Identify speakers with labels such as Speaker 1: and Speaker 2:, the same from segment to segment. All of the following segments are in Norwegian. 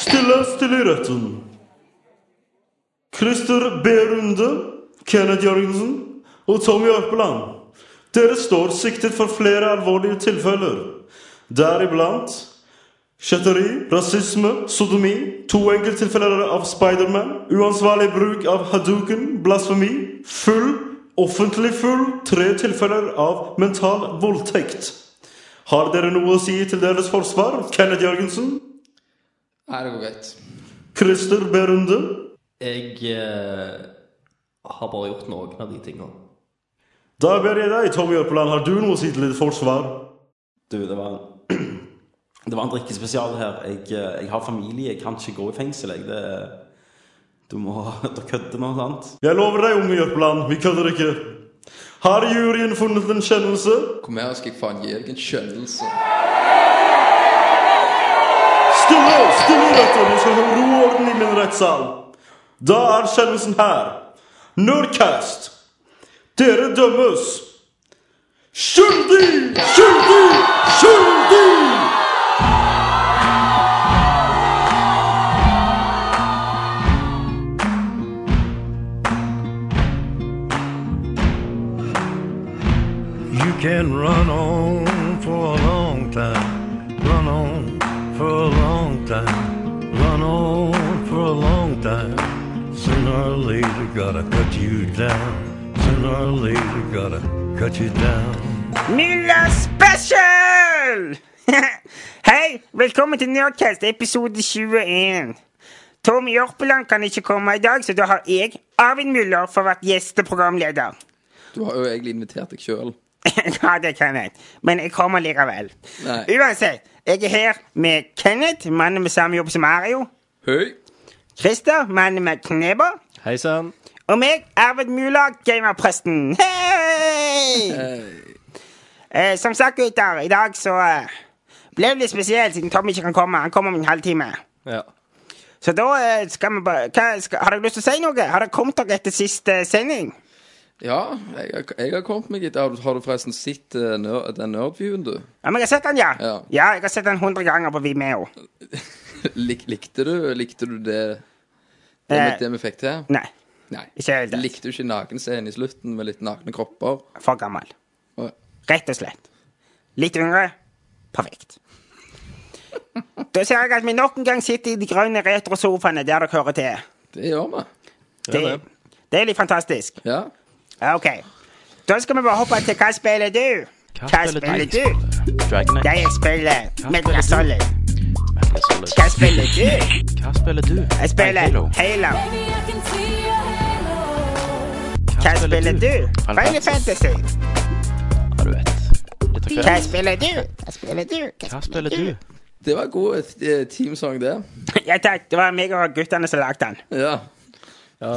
Speaker 1: Stille, stille i retten. Christer B. Runde, Kenneth Jørgensen og Tommy Økland. Dere står siktet for flere alvorlige tilfeller, deriblant kjetteri, rasisme, sodomi, to enkelttilfeller av Spiderman, uansvarlig bruk av haduken, blasfemi, full, offentlig full, tre tilfeller av mental voldtekt. Har dere noe å si til deres forsvar, Kenneth Jørgensen?
Speaker 2: Nei, det går greit.
Speaker 1: Christer B. Runde?
Speaker 3: Jeg eh, har bare gjort noen av de tingene.
Speaker 1: Da ber jeg deg, Tommy Jørpeland, har du noe å si til ditt forsvar?
Speaker 4: Du, det var Det var en drikkespesial her. Jeg, eh, jeg har familie, jeg kan ikke gå i fengsel. Jeg, det, du må Dere kødder nå, sant?
Speaker 1: Jeg lover deg, unge Jørpeland, vi kødder ikke. Har juryen funnet en kjennelse?
Speaker 2: Kom her, skal jeg faen gi deg en skjønnelse.
Speaker 1: Stille, stille retter, vi skal ha ro og orden i min rettssal. Da er kjennelsen her. Nerdcast, dere dømmes. Skyldig! Skyldig! Skyldig!
Speaker 5: You can run on for a long time, run on for a long time, run on for a long time. Sooner or later, gotta cut you down. Sooner or later, gotta cut you down.
Speaker 6: Milla Special! Hei, velkommen til Nerdcast episode 21. Tom Jørpeland kan ikke komme i dag, så da har jeg, Arvid Muller, for vært gjesteprogramleder.
Speaker 2: Du har jo egentlig invitert deg sjøl.
Speaker 6: ja, det kan jeg, men jeg kommer likevel.
Speaker 2: Nei.
Speaker 6: Uansett, jeg er her med Kenneth, mannen med samme jobb som Mario.
Speaker 2: Høy!
Speaker 6: Christer, mannen med knebber.
Speaker 3: Hei sann.
Speaker 6: Og meg, Arvid Muller, gamerpresten. Hei!
Speaker 2: Eh,
Speaker 6: Eh, som sagt, gutter, i dag så eh, ble det litt spesielt siden Tom ikke kan komme. Han kommer om en halvtime.
Speaker 3: Ja.
Speaker 6: Så da eh, skal vi bare hva, skal, Har dere lyst til å si noe? Har dere kommet dere etter siste sending?
Speaker 2: Ja, jeg, har- jeg har kommet meg hit. Har du- har du forresten sett eh, ner, den nerdviewen, du?
Speaker 6: Ja, men jeg har sett den, ja.
Speaker 2: Ja.
Speaker 6: jeg har sett den 100 ganger på Vimeo.
Speaker 2: Lik, likte, du, likte du det, det,
Speaker 6: Eh.
Speaker 2: vi- det vi fikk til?
Speaker 6: Nei,
Speaker 2: Nei.
Speaker 6: ikke helt. det.
Speaker 2: Likte du ikke nakenscenen i slutten med litt nakne kropper?
Speaker 6: For gammel.
Speaker 2: Å,
Speaker 6: Rett og slett. Litt yngre. Perfekt. Da ser jeg at vi nok en gang sitter i de grønne retrosofaene der dere hører til.
Speaker 2: Det gjør vi.
Speaker 6: Det, det er litt fantastisk.
Speaker 2: Ja.
Speaker 6: Ja, Eh, Ok. Da skal vi bare hoppe til hva spiller du? Hva spiller du?
Speaker 4: Dragon Age.
Speaker 6: Jeg spiller Metal Gear Solid.
Speaker 4: Metal Gear Solid.
Speaker 6: Hva spiller du?
Speaker 4: Hva spiller du?
Speaker 6: Jeg spiller
Speaker 4: Halo.
Speaker 6: Halo.
Speaker 7: Maybe I can see your halo.
Speaker 6: Hva spiller du? Final Fantasy.
Speaker 4: Ja, du vet. Litt av
Speaker 6: Hva
Speaker 4: hvert.
Speaker 6: spiller du? Hva spiller du?
Speaker 4: Hva spiller du?
Speaker 2: Det var en god eh, teamsang, det.
Speaker 6: Ja takk, det var meg og guttene som lagde den.
Speaker 2: Ja.
Speaker 3: ja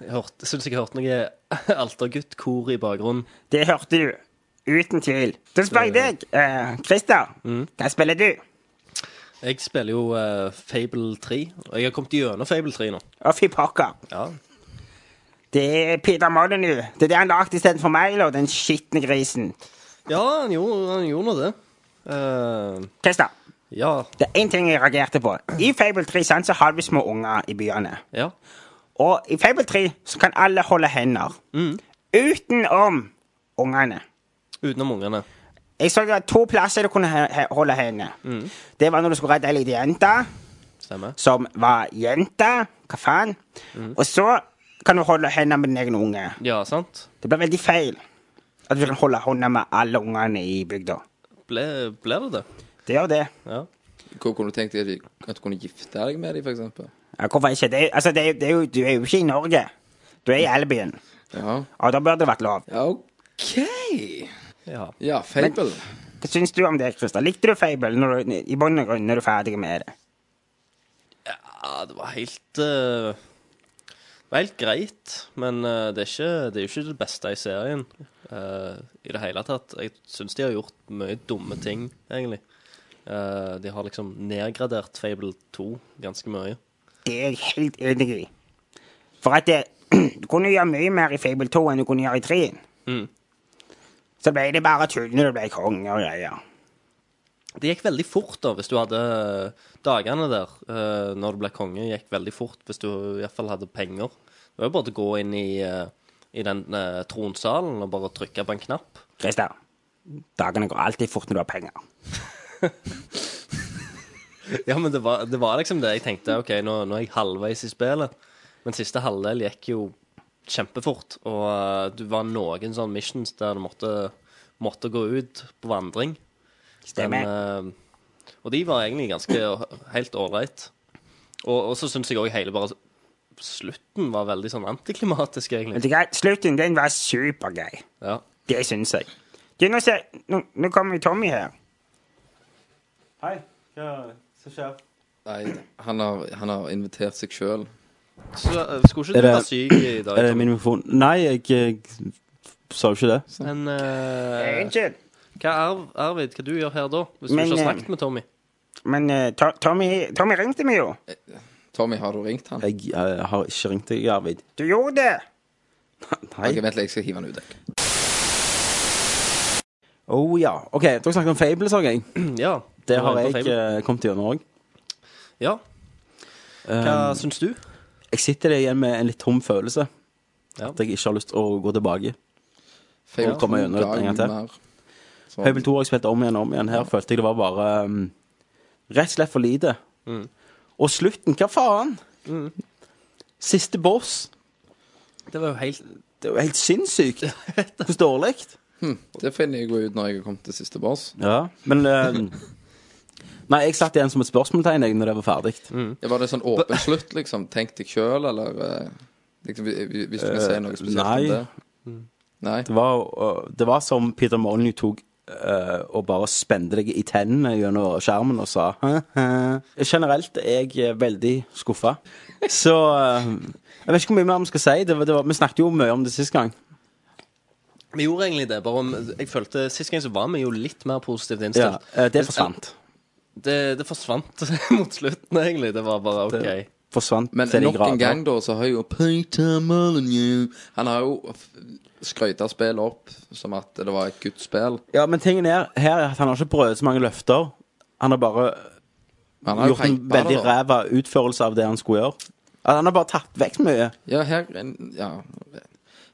Speaker 3: jeg hørte- syns jeg hørte noe alterguttkor i bakgrunnen.
Speaker 6: Det hørte du. Uten tvil. Da spør jeg deg, eh, Christer.
Speaker 4: Mm.
Speaker 6: Hva spiller du?
Speaker 3: Jeg spiller jo eh, Fable 3, og jeg har kommet gjennom Fable 3 nå.
Speaker 6: Å, fy pokker.
Speaker 3: Ja.
Speaker 6: Det er Peter Molyneux. Det er det han lagde istedenfor Milo, den skitne grisen.
Speaker 3: Ja, han gjorde, han gjorde nå det. Eh,
Speaker 6: Christer.
Speaker 3: ja.
Speaker 6: Det er én ting jeg reagerte på. I Fable 3 sant, så har du små unger i byene.
Speaker 3: Ja.
Speaker 6: Og i Fable 3 så kan alle holde hender. Utenom ungene.
Speaker 3: Utenom ungene.
Speaker 6: Jeg så det var to plasser du kunne he he holde hendene. Det var når du skulle redde ei lita jente
Speaker 3: Stemmer.
Speaker 6: som var jente. Hva faen? Og så kan du holde hendene med din egen unge.
Speaker 3: Ja, sant?
Speaker 6: Det blir veldig feil at du kan holde hånda med alle ungene i bygda.
Speaker 3: Ble, ble det det?
Speaker 6: Det gjør det.
Speaker 3: Ja.
Speaker 2: Hvor kunne du tenkt deg at du- at du kunne gifte deg med dem, for eksempel?
Speaker 6: Ja, hvorfor ikke? Det er, altså, det er, det er jo, du er jo ikke i Norge. Du er i Elbyen.
Speaker 2: Ja.
Speaker 6: Og da bør det vært lov.
Speaker 2: ja OK.
Speaker 3: Ja.
Speaker 2: Ja, Fable.
Speaker 6: Hva syns du om det, Christer? Likte du Fable når du, i bunn og grunn når du er ferdig med det?
Speaker 3: Ja, det var helt eh, Det var helt greit, men eh, det, er ikke, det er jo ikke det beste i serien eh, i det hele tatt. Jeg syns de har gjort mye dumme ting, egentlig. Eh, de har liksom nedgradert Fable 2 ganske mye.
Speaker 6: Det er jeg helt enig i. For at det, du kunne gjøre mye mer i Fable 2 enn du kunne gjøre i 3.
Speaker 3: Mm.
Speaker 6: Så ble det bare tull når du ble konge og greier.
Speaker 3: Det gikk veldig fort da, hvis du hadde dagene der eh, når du ble konge. gikk veldig fort hvis du i hvert fall hadde penger. Det var jo bare å gå inn i, eh, i den eh, tronsalen og bare trykke på en knapp.
Speaker 6: Christer, dagene går alltid fort når du har penger.
Speaker 3: Ja, men det var, det var liksom det jeg tenkte. OK, nå, nå er jeg halvveis i spillet. Men siste halvdel gikk jo kjempefort. Og eh, du var noen sånne missions der du måtte, måtte gå ut på vandring.
Speaker 6: Stemmer.
Speaker 3: Men, eh, og de var egentlig ganske helt ålreit. Og, og så syns jeg òg hele bare slutten var veldig sånn antiklimatisk,
Speaker 6: Vet
Speaker 3: egentlig.
Speaker 6: du hva? Slutten den var supergrei.
Speaker 3: Ja.
Speaker 6: Det syns jeg. Du, nå, ser, nå, nå kommer jo Tommy her.
Speaker 4: Hei, hva hva skjer?
Speaker 2: Nei, han har, han har invitert seg sjøl.
Speaker 3: Så eh, skulle
Speaker 4: Er
Speaker 3: ikke du
Speaker 4: det-
Speaker 3: være syk i dag?
Speaker 4: Er det
Speaker 3: Tom?
Speaker 4: min mikrofon? Nei, jeg, jeg sa jo ikke det.
Speaker 3: Men eh,
Speaker 6: Unnskyld.
Speaker 3: hva Arv- Arvid, hva du gjør her da? Hvis du
Speaker 6: Men,
Speaker 3: ikke har
Speaker 6: eh,
Speaker 3: snakket med Tommy?
Speaker 6: Men eh, To- Tommy, Tommy ringte meg jo.
Speaker 2: Tommy, har du ringt han?
Speaker 4: Jeg, eh, har ikke ringt deg, Arvid.
Speaker 6: Du gjorde det.
Speaker 4: Nei.
Speaker 2: Ok, vent litt, jeg skal hive han ut. jeg.
Speaker 4: Oh ja. OK, dere snakket om Fable, sa jeg.
Speaker 3: Ja.
Speaker 4: Det
Speaker 3: du
Speaker 4: har
Speaker 3: var inne på
Speaker 4: jeg
Speaker 3: Fable.
Speaker 4: eh, kommet gjennom òg.
Speaker 3: Ja. Hva syns du?
Speaker 4: Jeg sitter der igjen med en litt tom følelse.
Speaker 3: Ja.
Speaker 4: At jeg ikke har lyst til å gå tilbake.
Speaker 2: Fable
Speaker 4: Og kommer
Speaker 2: 2,
Speaker 4: gjennom det en gang til.
Speaker 2: mer. Så-
Speaker 4: Fable 2 har jeg spilt om igjen og om igjen. Her følte jeg det var bare um, rett og slett for lite. Og slutten, hva faen? Siste boss.
Speaker 3: Det var jo helt
Speaker 4: Det er jo helt sinnssykt. Hvordan dårlig.
Speaker 2: Det finner jeg jo ut når jeg har kommet til siste boss.
Speaker 4: Ja, men um, Nei, jeg satt igjen som et spørsmålstegn jeg, når det var ferdig.
Speaker 2: Det var det sånn åpen slutt, liksom? Tenk deg sjøl, eller eh, liksom, Hvis du kan si noe spesielt
Speaker 4: Eh, nei. Mm.
Speaker 2: om det? Nei.
Speaker 4: Det, var, uh, det var som Peter Molyneux tok uh, og bare spente deg i tennene gjennom skjermen og sa «Hæ, hæ». Generelt er jeg uh, veldig skuffa. Så uh, Jeg vet ikke hvor mye mer vi skal si. Det var, det var, vi snakket jo mye om det sist gang.
Speaker 3: Vi gjorde egentlig det, bare om jeg følte Sist gang så var vi jo litt mer positivt
Speaker 4: Ja,
Speaker 3: innstilt.
Speaker 4: eh, det forsvant.
Speaker 3: Det, det forsvant mot slutten, egentlig. Det var bare OK.
Speaker 4: Det forsvant
Speaker 2: Men
Speaker 4: til de
Speaker 2: nok en
Speaker 4: grader.
Speaker 2: gang, da, så har jo Peter Molyneux Han har jo skrøyta spillet opp som at det var et guds spill.
Speaker 4: Ja, men tingen er, her er at han har ikke brødet så mange løfter. Han har bare
Speaker 2: Han har jo
Speaker 4: gjort en
Speaker 2: hypet
Speaker 4: veldig
Speaker 2: det, da.
Speaker 4: ræva utførelse av det han skulle gjøre. Ja, Han har bare tatt vekk mye.
Speaker 2: Ja, her Ja.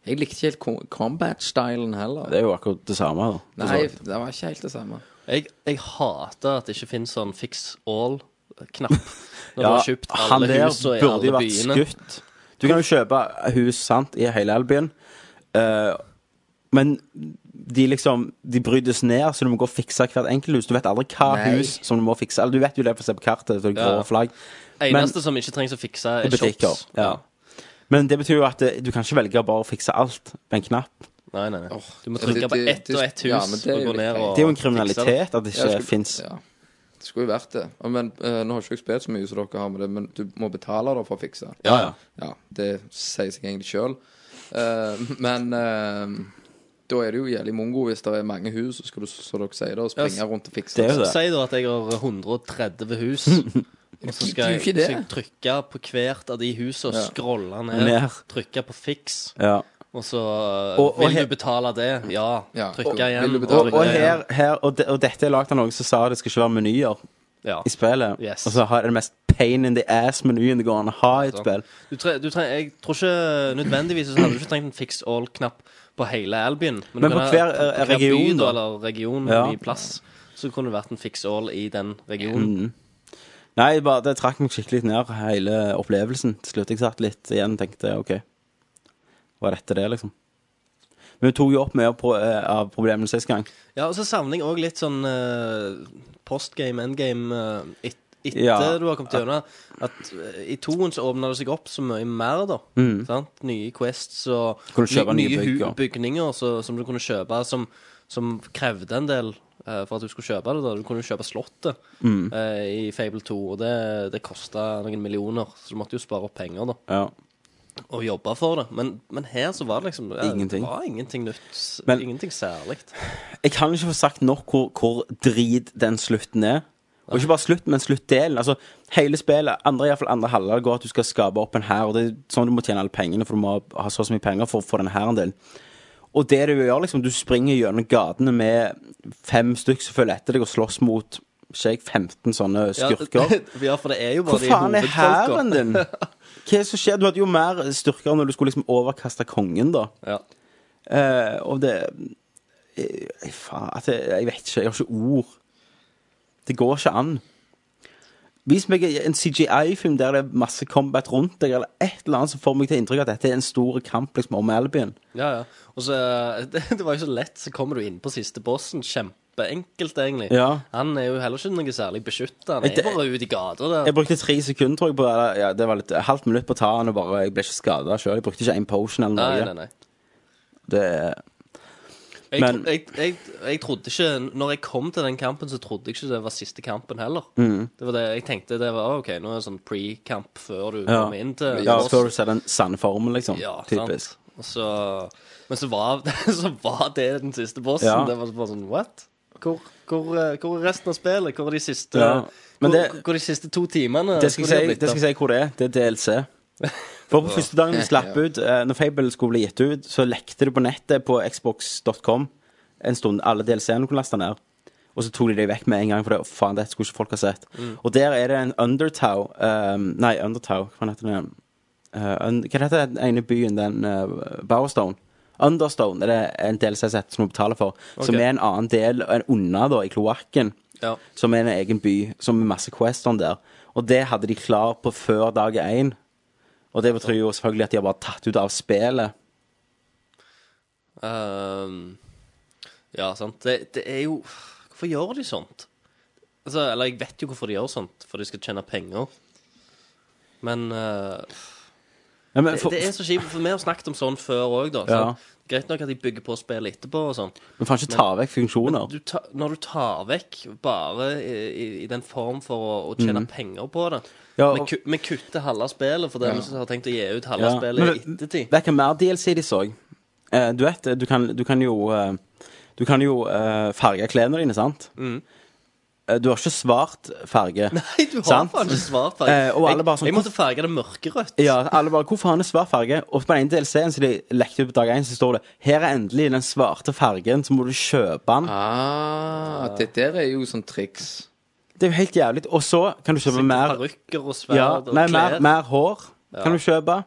Speaker 2: Jeg likte ikke helt kom- combat-stylen heller.
Speaker 4: Det er jo akkurat det samme. da. for så
Speaker 2: Nei,
Speaker 4: vidt.
Speaker 2: det var ikke helt det samme.
Speaker 3: Jeg, jeg hater at det ikke finnes sånn fix all-knapp. Når du
Speaker 4: Ja,
Speaker 3: har kjøpt alle husene i alle byene.
Speaker 4: skutt. Du kan jo kjøpe hus sant, i hele Elbyen, Eh, men de liksom De brytes ned, så du må gå og fikse hvert enkelt hus. Du vet aldri hva
Speaker 2: Nei.
Speaker 4: hus som du må fikse. Eller du vet jo det for å se på kartet. Så det er
Speaker 3: Ja.
Speaker 4: grå flagg
Speaker 3: Eneste som ikke trengs å fikse,
Speaker 4: i
Speaker 3: er
Speaker 4: butikker.
Speaker 3: shops.
Speaker 4: Ja. Men det betyr jo at eh, du kan ikke velge å bare fikse alt på en knapp.
Speaker 3: Nei, nei, nei. Du må
Speaker 2: Ja,
Speaker 3: trykke
Speaker 2: det-
Speaker 3: på
Speaker 2: det-
Speaker 3: ett
Speaker 2: det-
Speaker 3: og ett hus
Speaker 2: ja, men det er
Speaker 3: og
Speaker 2: jo
Speaker 3: gå ned
Speaker 2: litt
Speaker 3: og
Speaker 4: Det er jo en
Speaker 3: fikse det.
Speaker 4: kriminalitet at det
Speaker 2: Ja,
Speaker 4: ikke
Speaker 2: skulle-
Speaker 4: fins.
Speaker 2: Ja. Det skulle jo vært det. Ja, Men eh, Nå har jeg ikke spilt så mye som dere har med det, men du må betale da for å fikse.
Speaker 4: Ja, ja.
Speaker 2: Ja, det sier seg egentlig sjøl. men eh, da er det jo jævlig mongo hvis det er mange hus, så skal du, som dere sier, da, springe
Speaker 3: Ja,
Speaker 2: rundt og fikse.
Speaker 4: det er jo det.
Speaker 3: Si da at jeg har 130 hus, og så
Speaker 2: Det er
Speaker 3: skal
Speaker 2: jo
Speaker 3: jeg,
Speaker 2: ikke det.
Speaker 3: så jeg trykke på hvert av de husene og
Speaker 2: Ja.
Speaker 3: scrolle
Speaker 4: Ned.
Speaker 3: ned. Trykke på fiks,
Speaker 4: Ja.
Speaker 3: og så
Speaker 4: Og- og
Speaker 3: Vil
Speaker 4: he-
Speaker 3: du betale det? Ja.
Speaker 2: Ja, og-
Speaker 3: Trykke igjen.
Speaker 2: vil du betale
Speaker 4: Og, og,
Speaker 3: trykke igjen.
Speaker 4: her, her, og, de, og dette er lagd av noen som sa det skal ikke være menyer
Speaker 3: Ja.
Speaker 4: i spillet.
Speaker 3: Yes.
Speaker 4: Og så har jeg den mest pain in the ass-menyen det går an å ha i et
Speaker 3: Sant.
Speaker 4: spill.
Speaker 3: Du tre, du tre, jeg tror ikke nødvendigvis så hadde du ikke trengt en fix all-knapp på hele Albin.
Speaker 4: Men på hver, eh, region, da.
Speaker 3: Eller region
Speaker 4: Ja.
Speaker 3: i plass. Så kunne det vært en fix all i den
Speaker 4: Mm.
Speaker 3: regionen.
Speaker 4: Nei, bare, det trakk meg skikkelig ned, hele opplevelsen. Til slutt jeg satt litt igjen og tenkte OK, var dette det, liksom? Men vi tok jo opp mye av pro- eh, av problemene sist gang.
Speaker 3: Ja, og så savner jeg òg litt sånn eh, postgame, endgame eh, et, etter
Speaker 4: Ja.
Speaker 3: du har kommet gjennom. At eh, i toen så åpna det seg opp så mye mer, da. Sant? Nye quests og
Speaker 4: Kunne Mm. du kjøpe
Speaker 3: ny-
Speaker 4: nye
Speaker 3: hu-
Speaker 4: bygger?
Speaker 3: bygninger så, som du kunne kjøpe, som, som krevde en del eh, for at du skulle kjøpe det. da Du kunne jo kjøpe Slottet
Speaker 4: Mm.
Speaker 3: eh, i Fable 2, og det, det kosta noen millioner, så du måtte jo spare opp penger da
Speaker 4: Ja.
Speaker 3: og jobbe for det. Men, men her så var det liksom eh,
Speaker 4: Ingenting.
Speaker 3: Det var ingenting nytt.
Speaker 4: Men-
Speaker 3: ingenting særlig.
Speaker 4: Jeg kan ikke få sagt nok hvor, hvor drit den slutten er. Og ikke bare slutt, men sluttdelen. Altså, hele spillet, andre, i hvert fall andre halvdel, går at du skal skape opp en hær. Og det er sånn du må tjene alle pengene, for du må ha så og så mye penger for å få den hæren din. Og det du gjør, liksom, du springer gjennom gatene med fem stykk som følger etter deg og slåss mot ikke jeg 15 sånne skurker.
Speaker 3: Ja, for det er jo
Speaker 4: Hvor
Speaker 3: bare de
Speaker 4: faen er
Speaker 3: hovedfolka.
Speaker 4: hæren din? Hva er det som skjer? Du hadde jo mer styrker når du skulle liksom overkaste kongen, da.
Speaker 3: Ja.
Speaker 4: Eh, og det eh, Faen, at jeg, jeg vet ikke. Jeg har ikke ord. Det går ikke an. Vis meg en CGI-film der det er masse combat rundt deg, eller et eller annet som får meg til inntrykk av at dette er en stor kamp liksom, om Albion.
Speaker 3: Ja, ja. Og så, eh, det, det var jo så lett, så kommer du inn på siste bossen. Kjempeenkelt, egentlig.
Speaker 4: Ja.
Speaker 3: Han er jo heller ikke noe særlig beskytta. Han
Speaker 4: Jeg-
Speaker 3: er bare ute i gata der.
Speaker 4: Jeg brukte tre sekunder, tror jeg, på eller, ja, det var litt halvt minutt på å ta han, og bare jeg ble ikke skada sjøl. Jeg brukte ikke en potion eller
Speaker 3: Nei,
Speaker 4: noe.
Speaker 3: nei, nei.
Speaker 4: Det er
Speaker 3: Jeg,
Speaker 4: Men-
Speaker 3: tro- jeg, jeg, jeg trodde ikke Når jeg kom til den kampen, så trodde jeg ikke det var siste kampen heller.
Speaker 4: Mm.
Speaker 3: Det var det jeg tenkte. Det var OK, nå er det sånn pre-kamp før du
Speaker 4: Ja.
Speaker 3: kommer inn til
Speaker 4: Ja,
Speaker 3: bossen.
Speaker 4: før du ser den sanne formen, liksom.
Speaker 3: Ja,
Speaker 4: typisk.
Speaker 3: sant. Og så, men så var, så var det den siste bossen.
Speaker 4: Ja.
Speaker 3: Det var bare sånn What? Hvor, hvor, eh, hvor er resten av spillet? Hvor er de siste,
Speaker 4: Ja. Men det-
Speaker 3: hvor, hvor er de siste to timene?
Speaker 4: Det skal,
Speaker 3: Hvor
Speaker 4: jeg
Speaker 3: er
Speaker 4: si,
Speaker 3: eh, blitt
Speaker 4: det skal jeg si hvor det er. Det er DLC. For på første dagen vi slapp ut, eh, når Fable skulle bli gitt ut, så lekte det på nettet på xbox.com en stund alle DLC-ene du kunne laste ned. Og så tok de det vekk med en gang, for det, faen, dette skulle ikke folk ha sett. Og der er det en Undertow eh, Nei, Undertow, hva faen heter den? Eh, un, hva heter den ene byen, den eh, Bowerstone? Understone er det en DLC-sett som du betaler for, som
Speaker 3: Ok.
Speaker 4: er en annen del, en unna, da, i kloakken
Speaker 3: Ja.
Speaker 4: som er en egen by, som er masse questene der. Og det hadde de klar på før dag én. Og det betyr jo selvfølgelig at de har bare tatt ut av spillet.
Speaker 3: Ehm, ja, sant. Det, det er jo Hvorfor gjør de sånt? Altså, eller jeg vet jo hvorfor de gjør sånt. For de skal tjene penger. Men eh,
Speaker 4: Ja, men,
Speaker 3: det,
Speaker 4: for,
Speaker 3: det er så kjipt. For vi har snakket om sånn før òg, da.
Speaker 4: Ja.
Speaker 3: sant? Greit nok at de bygger på spillet etterpå og sånn.
Speaker 4: men faen ikke ta vekk funksjoner.
Speaker 3: du ta, når du tar vekk bare i, i, i den form for å, å tjene penger på det
Speaker 4: Mm. Ja,
Speaker 3: vi,
Speaker 4: og-
Speaker 3: ku, vi kutter halve spillet fordi vi har tenkt å gi ut halve
Speaker 4: Ja.
Speaker 3: spillet i
Speaker 4: Men-
Speaker 3: ettertid.
Speaker 4: Vet du hva mer DLC de så? Eh, du vet, du kan, du kan jo eh, Du kan jo eh, farge klærne dine, sant? Eh, du har ikke svart farge.
Speaker 3: Mm. Nei, du har
Speaker 4: Sant?
Speaker 3: faen ikke svart farge.
Speaker 4: Eh, og alle bare sånn,
Speaker 3: jeg, jeg måtte farge det mørkerødt.
Speaker 4: Ja, alle bare, Hvorfor har han en svart farge? Og på den ene DLC-en som de lekte ut på dag én, så står det Her er endelig den svarte fargen, så må du kjøpe den.
Speaker 2: Ah, det der er jo sånn triks.
Speaker 4: Det er jo helt jævlig. Og så kan du kjøpe mer
Speaker 3: Parykker og sverd
Speaker 4: ja,
Speaker 3: og
Speaker 4: nei, mer,
Speaker 3: klær.
Speaker 4: mer hår kan du kjøpe.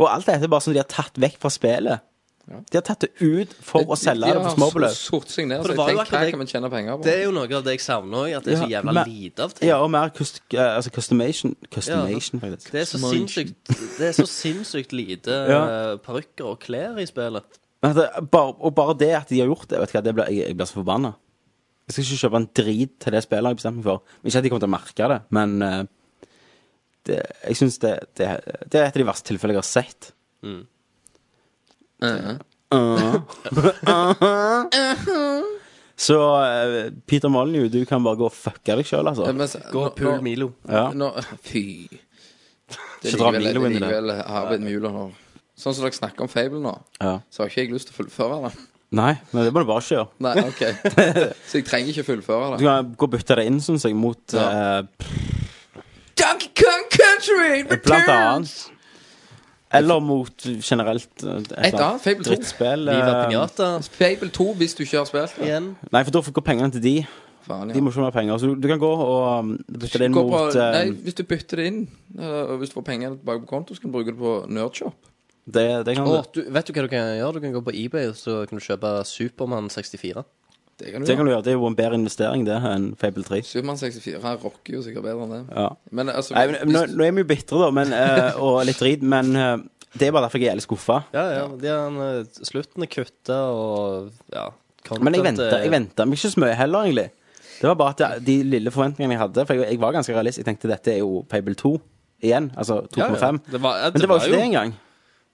Speaker 4: Og alt dette er bare som de har tatt vekk fra spillet. De har tatt det ut for å selge det på småbeløp.
Speaker 2: Sort seg ned,
Speaker 3: For
Speaker 2: så
Speaker 3: det
Speaker 2: jeg
Speaker 3: var jo
Speaker 2: tenkte
Speaker 3: akkurat
Speaker 2: her
Speaker 3: det-
Speaker 2: kan vi tjene penger på.
Speaker 3: Det er jo noe av det jeg savner òg, at det er så
Speaker 4: Ja,
Speaker 3: jævla
Speaker 4: men-
Speaker 3: lite av ting.
Speaker 4: Ja, og mer cust eh, altså customation. Customation, faktisk.
Speaker 3: Det er, så sinnssykt, det er så sinnssykt lite
Speaker 4: Ja.
Speaker 3: eh, parykker og klær i spillet.
Speaker 4: Men det, bare, og bare det at de har gjort det, vet du hva, det blir, jeg, jeg blir så forbanna. Jeg skal ikke kjøpe en drit til det spillet jeg bestemmer meg for. Ikke at de kommer til å merke det, men eh, det, jeg syns det, det, det er et av de verste tilfellene jeg har sett.
Speaker 2: Eh, eh.
Speaker 4: Så eh, Peter Molyneux, du kan bare gå og fucke deg sjøl, altså.
Speaker 2: Ja, men så-
Speaker 3: Gå
Speaker 2: nå-
Speaker 3: og pull
Speaker 2: nå-
Speaker 3: Milo.
Speaker 4: Ja.
Speaker 2: Nå, fy. Det
Speaker 4: Ikke dra
Speaker 2: er
Speaker 4: Milo
Speaker 2: likevel,
Speaker 4: inn i det.
Speaker 2: likevel Arvid Mueller nå. Sånn som dere snakker om Fable nå,
Speaker 4: Ja.
Speaker 2: så har ikke jeg lyst til å fullføre det.
Speaker 4: Nei, men det må du bare ikke gjøre.
Speaker 2: Nei, ok. Så jeg trenger ikke fullføre
Speaker 4: Du
Speaker 2: det.
Speaker 4: kan gå og bytte det inn, syns jeg, mot
Speaker 2: Ja.
Speaker 4: eh,
Speaker 2: Donkey Kong Country
Speaker 4: blant
Speaker 2: Returns!
Speaker 4: annet Eller mot generelt eh,
Speaker 2: Et
Speaker 4: et,
Speaker 2: annet, Fable 2.
Speaker 4: drittspill.
Speaker 3: Viva
Speaker 4: eh,
Speaker 3: Pinata
Speaker 2: Fable 2, hvis du ikke har spilt det.
Speaker 3: igjen.
Speaker 4: nei, for da får- går pengene til de.
Speaker 2: Faen,
Speaker 4: De
Speaker 2: ja.
Speaker 4: må ikke ha mer penger. Så du, du kan gå og um, bytte det inn
Speaker 2: Gå på,
Speaker 4: mot eh,
Speaker 2: nei, hvis du bytter det inn, eh, og hvis du får penger tilbake på konto, så kan du bruke det på Nerdshop.
Speaker 4: det, det kan
Speaker 3: Å, du, vet du hva du kan gjøre? Du kan gå på eBay og så kan du kjøpe Supermann 64.
Speaker 2: Det kan du
Speaker 4: Det
Speaker 2: gjøre.
Speaker 4: kan du gjøre. Det er jo en bedre investering, det, enn Fable 3.
Speaker 2: Supermann 64 her rocker jo sikkert bedre enn det.
Speaker 4: Ja.
Speaker 2: Men altså
Speaker 4: Nei, men, nå,
Speaker 2: hvis-
Speaker 4: nå er vi jo bitre, da, men, eh, og litt drit, men eh, det er bare derfor jeg er jævlig skuffa.
Speaker 3: Ja, ja. De har, eh, slutten er kutta, og ja content
Speaker 4: Men jeg
Speaker 3: er-
Speaker 4: venta, jeg venta meg ikke så mye heller, egentlig. Det var bare at jeg- de lille forventningene jeg hadde. For jeg, jeg var ganske realist. Jeg tenkte dette er jo Fable 2 igjen. Altså 2,5.
Speaker 3: Ja, ja. Det var, ja,
Speaker 4: Men det var jo ikke det engang.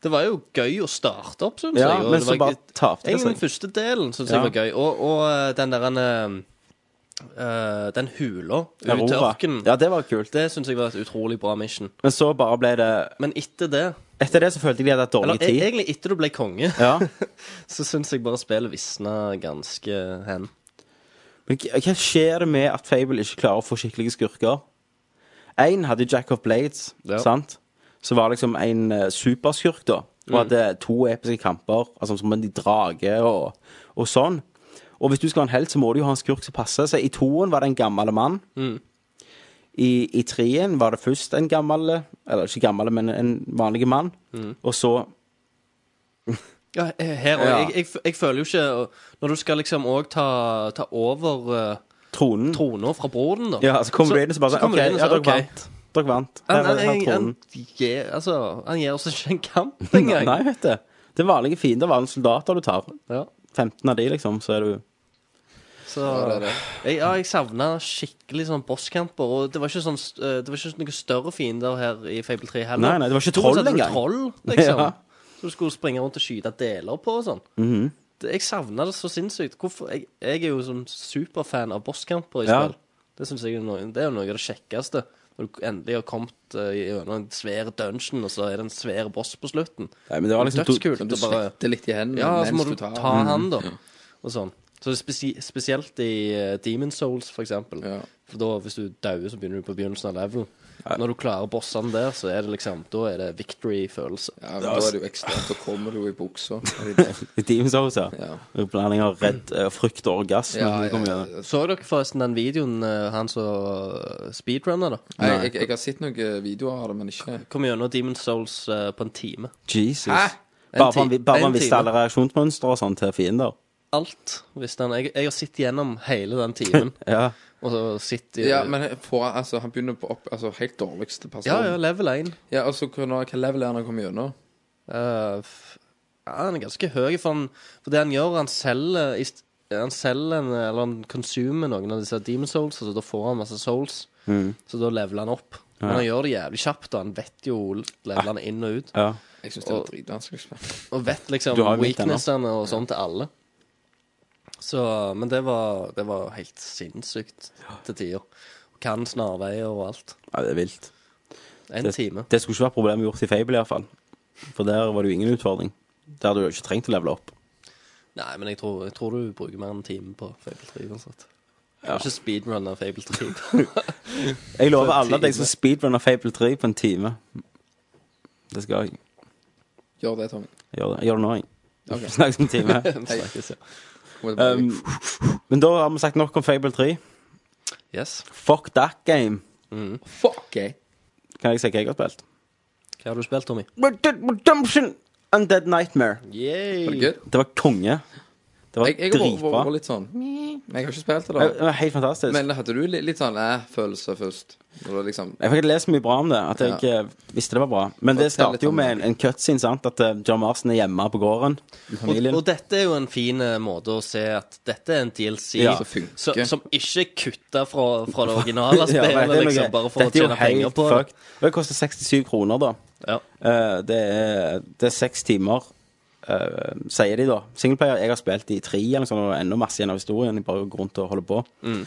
Speaker 3: Det var jo gøy å starte opp, syns
Speaker 4: Ja,
Speaker 3: jeg. og
Speaker 4: men
Speaker 3: det
Speaker 4: så
Speaker 3: var-
Speaker 4: bare tapte det
Speaker 3: Egentlig den
Speaker 4: seg.
Speaker 3: første delen syns
Speaker 4: Ja.
Speaker 3: jeg var gøy. Og, og eh, den der eh, eh, Den hula ut til
Speaker 4: Aurora.
Speaker 3: ørkenen.
Speaker 4: Ja, det var kult.
Speaker 3: Det syns jeg var et utrolig bra mission.
Speaker 4: Men så bare ble det
Speaker 3: Men etter det
Speaker 4: Etter det så følte jeg de hadde hatt
Speaker 3: Eller
Speaker 4: dårlig
Speaker 3: e-
Speaker 4: tid.
Speaker 3: egentlig etter du ble konge,
Speaker 4: Ja.
Speaker 3: så syns jeg bare spillet visna ganske hen.
Speaker 4: Men k- hva skjer det med at Fable ikke klarer å få skikkelige skurker? Én hadde Jack of Blades,
Speaker 3: Ja.
Speaker 4: sant? Så var det liksom en eh, superskurk,
Speaker 3: Mm.
Speaker 4: da. Og hadde to episke kamper, altså som en drage og, og sånn. Og hvis du skal ha en helt, så må du jo ha en skurk som passer. Så i toen var det en gammel mann.
Speaker 3: Mm.
Speaker 4: I, I treen var det først en gammel Eller ikke gammel, men en vanlig mann.
Speaker 3: Mm.
Speaker 4: Og så
Speaker 3: Ja, he- her òg.
Speaker 2: Ja.
Speaker 3: Jeg, jeg, f- jeg føler jo ikke Når du skal liksom òg ta, ta over eh,
Speaker 4: tronen.
Speaker 3: trona fra broren, da
Speaker 4: Ja, så kommer Raiden så bare
Speaker 3: så
Speaker 4: sånn
Speaker 3: kommer
Speaker 4: OK,
Speaker 3: Raiden
Speaker 4: ja,
Speaker 3: og sier,
Speaker 4: dere
Speaker 3: «Ok».
Speaker 4: vant. Dere vant. Her
Speaker 3: Han,
Speaker 4: er-
Speaker 3: han,
Speaker 4: her er
Speaker 3: han,
Speaker 4: tronen.
Speaker 3: gir, altså, han gir oss ikke en kamp engang.
Speaker 4: Nei, vet du. Det er vanlige fiender, vanlige soldater du tar.
Speaker 3: Ja,
Speaker 4: 15 av de, liksom, så er du
Speaker 3: så
Speaker 2: Ja, det er det.
Speaker 3: Jeg, ja, jeg savna skikkelig sånn bosskamper. Og det var ikke sånn st- eh, Det var ikke noen større fiender her i Fable 3 heller.
Speaker 4: Nei, nei, det var ikke
Speaker 3: Toen
Speaker 4: troll
Speaker 3: satte du
Speaker 4: engang.
Speaker 3: Troll, liksom.
Speaker 4: Ja. Mhm.
Speaker 3: Så du skulle springe rundt og skyte deler på og sånn. det, jeg savna det så sinnssykt. Hvorfor? Jeg, jeg er jo sånn superfan av bosskamper i
Speaker 4: Ja.
Speaker 3: spill. Det synes jeg er noe, det er jo noe av det kjekkeste. Når du endelig har kommet eh, gjennom en svær dungeon, og så er det en svær boss på slutten.
Speaker 4: Nei, men det var liksom to-
Speaker 3: Dødskult.
Speaker 2: Som
Speaker 3: og
Speaker 2: du
Speaker 3: bare-
Speaker 2: svetter litt i hendene
Speaker 3: ja, så må
Speaker 2: Mm. mens
Speaker 3: du
Speaker 2: du
Speaker 3: ta
Speaker 2: tar Mm.
Speaker 3: han, da. Og sånn. Så det er spesi spesielt i eh, Demon Souls, for eksempel.
Speaker 2: Ja.
Speaker 3: For da, hvis du dauer, så begynner du på begynnelsen av level. Når du klarer bossene der, så er det liksom Da er det victory-følelse.
Speaker 2: Ja, men da er det jo ekstremt. Da kommer du jo i buksa.
Speaker 4: I Demon's Souls, ja.
Speaker 2: Ja.
Speaker 4: Blanding av redd, eh, frykt og orgasme.
Speaker 2: Ja,
Speaker 4: når du kommer
Speaker 2: ja,
Speaker 4: gjennom.
Speaker 3: Så dere forresten den videoen eh, han som eh, speedrunner, da?
Speaker 2: Nei, jeg, jeg har sett noen eh, videoer av det, men ikke
Speaker 3: Kom gjennom Demon Souls eh, på en time.
Speaker 4: Jesus.
Speaker 2: Hæ? En
Speaker 4: Bare for han,
Speaker 2: ti-
Speaker 4: vi- bare for han
Speaker 2: en
Speaker 4: visste
Speaker 2: time.
Speaker 4: alle reaksjonsmønstre og sånn til fiender.
Speaker 3: Alt, hvis den Jeg, jeg har sittet gjennom hele den timen.
Speaker 4: Ja.
Speaker 3: og så sitter
Speaker 2: Ja, men får han- altså, han begynner på opp, altså, helt dårligste person.
Speaker 3: ja, ja, level 1.
Speaker 2: Ja, og så kan- hva level er han kommer gjennom?
Speaker 3: Eh, f- ja, han er ganske høy, for, han, for det han gjør, han selger i st- Han selger en, eller han consumer noen av disse Demon Souls, så da får han masse souls.
Speaker 4: Mm.
Speaker 3: Så da leveler han opp. Men han gjør det jævlig kjapt, og han vet jo levelene inn og ut.
Speaker 4: ja.
Speaker 2: Jeg syns det var dritvanskelig spill.
Speaker 3: Og vet liksom
Speaker 4: Du har jo litt den, da.
Speaker 3: weaknessene og sånn til alle. Så, men det var, det var helt sinnssykt til tider. Kan snarveier og alt.
Speaker 4: ja, det er vilt.
Speaker 3: En
Speaker 4: Det,
Speaker 3: time.
Speaker 4: det skulle ikke vært problemet gjort i Fable, iallfall. For der var det jo ingen utfordring. Der hadde du jo ikke trengt å levele opp.
Speaker 3: Nei, men jeg tror, jeg tror du bruker mer enn en time på Fable 3 uansett. Du kan ikke speedrunne Fable 3.
Speaker 4: Jeg lover
Speaker 3: For
Speaker 4: alle at jeg
Speaker 3: time.
Speaker 4: skal speedrunne Fable 3 på en time. Det skal jeg.
Speaker 2: Gjør det, Tommy.
Speaker 4: Jeg Gjør det, jeg gjør det nå, jeg.
Speaker 2: Ok.
Speaker 4: Snakkes om en time.
Speaker 3: Snakkes, ja.
Speaker 2: Kommer tilbake.
Speaker 4: Um, men da har vi sagt nok om Fable 3.
Speaker 3: Yes.
Speaker 4: Fuck that game,
Speaker 2: Fuck it!
Speaker 4: kan jeg si hva jeg har spilt.
Speaker 3: Hva har du spilt, Tommy?
Speaker 4: Red Dead Redemption Undead Nightmare.
Speaker 2: Var det
Speaker 3: Yay!
Speaker 2: good?
Speaker 4: Det var konge. Det var
Speaker 2: Jeg, jeg var, var, var
Speaker 4: dritbra.
Speaker 2: litt sånn "Meh." Jeg har ikke spilt det,
Speaker 4: Det
Speaker 2: da.
Speaker 4: var helt fantastisk.
Speaker 2: Men hadde du li- litt sånn æ-følelse først? Når du liksom
Speaker 4: jeg fikk ikke lest mye bra om det, at jeg eh, visste det var bra. Men
Speaker 2: Fortell
Speaker 4: det
Speaker 2: litt
Speaker 4: starter jo
Speaker 2: om
Speaker 4: med en, en cutscene, sant? At uh, John Marsen er hjemme på gården. i
Speaker 3: Og,
Speaker 4: Familien.
Speaker 3: og dette er jo en fin eh, måte å se at dette er en DLC
Speaker 4: Ja.
Speaker 2: Som funker.
Speaker 3: så, som ikke er kutta fra, fra det originale
Speaker 4: Ja,
Speaker 3: spillet,
Speaker 4: nei, det er noe
Speaker 3: liksom,
Speaker 4: greit.
Speaker 3: bare for å
Speaker 4: Dette er jo
Speaker 3: tjene penger
Speaker 4: helt
Speaker 3: på det.
Speaker 4: fucked. Og det koster 67 kroner, da.
Speaker 3: Ja.
Speaker 4: Eh, det, er, det er seks timer, eh, sier de da. Singleplayer jeg har spilt i tre, eller noe sånt, og enda masse igjen av historien. Jeg bare går rundt og holder på.
Speaker 3: Mm.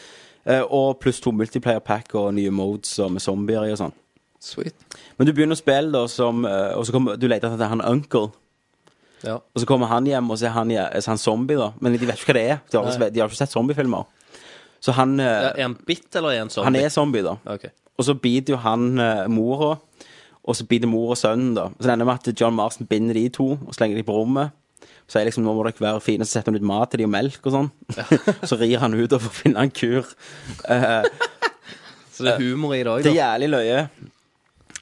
Speaker 4: Eh, og pluss to multiplayer pack og nye modes og med zombier i og sånn.
Speaker 2: Sweet.
Speaker 4: Men du begynner å spille, da, som, eh, og så kommer, du leter etter han uncle.
Speaker 3: Ja.
Speaker 4: Og så kommer han hjem, og så er han, er han zombie, da. Men de vet ikke hva det er. De har, aldri- de har ikke sett zombiefilmer. Så han, eh,
Speaker 3: Ja, Er han bitt, eller er han sånn?
Speaker 4: han er zombie, da.
Speaker 3: Ok.
Speaker 4: Og så biter jo han eh, mora, og så biter mor og sønnen, da. Så det ender med at John Marston binder de to og slenger de på rommet. Så sier liksom, nå må dere være fine, så setter han ut mat til de og melk og sånn. så rir han ut og får finne en kur.
Speaker 3: Så det er humor i dag,
Speaker 4: Eh, Det er
Speaker 3: da.
Speaker 4: jævlig løye.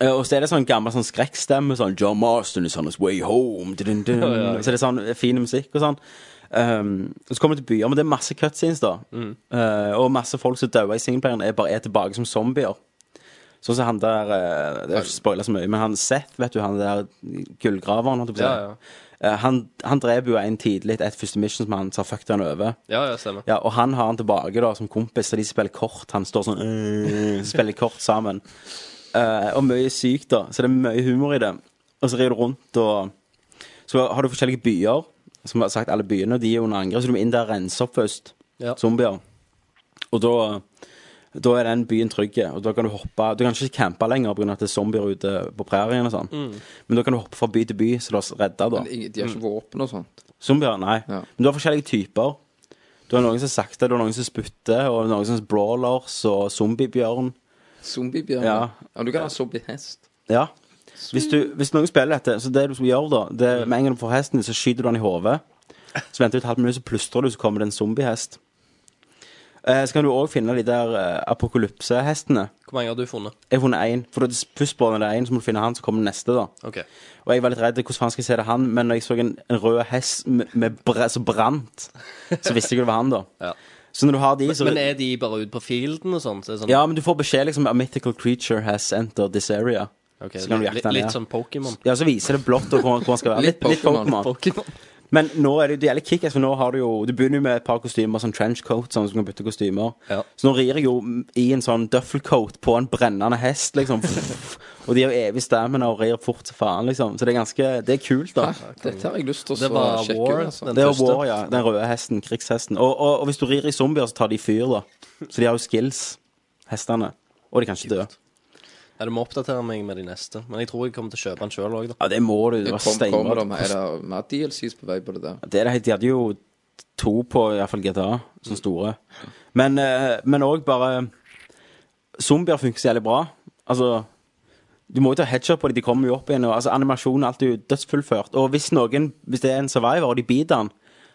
Speaker 4: Eh, Og så er det sånn gammel sånn skrekkstemme, sånn John Marston is on his way home. Dun, dun, dun.
Speaker 3: ja, ja.
Speaker 4: Så det er sånn fin musikk og sånn. Um, og så kommer vi til byer, men det er masse cutscenes, da.
Speaker 3: Mm.
Speaker 4: Eh, og masse folk som dauer i singleplayeren, er bare er tilbake som zombier. Sånn som han der eh, Det er ikke spoila så mye, men han Seth, vet du, han der gullgraveren, holdt jeg på å si.
Speaker 3: Ja,
Speaker 4: Eh, han, han dreper jo en tidlig et første mission som han sa fuck han over.
Speaker 3: Ja, ja, stemmer.
Speaker 4: Ja, og han har han tilbake da som kompis, og de spiller kort. Han står sånn øh, Spiller kort sammen. Eh, og mye sykt, da. Så det er mye humor i det. Og så rir du rundt, og så har du forskjellige byer. Som jeg har sagt, alle byene og de er under angrep, så du må inn der og rense opp først.
Speaker 3: Ja.
Speaker 4: Zombier. Og da da er den byen trygg, og da kan du hoppe Du kan ikke campe lenger pga. at det er zombier ute på prærien og sånn, men da kan du hoppe fra by til by, så du har redda, da.
Speaker 2: Men ingen- De har
Speaker 4: Mm.
Speaker 2: ikke våpen og sånt?
Speaker 4: Zombier? Nei.
Speaker 2: Ja.
Speaker 4: Men du har forskjellige typer. Du har noen som sakter, du har noen som sputter, og noen som brawlers og zombiebjørn.
Speaker 2: Zombiebjørn?
Speaker 4: Ja.
Speaker 2: Ja. ja. Du kan ha zombiehest.
Speaker 4: Ja. Hvis, du, hvis noen spiller dette, så det du skal gjøre da det, er Med en gang du får hesten, så skyter du han i hodet. Så venter du et halvt minutt, så plystrer du, så kommer det en zombiehest. Eh, så kan du òg finne de der eh, apokalypsehestene.
Speaker 3: Hvor mange har du funnet?
Speaker 4: Jeg har funnet én. For da er det først bare når det er én, så må du finne han, så kommer neste, da.
Speaker 3: OK.
Speaker 4: Og jeg var litt redd hvordan faen skal jeg se det er han, men når jeg så en, en rød hest med, med bre, som brant, så visste jeg jo det var han, da.
Speaker 3: Ja.
Speaker 4: Så når du har de, så
Speaker 3: Men er de bare ute på fielden og sånt? Så er det sånn,
Speaker 4: Ja, men du får beskjed liksom A mythical creature has entered this area.
Speaker 3: ok,
Speaker 4: så kan du jakte
Speaker 3: litt,
Speaker 4: den
Speaker 3: litt
Speaker 4: ned.
Speaker 3: som Pokémon.
Speaker 4: Ja, så viser det blått og hvor, hvor man skal være.
Speaker 2: Litt
Speaker 4: Litt, litt
Speaker 2: Pokémon.
Speaker 4: Pokémon. Men nå er det jo det gjelder kickass, for nå har du jo Du begynner jo med et par kostymer, sånn trenchcoat, sånn som du kan bytte kostymer.
Speaker 3: Ja.
Speaker 4: Så nå rir jeg jo i en sånn duffelcoat på en brennende hest, liksom. og de har jo evig stamina og rir fort som faen, liksom. Så det er ganske Det er kult, da.
Speaker 2: Dette har jeg lyst til
Speaker 3: Det
Speaker 2: å
Speaker 3: var
Speaker 2: sjekke
Speaker 3: War,
Speaker 2: ut. Altså.
Speaker 3: den
Speaker 4: Det er
Speaker 3: første.
Speaker 4: War, ja. Den røde hesten. Krigshesten. Og, og, og hvis du rir i zombier, så tar de fyr, da. Så de har jo skills, hestene. Og de kan ikke dø.
Speaker 3: Ja, du må oppdatere meg med de neste. Men jeg tror jeg kommer til å kjøpe den sjøl òg, da.
Speaker 4: Ja, det må du. Det var
Speaker 2: Det kom, kommer
Speaker 4: steinbra.
Speaker 2: det med, er det mer DLCs på vei på det der?
Speaker 4: Det er det, helt- de hadde jo to på i hvert fall GTA, sånne store. Men eh, men òg bare Zombier funker så jævlig bra. Altså du må jo ta headshot på dem, de kommer jo opp igjen. Og, altså Animasjonen alt er jo dødsfullført. Og hvis noen, hvis det er en survivor, og de biter han,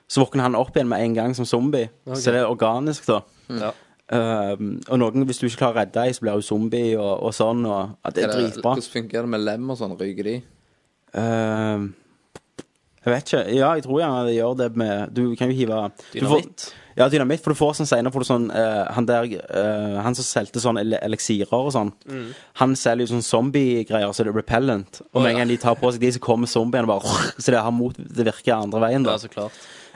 Speaker 4: så våkner han opp igjen med en gang som zombie. Så det er organisk, da.
Speaker 3: Ja.
Speaker 4: Um, og noen, hvis du ikke klarer å redde dem, så blir du zombie og, og sånn. Og, ja, det er dritbra.
Speaker 2: Hvordan fungerer det med lem og sånn? Ryker de?
Speaker 4: Ehm, jeg vet ikke. Ja, jeg tror gjerne det gjør det med Du kan jo hive du får-
Speaker 3: Dynamitt.
Speaker 4: Ja, dynamitt. For du får sånn senere får du sånn eh, Han der eh, Han som solgte sånn ele eliksirer og sånn,
Speaker 3: Mm.
Speaker 4: han selger jo sånn zombiegreier, så det er repellent. Og med en gang de tar på seg de, så kommer zombiene bare Så det har mot Det virker andre veien, da.
Speaker 3: Ja, så klart.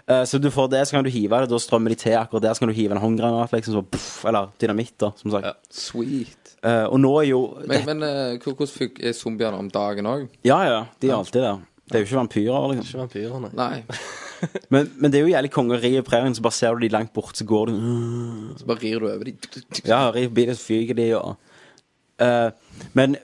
Speaker 4: Eh, så du får det, så kan du hive det. Da strømmer de til akkurat der. Så kan du hive en håndgranat, liksom. Så puff, eller dynamitt, da, som sagt.
Speaker 3: Ja.
Speaker 2: Sweet.
Speaker 4: Eh, og nå er jo
Speaker 2: Men, men eh, hvor- hvordan fun- er zombiene om dagen òg?
Speaker 4: Ja, ja. De er alltid der. Det er jo ikke vampyrer, liksom.
Speaker 3: Ikke vampyrer, nei.
Speaker 2: Nei.
Speaker 4: Men, men det er jo jævlig konge å ri i prærien, så bare ser du de langt bort, så går du
Speaker 2: Så bare rir du over de.
Speaker 4: Ja, ri forbi det, så fyker de og Eh, Men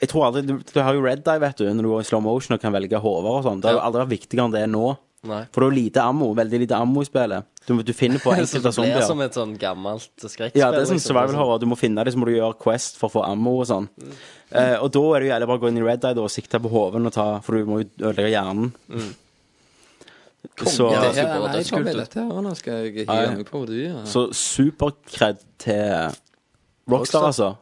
Speaker 4: jeg tror aldri du, du har jo red dye, vet du, når du går i slow motion og kan velge hoder og sånn. Det har jo aldri vært viktigere enn det er nå.
Speaker 3: nei.
Speaker 4: For det er jo lite ammo, veldig lite ammo i spillet. Du, må- du finner på
Speaker 3: Så
Speaker 4: enkelte
Speaker 3: det blir som
Speaker 4: zombier.
Speaker 3: et sånn gammelt skrekkspill.
Speaker 4: Ja, det er sånn
Speaker 3: liksom.
Speaker 4: survival horror. Du må finne dem, så må du gjøre Quest for å få ammo og sånn.
Speaker 3: Mm.
Speaker 4: Eh, og da er det jo jævlig bare å gå inn i red dye da, og sikte på hoven og ta For du må jo ødelegge hjernen. Så,
Speaker 2: Ja,
Speaker 3: Mm. det
Speaker 2: det
Speaker 3: ser
Speaker 2: her,
Speaker 3: bra ut.
Speaker 2: nei,
Speaker 3: Det ser
Speaker 2: Tommy,
Speaker 3: kult ut.
Speaker 2: dette her nå skal jeg
Speaker 4: Ja, ja.
Speaker 2: hive meg på. Du, ja.
Speaker 4: Så superkred til
Speaker 3: Rockstar.
Speaker 4: Rockstar, altså.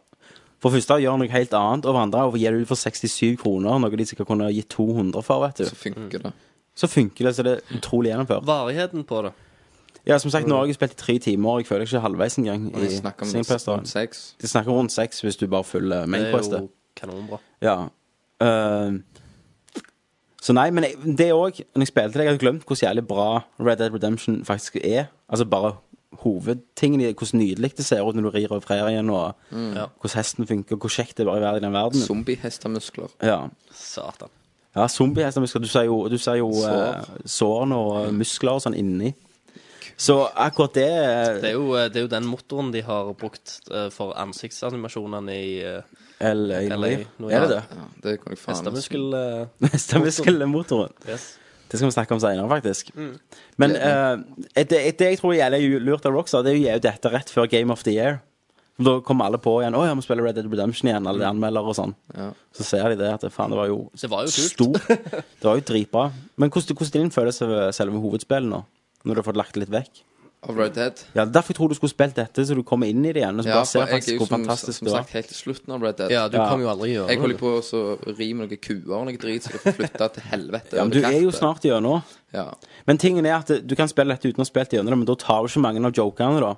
Speaker 4: For det første gjør noe helt annet, og for andre gir du det for 67 kroner, noe de sikkert kunne gitt 200 for, vet
Speaker 2: så
Speaker 4: du.
Speaker 2: funker det.
Speaker 4: Så funker det, så det er utrolig gjennomført.
Speaker 3: Varigheten på det.
Speaker 4: Ja, som sagt, nå har jeg spilt i tre timer, og jeg føler ikke halvveis engang.
Speaker 2: Vi
Speaker 4: i
Speaker 2: snakker om
Speaker 4: Singleplayer Story.
Speaker 2: rundt seks.
Speaker 4: De snakker rundt seks hvis du bare følger
Speaker 3: Det er
Speaker 4: mainquestet.
Speaker 3: jo kanonbra.
Speaker 4: Ja. Ehm, så nei, men jeg, det òg Når jeg spilte det, jeg hadde glemt hvor jævlig bra Red Dead Redemption faktisk er. Altså bare hovedtingen i det, hvordan nydelig det ser ut når du rir over prærien, og
Speaker 3: Ja.
Speaker 4: hvordan hesten funker, og hvor kjekt det er bare å være i den verdenen.
Speaker 2: Zombiehestemuskler.
Speaker 4: Ja.
Speaker 3: Satan.
Speaker 4: ja, zombiehester muskler. Du ser jo, du ser jo
Speaker 2: Sår.
Speaker 4: eh, sårene og eh, muskler og sånn inni. Så akkurat det,
Speaker 3: Det er, jo, eh, det er jo den motoren de har brukt eh, for ansiktsanimasjonene i eh,
Speaker 4: LA,
Speaker 3: LA, noe
Speaker 4: Er det det?
Speaker 2: Ja, det kunne jeg faen
Speaker 3: hestemuskel... eh,
Speaker 4: Hestemuskelmotoren.
Speaker 3: yes.
Speaker 4: Det skal vi snakke om senere, faktisk.
Speaker 2: Mm.
Speaker 4: Men eh, det, det jeg tror gjelder jo lurt av Rockstar, det er jo gir jo dette rett før Game of the Year. Da kommer alle på igjen. 'Å ja, vi spiller Red Dead Redemption igjen.'
Speaker 2: Mm.
Speaker 4: Alle de anmelder og sånn.
Speaker 2: Ja.
Speaker 4: Så ser de det. at Faen, det var jo
Speaker 3: Det var jo kult.
Speaker 4: stort. Det var jo dritbra. Men hvordan, hvordan din følelse ved selve hovedspillet nå? Når du har fått lagt det litt vekk?
Speaker 2: Av Red Dead.
Speaker 4: Ja, det er Derfor jeg tror du skulle spilt dette, så du kommer inn i det igjen. Og så
Speaker 2: Ja,
Speaker 4: bare
Speaker 2: for
Speaker 4: ser
Speaker 2: jeg er
Speaker 4: faktisk
Speaker 2: jo
Speaker 4: hvor
Speaker 2: som,
Speaker 4: fantastisk
Speaker 2: som
Speaker 4: det var.
Speaker 2: sagt helt i slutten av Red Dead.
Speaker 3: Ja, du
Speaker 4: Ja.
Speaker 3: kom jo aldri gjennom.
Speaker 2: Jeg holder på å så ri med noe kuer og noe drit, så jeg får flytte til helvete.
Speaker 4: Ja, men du er jo snart gjennom.
Speaker 2: Ja.
Speaker 4: Men tingen er at du kan spille dette uten å ha spilt gjennom det, men da tar du ikke mange av jokerne, da.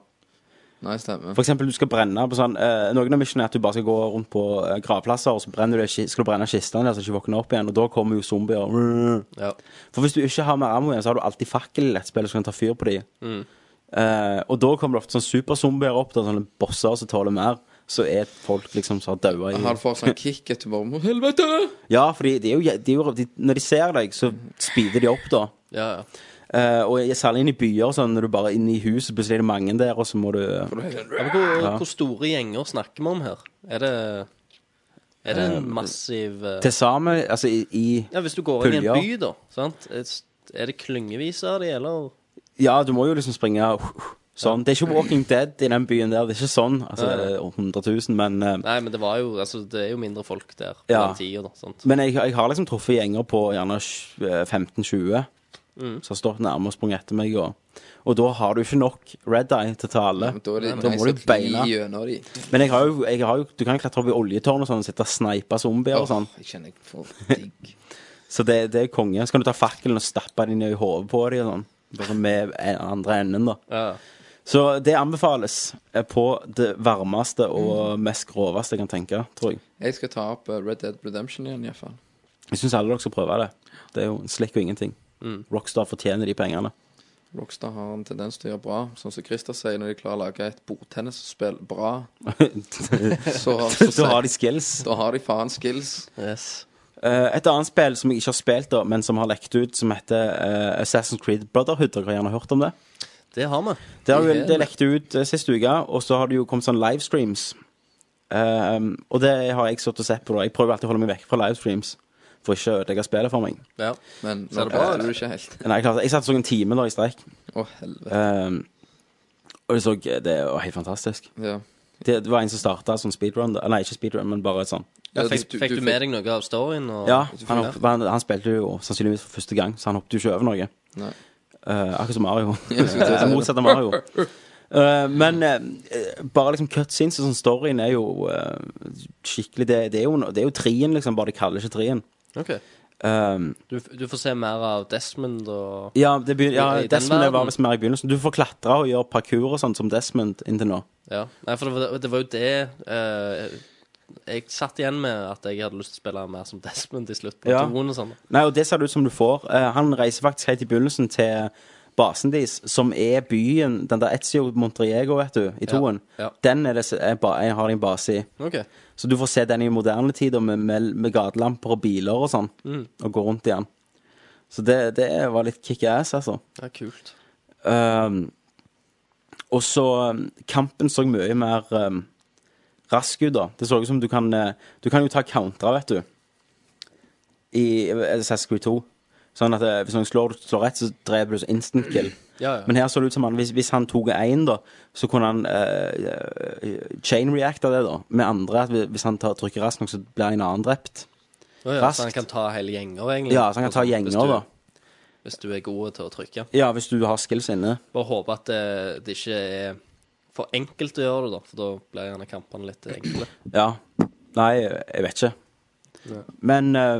Speaker 2: Nei, stemmer.
Speaker 4: For eksempel, du skal brenne på sånn eh, Noen av missionene er at du bare skal gå rundt på eh, gravplasser, og så brenner du, det- skal du brenne kistene der, så ikke våkner opp igjen, og da kommer jo zombier.
Speaker 3: Ja.
Speaker 4: For hvis du ikke har mer ammo igjen, så har du alltid fakkel i lettspillet som kan ta fyr på de. Eh, og da kommer det ofte sånn superzombier opp, da, sånne bosser som tåler mer. Så er folk liksom som har daua
Speaker 2: Han
Speaker 4: i
Speaker 2: får sånn kick etter bare «Å, Helvete!
Speaker 4: Ja, fordi de er jo, de er jo de, Når de ser deg, så speeder de opp, da.
Speaker 3: Ja, ja.
Speaker 4: Eh, og jeg- særlig inn i byer, og sånn, når du bare er inne i huset, plutselig er det mange der, og så må du
Speaker 3: Ja, men hvor, hvor store gjenger snakker vi om her? Er det Er det en massiv eh,
Speaker 4: Til sammen, altså i, i
Speaker 3: Ja, hvis du går inn i
Speaker 4: puljer.
Speaker 3: en by, da, sant? Er s- er det klyngevis av de, eller?
Speaker 4: Ja, du må jo liksom springe uh, uh, sånn. Det er ikke Walking Dead i den byen der. Det er ikke sånn. Altså,
Speaker 3: Nei, nei.
Speaker 4: det er 100 000, men eh,
Speaker 3: Nei, men det var jo Altså, det er jo mindre folk der på
Speaker 4: Ja.
Speaker 3: den tida, da, sant?
Speaker 4: Men jeg, jeg har liksom truffet gjenger på gjerne sj- eh, 15-20.
Speaker 2: Mm.
Speaker 4: som har stått nærme og sprunget etter meg. Og, og da har du ikke nok red eye til å ta alle.
Speaker 2: Men da er det
Speaker 4: da må du beina.
Speaker 2: gjennom de.
Speaker 4: Men jeg har jo, jeg har jo, du kan jo klatre opp i oljetårn og sånn og sitte og sneipe zombier og sånn.
Speaker 2: Åh, jeg kjenner jeg får digg.
Speaker 4: Så det, det er konge. Så kan du ta fakkelen og stappe den inn i hodet på dem og sånn. Bare med en- andre enden, da.
Speaker 3: Ja.
Speaker 4: Så det anbefales eh, på det varmeste og mest groveste jeg kan tenke, tror jeg.
Speaker 2: Jeg skal ta opp eh, Red Dead Redemption igjen, iallfall.
Speaker 4: Jeg syns alle dere skal prøve det. Det er jo en slikk og ingenting. Rockstar fortjener de pengene.
Speaker 2: Rockstar har en tendens til å gjøre bra. Sånn som Christer sier, når de klarer å lage et bordtennisspill bra, så, så
Speaker 4: Så har de skills.
Speaker 2: da har de faen skills.
Speaker 3: Yes.
Speaker 4: Eh, Et annet spill som jeg ikke har spilt, da, men som har lekt ut, som heter eh, Assassin's Creed Brotherhood. Dere har gjerne hørt om det?
Speaker 3: Det har vi.
Speaker 4: Det har jo
Speaker 2: Ja.
Speaker 4: det lekte ut eh, sist uke, og så har det jo kommet sånn livestreams. Ehm, og det har jeg stått og sett på. da Jeg prøver alltid å holde meg vekk fra livestreams. For ikke å ødelegge spillet for meg.
Speaker 3: Ja.
Speaker 2: Men
Speaker 3: Så er
Speaker 2: nå
Speaker 3: det bra,
Speaker 2: klarte du
Speaker 3: eller?
Speaker 2: ikke helt.
Speaker 4: Nei, jeg, klarte, jeg satt og så en time da i streik.
Speaker 2: Å, helvete.
Speaker 4: Ehm, og jeg så eh, Det var helt fantastisk.
Speaker 2: Ja.
Speaker 4: Det, det var en som starta sånn speedrun. da. Nei, ikke speedrun, men bare sånn.
Speaker 2: Ja,
Speaker 3: fikk,
Speaker 2: du-
Speaker 3: fikk du med deg noe av storyen? Og,
Speaker 4: Ja,
Speaker 3: Du
Speaker 4: han,
Speaker 3: fikk-
Speaker 4: hopp, han, han spilte jo sannsynligvis for første gang, så han hoppet jo ikke over noe.
Speaker 2: Nei.
Speaker 4: Eh, akkurat som Mario.
Speaker 2: Jeg skulle til å si det.
Speaker 4: Motsatt av Mario. Eh, men eh, bare liksom cutscenes og sånn storyen er jo eh, skikkelig det, det, er jo, det er jo trien, liksom, bare de kaller ikke trien.
Speaker 3: Ok.
Speaker 4: Um,
Speaker 3: Du, f- du får se mer av Desmond og
Speaker 4: ja, det begyn- ja,
Speaker 3: I- i den
Speaker 4: Desmond det var
Speaker 3: verden.
Speaker 4: visst mer i begynnelsen. Du får klatre og gjøre parkour og sånn, som Desmond inntil nå.
Speaker 3: Ja. Nei, for det var, det var jo det eh, jeg satt igjen med at jeg hadde lyst til å spille mer som Desmond i slutten.
Speaker 4: Ja.
Speaker 3: Ja. Og sånn.
Speaker 4: Nei, og det ser det ut som du får. Eh, han reiser faktisk helt i begynnelsen til basen deres, som er byen, den der Etzio Montriego, vet du, i toen.
Speaker 3: ja.
Speaker 4: Den er det, s- er ba, jeg har de en base i.
Speaker 3: OK.
Speaker 4: Så du får se den i moderne tider med, med, med gatelamper og biler og sånn,
Speaker 3: Mm.
Speaker 4: og gå rundt i den. Så det, det var litt kick-ass, altså.
Speaker 3: Ja, kult.
Speaker 4: Ehm, og så um, Kampen så mye mer um, rask ut, da. Det så ut som du kan eh, Du kan jo ta countere, vet du, i eh, Assassin's Creed 2. Sånn at eh, hvis noen slår, slår rett, så dreper du så instant kill.
Speaker 3: Ja, ja.
Speaker 4: Men her så det ut som han, hvis, hvis han tok én, da, så kunne han eh, eh, chain reacte det, da. Med andre. at Hvis han tar, trykker raskt nok, så blir en annen drept.
Speaker 3: Å ja,
Speaker 4: raskt.
Speaker 3: så han kan ta hele gjenger, egentlig?
Speaker 4: Ja, så han kan ta
Speaker 3: Hvis du-
Speaker 4: gjenger, da.
Speaker 3: Hvis du er god til å trykke.
Speaker 4: Ja, hvis du har skills inne.
Speaker 3: Bare håpe at det, det ikke er for enkelt å gjøre det, da. For da blir gjerne kampene litt enkle.
Speaker 4: Ja. Nei, jeg vet ikke. Men eh,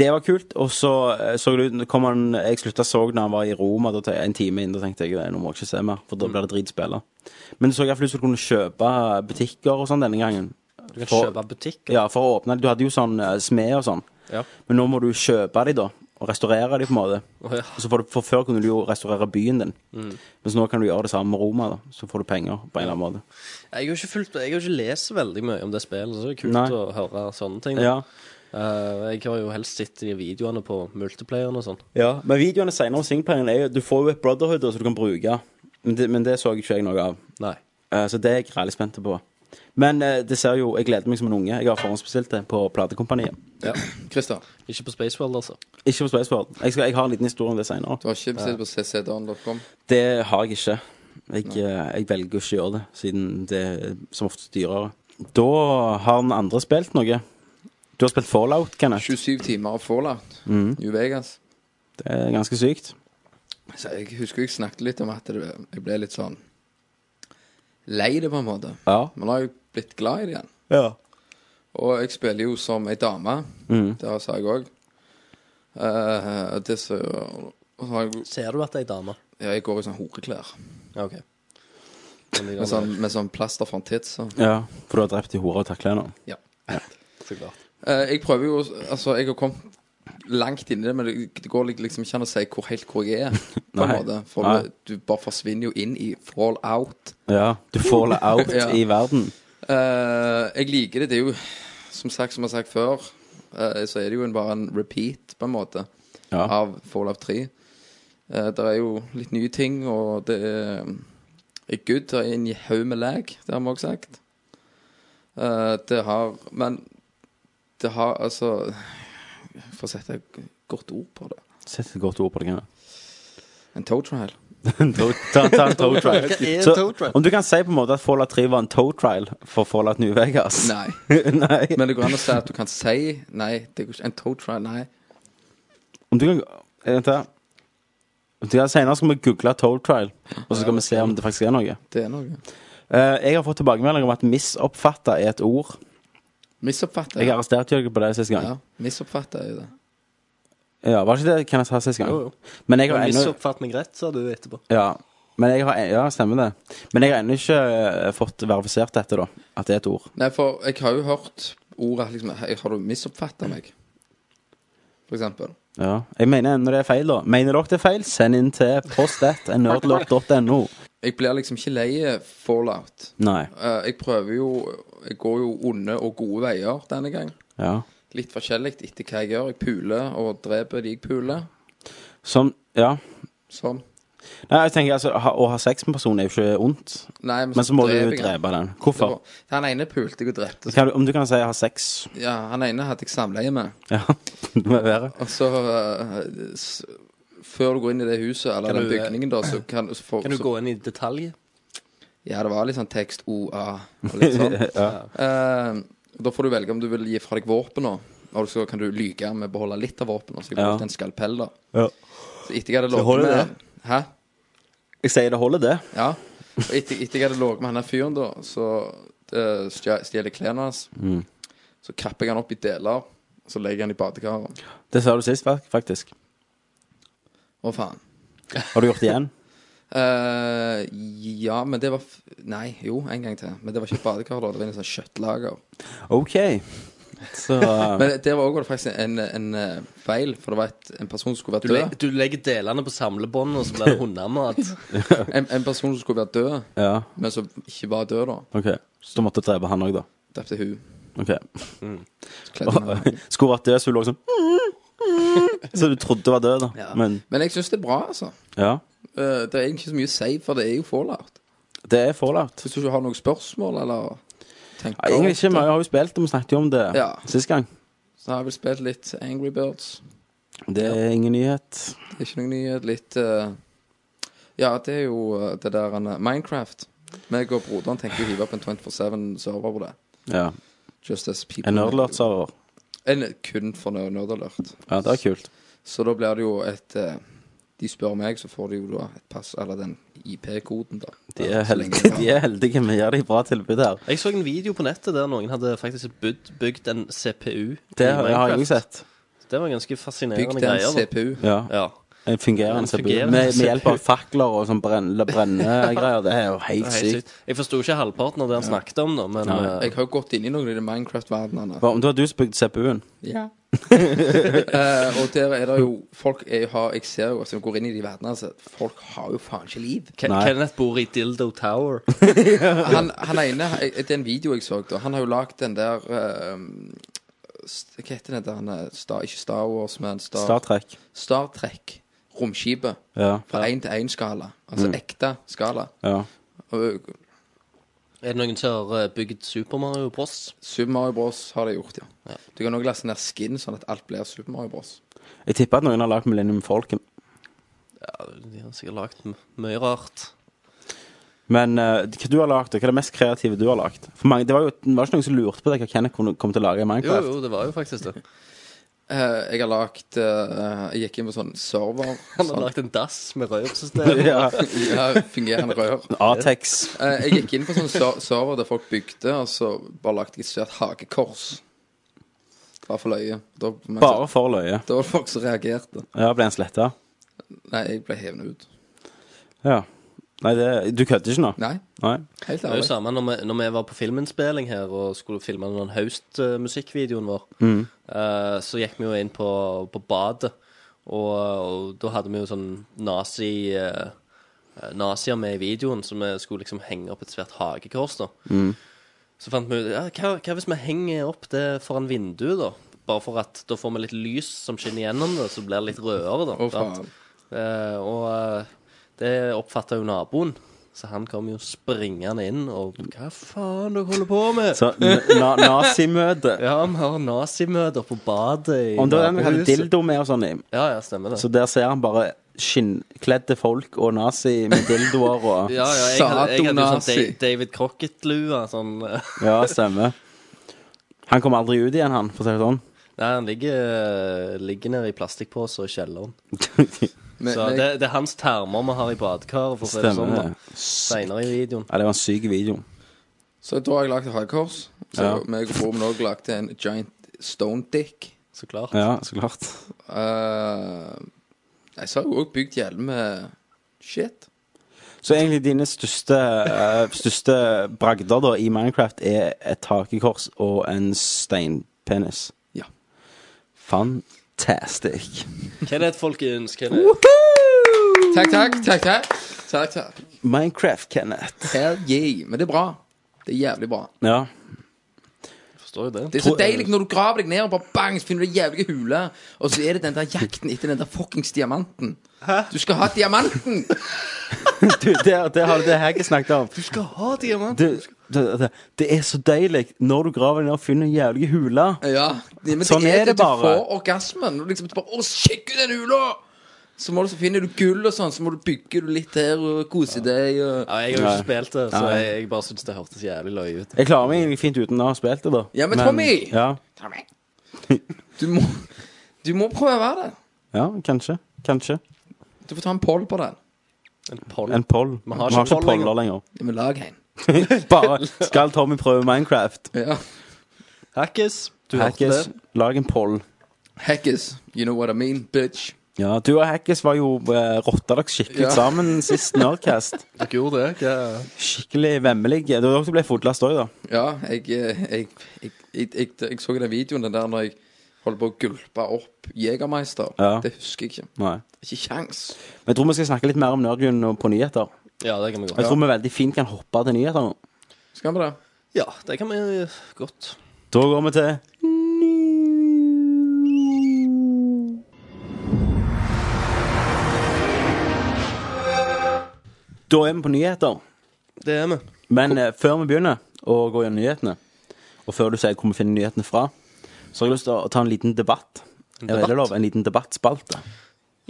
Speaker 4: det var kult. Og så eh, så det ut nå kom han, Jeg slutta så når han var i Roma, da, te- en time inn. Da tenkte jeg nå må jeg ikke se mer, for da blir det dritspilla. Men det så iallfall ut som du kunne kjøpe butikker og sånn denne gangen.
Speaker 3: Du kan
Speaker 4: For-
Speaker 3: kjøpe butikker.
Speaker 4: Ja, for å åpne Du hadde jo sånn eh, smed og sånn.
Speaker 3: Ja.
Speaker 4: Men nå må du kjøpe de, da. Og restaurere de, på en måte.
Speaker 3: Å, ja. Mm.
Speaker 4: Og så får du, for før kunne du jo restaurere byen din. Mens nå kan du gjøre det samme med Roma, da. Så får du penger på en eller annen måte.
Speaker 3: Jeg har jo ikke fulgt Jeg har ikke lest veldig mye om det spillet, så det er kult
Speaker 4: Nei.
Speaker 3: å høre sånne ting. da.
Speaker 4: Ja.
Speaker 3: Eh, jeg har jo helst sett de videoene på multiplayeren og sånn.
Speaker 4: Ja, men videoene senere om singleplayeren er jo Du får jo et brotherhood da, som du kan bruke. Men det, men det så jeg ikke jeg noe av.
Speaker 3: Nei.
Speaker 4: Eh, så det er jeg veldig spent på. Men eh, det ser jo Jeg gleder meg som en unge. Jeg har forhåndsbestilt det på platekompaniet.
Speaker 3: Ja.
Speaker 2: Christer,
Speaker 3: Ikke på Spaceworld, altså.
Speaker 4: Ikke på Spaceport. Jeg, skal- jeg har en liten historie om det senere.
Speaker 2: du har ikke bestilt på ccdon.com?
Speaker 4: Det har jeg ikke. Jeg, eh, jeg velger å ikke gjøre det, siden det er som oftest dyrere. Da har den andre spilt noe. Du har spilt Fallout, Kenneth.
Speaker 2: 27 timer av Fallout.
Speaker 4: Mm.
Speaker 2: New Vegas.
Speaker 4: Det er ganske sykt.
Speaker 2: Så jeg husker jeg snakket litt om at det, jeg ble litt sånn lei det, på en måte.
Speaker 4: Ja.
Speaker 2: Men nå har jeg blitt glad i det igjen.
Speaker 4: Ja.
Speaker 2: Og jeg spiller jo som ei dame.
Speaker 4: Mm.
Speaker 2: Det sa jeg òg. det så og så har jeg,
Speaker 3: Ser du at det er ei dame?
Speaker 2: ja, jeg går i sånn horeklær.
Speaker 3: Ja, OK. Men de
Speaker 2: Med
Speaker 3: der-
Speaker 2: sånn, med sånn plaster fra en tids. og-
Speaker 4: ja. For du har drept de hora og takla henne.
Speaker 2: Ja.
Speaker 3: Så klart.
Speaker 2: Eh, jeg prøver jo å- Altså, jeg har kommet langt inn i det, men det, det går lik- liksom ikke an å si hvor, helt hvor jeg er. På en
Speaker 4: Nei.
Speaker 2: måte. For
Speaker 4: Nei.
Speaker 2: du bare forsvinner jo inn i fallout.
Speaker 4: Ja. Du faller out
Speaker 2: Ja.
Speaker 4: i verden.
Speaker 2: Eh, jeg liker det. Det er jo, som sagt, som jeg har sagt før, eh, så er det jo en, bare en repeat, på en måte,
Speaker 4: Ja.
Speaker 2: av Fallout 3. Uh, det er jo litt nye ting, og det er, er good. Det er en haug med lag, det har vi også sagt. Eh, det har Men det har altså Jeg får sette et godt ord på det.
Speaker 4: Sett et godt ord på det. Kenneth.
Speaker 2: En toe trial.
Speaker 4: En toe- ta, ta en toe trial.
Speaker 3: Hva er
Speaker 4: Så,
Speaker 3: toe trial?
Speaker 4: om du kan si på en måte at Fallout 3 var en toe trial for Fallout New Vegas?
Speaker 2: Nei.
Speaker 4: Nei.
Speaker 2: Men det går an å si at du kan si Nei, det går ikke. En toe trial, nei.
Speaker 4: Om du kan eh, Vent, da. Ja, Senere skal vi google Toll Trial, og så skal vi se om det faktisk er noe.
Speaker 2: Det er noe.
Speaker 4: Eh, jeg har fått tilbakemeldinger om at 'misoppfatta' er et ord.
Speaker 2: Misoppfatta.
Speaker 4: Jeg arresterte Jørgen på det sist gang.
Speaker 2: Ja, misoppfatta er jo det.
Speaker 4: Ja, Var det ikke det Kenneth sa sist gang?
Speaker 3: Jo, jo.
Speaker 4: Men jeg har
Speaker 3: Jeg
Speaker 4: ennå
Speaker 3: misoppfatt meg rett, sa du etterpå.
Speaker 4: ja, men jeg har, ja, stemmer det. Men jeg har ennå ikke eh, fått verifisert dette, da. At det er et ord.
Speaker 2: Nei, for jeg har jo hørt ordet liksom «Hei, Har du misoppfatta meg? For eksempel.
Speaker 4: Ja. Jeg mener ennå det er feil, da. Mener dere det er feil, send inn til postet.nerdlord.no.
Speaker 2: Jeg blir liksom ikke lei fallout.
Speaker 4: Nei.
Speaker 2: Eh, Jeg prøver jo Jeg går jo onde og gode veier denne gang.
Speaker 4: Ja.
Speaker 2: Litt forskjellig etter hva jeg gjør. Jeg puler og dreper de jeg puler.
Speaker 4: Som Ja.
Speaker 2: Sånn.
Speaker 4: Nei, jeg tenker altså, ha, Å ha sex med en person er jo ikke ondt,
Speaker 2: Nei,
Speaker 4: men så må du
Speaker 2: dreper jeg han.
Speaker 4: drepe den.
Speaker 2: Det
Speaker 4: Hvorfor?
Speaker 2: var- Han ene pulte jeg og drepte. Så,
Speaker 4: Kan du, om du kan si 'ha sex'
Speaker 2: ja, han ene hadde jeg samleie med.
Speaker 4: Ja, det må være.
Speaker 2: Og så eh, s Før du går inn i det huset eller
Speaker 3: Kan
Speaker 2: den
Speaker 3: du, eh,
Speaker 2: bygningen, da, så kan, så får-
Speaker 3: Kan du
Speaker 2: så,
Speaker 3: gå inn i detalj?
Speaker 2: Ja, det var litt sånn tekst OA og litt sånn. Eh, da får du velge om du vil gi fra deg våpnene. Og så kan du lyge med å beholde litt av våpnene. Så jeg
Speaker 4: Ja.
Speaker 2: brukte en skalpell, da.
Speaker 4: Ja.
Speaker 2: Så etter jeg hadde
Speaker 4: holder
Speaker 2: ligget med
Speaker 4: det?
Speaker 2: Hæ?
Speaker 4: Jeg sier det holder, det.
Speaker 2: Ja. Og etter, etter jeg hadde ligget med han der fyren, da, så eh, stjel- stjeler jeg klærne hans. Så kapper jeg han opp i deler, og så legger jeg han i badekaret.
Speaker 4: Det sa du sist, fak- faktisk.
Speaker 2: Å, faen.
Speaker 4: Har du gjort det igjen?
Speaker 2: Eh, ja, men det var f Nei, jo, en gang til. Men det var ikke et badekar, da. Det var en sånn kjøttlager.
Speaker 4: OK. Så eh,
Speaker 2: Men det var også faktisk en, en eh, feil, for det var et, en person som skulle
Speaker 3: Du,
Speaker 2: vært
Speaker 3: le
Speaker 2: død.
Speaker 3: du legger delene på samlebånd, og så blir det hundemat.
Speaker 2: En, en person som skulle vært død,
Speaker 4: Ja,
Speaker 2: men som ikke var død, da.
Speaker 4: OK. Så du måtte drepe han òg, da?
Speaker 2: Drepte hun.
Speaker 4: OK.
Speaker 2: Så kledde hun henne.
Speaker 4: Skulle vært død, så ville du lå sånn Så du trodde du var død, da.
Speaker 3: Ja.
Speaker 4: Men
Speaker 2: Men jeg syns det er bra, altså.
Speaker 4: ja.
Speaker 2: Eh, Det er egentlig ikke så mye å si, for det er jo fallout.
Speaker 4: Det er fallout.
Speaker 2: Hvis du ikke har noen spørsmål, eller tenker
Speaker 4: Ja, Egentlig ikke. Vi har jo spilt det, vi snakket jo om det
Speaker 2: Ja.
Speaker 4: sist gang.
Speaker 2: Så har jeg vel spilt litt Angry Birds.
Speaker 4: Det er ingen nyhet.
Speaker 2: Det er ikke noen nyhet. Litt eh, Ja, det er jo eh, det der eh, Minecraft. Meg og broderen tenker å hive opp en 24-7-server på det.
Speaker 4: Ja.
Speaker 2: Just as people
Speaker 4: En nerdlord-server.
Speaker 2: En- Kun for nerd- nerdalert.
Speaker 4: Ja, det er kult.
Speaker 2: Så da blir det jo et eh, De spør meg, så får de jo da et pass Eller den IP-koden, da.
Speaker 4: De er,
Speaker 2: Så lenge jeg har-
Speaker 4: heldige, de er heldige. Vi gir dem bra tilbud her.
Speaker 3: Jeg så en video på nettet der noen hadde faktisk bygd, bygd en CPU.
Speaker 4: Det
Speaker 3: i
Speaker 4: har jeg
Speaker 3: Minecraft.
Speaker 4: også sett.
Speaker 3: Det var ganske fascinerende
Speaker 2: Bygd en
Speaker 3: greier. da.
Speaker 2: CPU.
Speaker 4: Ja.
Speaker 3: Ja.
Speaker 4: En fungerende
Speaker 3: En
Speaker 4: CPU.
Speaker 3: fungerende
Speaker 4: Med, med hjelp av
Speaker 3: CPU.
Speaker 4: fakler og sånn brenne, brennegreier. Det er jo helt
Speaker 3: Det var helt
Speaker 4: sykt.
Speaker 3: sykt. Jeg forsto ikke halvparten av det han snakket om, da, men
Speaker 4: Nei.
Speaker 3: eh,
Speaker 2: Jeg har jo gått inn i noen av de Minecraft-verdenene.
Speaker 4: Hva om det var du som bygde CPU-en?
Speaker 2: Ja. Eh, og der er det jo Folk er, jo- har Jeg ser jo altså, når jeg går inn i de verdenene, så folk har jo faen ikke liv.
Speaker 3: Ke-
Speaker 4: Nei.
Speaker 3: Kenneth bor i Dildo Tower.
Speaker 2: Han, han ene jeg- Det er en video jeg så, da. Han har jo lagd den der eh, st- Hva heter den der han er- Star, Ikke Star Wars, men Star,
Speaker 4: Star Trek.
Speaker 2: Star Trek. Romskipet.
Speaker 4: Ja. Mm.
Speaker 2: Fra én til én-skala. Altså ekte skala.
Speaker 4: ja.
Speaker 2: Og
Speaker 3: Er det noen som har eh, bygd Super Mario Bros?
Speaker 2: Super Mario Bros har de gjort, ja. Du kan også laste ned skin, sånn at alt blir Super Mario Bros.
Speaker 4: Jeg tipper at noen har lagd Millennium Falcon.
Speaker 3: Ja, de har sikkert lagd m- mye rart.
Speaker 4: Men eh, hva du har lagd, og hva er det mest kreative du har lagd? For mange, det var jo det var ikke noen som lurte på det, hva Kenneth kunne- kom til å lage i
Speaker 3: Jo,
Speaker 4: Minecraft.
Speaker 3: jo, det var jo faktisk det.
Speaker 2: Eh, jeg har lagt eh, Jeg gikk inn på sånn server.
Speaker 3: Han har
Speaker 2: sånn,
Speaker 3: lagd en dass med rørsystem.
Speaker 4: Ja.
Speaker 2: ja, fungerende rør.
Speaker 4: Atex.
Speaker 2: Eh, jeg gikk inn på sånn ser server der folk bygde, og så bare lagde jeg et svært hagekors. Bare for løye. Da, men,
Speaker 4: Bare for løye.
Speaker 2: da var det folk som reagerte.
Speaker 4: Ja, ble en sletta.
Speaker 2: Nei, jeg ble hevet ut.
Speaker 4: Ja. Nei, det, du kødder ikke nå?
Speaker 2: Nei,
Speaker 4: Nei.
Speaker 2: helt
Speaker 3: Det er jo
Speaker 2: ærlig.
Speaker 3: samme når vi, når vi var på filminnspilling her og skulle filme den Haust-musikkvideoen vår.
Speaker 2: Mm.
Speaker 3: eh, så gikk vi jo inn på, på badet, og, og da hadde vi jo sånn nazi... eh, eh, Nazier med i videoen, så vi skulle liksom henge opp et svært hagekors. da
Speaker 2: Mm.
Speaker 3: Så fant vi ut ja, hva, hva hvis vi henger opp det foran vinduet, da? Bare for at da får vi litt lys som skinner gjennom det, så blir det litt rødere, da.
Speaker 2: Å, faen.
Speaker 3: Eh, og eh, det oppfatta jo naboen, så han kom jo springende inn og Hva faen dere holder på med?
Speaker 4: Så n- na nazimøte.
Speaker 3: Ja, vi har nazimøter på badet i
Speaker 4: Om det var den vi hadde
Speaker 3: nabohuset.
Speaker 4: dildo med og sånn i.
Speaker 3: Ja, ja, stemmer det.
Speaker 4: Så der ser han bare skinnkledde folk og nazi med dildoer og
Speaker 3: ja, ja, jeg hadde, jeg hadde jo sånn
Speaker 2: Sadonazi.
Speaker 3: Da- David Crocket-lue. Sånn, eh,
Speaker 4: Ja, stemmer. Han kommer aldri ut igjen, han, for å si det sånn.
Speaker 3: Nei, han ligger, eh, ligger nede i plastikkposer i kjelleren.
Speaker 2: Men,
Speaker 3: Så
Speaker 2: men,
Speaker 3: det, det er hans termer vi har i badekaret, for å si det sånn.
Speaker 4: Stemmer det.
Speaker 3: da. Senere i videoen.
Speaker 4: Ja, det var en syk video.
Speaker 2: så da har jeg lagd et hakekors. Så
Speaker 4: Ja.
Speaker 2: meg og broren òg lagde en giant stone dick.
Speaker 3: Så klart.
Speaker 4: Ja, så klart.
Speaker 2: Eh, jeg så har jo òg bygd hjelm med shit.
Speaker 4: Så egentlig dine største, eh, største bragder da, i Minecraft er et hakekors og en steinpenis.
Speaker 2: Ja.
Speaker 4: Fantastic.
Speaker 3: Kenneth, folkens.
Speaker 4: Uh!
Speaker 3: Kenneth.
Speaker 2: Takk, takk, takk, takk. takk, takk.
Speaker 4: Minecraft, Kenneth.
Speaker 2: Hell yeah. Men det er bra. Det er jævlig bra.
Speaker 4: Ja.
Speaker 3: Forstår jo det.
Speaker 2: Det er så deilig når du graver deg ned og bare bang, så finner du en jævlig hule, og så er det den der jakten etter den der fuckings diamanten. Du skal ha diamanten!
Speaker 4: Du, der, der har du det Hagge snakket om.
Speaker 3: Du skal ha diamant.
Speaker 4: Du, det, det, det er så deilig når du graver ned og finner en jævlig hule.
Speaker 2: Ja, det, men
Speaker 4: Sånn
Speaker 2: det
Speaker 4: er det bare.
Speaker 2: Du får orgasmen. Og liksom, du bare, å, sjekk ut den hula! Så må du så finner du gull og sånn, så må du bygge du litt her og kose deg. Og...
Speaker 3: Ja, jeg har jo ikke spilt det, så
Speaker 4: Nei.
Speaker 3: jeg, jeg bare syns det hørtes jævlig løye ut.
Speaker 4: Jeg klarer meg egentlig fint uten å ha spilt det, da.
Speaker 2: Ja, men Tommy!
Speaker 4: Ja,
Speaker 2: Du må, du må prøve det.
Speaker 4: ja kanskje. Kanskje.
Speaker 2: Du får ta en poll på den.
Speaker 3: En poll.
Speaker 4: En poll. Vi har ikke,
Speaker 3: poll
Speaker 4: poller lenger.
Speaker 2: Ja, Men lag en.
Speaker 4: Bare skal Tommy prøve Minecraft.
Speaker 2: Ja.
Speaker 3: Hackes. Du hørte det.
Speaker 4: Hackes, lag en poll.
Speaker 2: Hackers, you know what I mean, bitch.
Speaker 4: Ja, du og Hackes var jo eh, rotta dere skikkelig
Speaker 2: Ja.
Speaker 4: sammen sist Nerdcast.
Speaker 3: Dere gjorde det. Hva-
Speaker 4: Skikkelig vemmelige. Det var dere som ble fotlast òg, da.
Speaker 2: Ja, jeg, eh, jeg, jeg, jeg, jeg, jeg så i den videoen den der når jeg holdt på å gulpe opp Jegermeister.
Speaker 4: Ja.
Speaker 2: Det husker jeg ikke.
Speaker 4: Nei.
Speaker 2: Ikke kjangs.
Speaker 4: Men jeg tror vi skal snakke litt mer om Nerdgun på nyheter.
Speaker 3: Ja, det kan vi
Speaker 4: Jeg
Speaker 3: godt.
Speaker 4: tror vi veldig fint kan hoppe til nyheter nå.
Speaker 2: Skal vi det?
Speaker 3: Ja, det kan vi eh, godt.
Speaker 4: Da går vi til Da er vi på nyheter.
Speaker 3: Det er vi.
Speaker 4: Men eh, før vi begynner å gå gjennom nyhetene, og før du sier hvor vi finner nyhetene fra, så har jeg lyst til å ta en liten debatt. Er det
Speaker 3: debatt?
Speaker 4: lov? En liten debattspalte.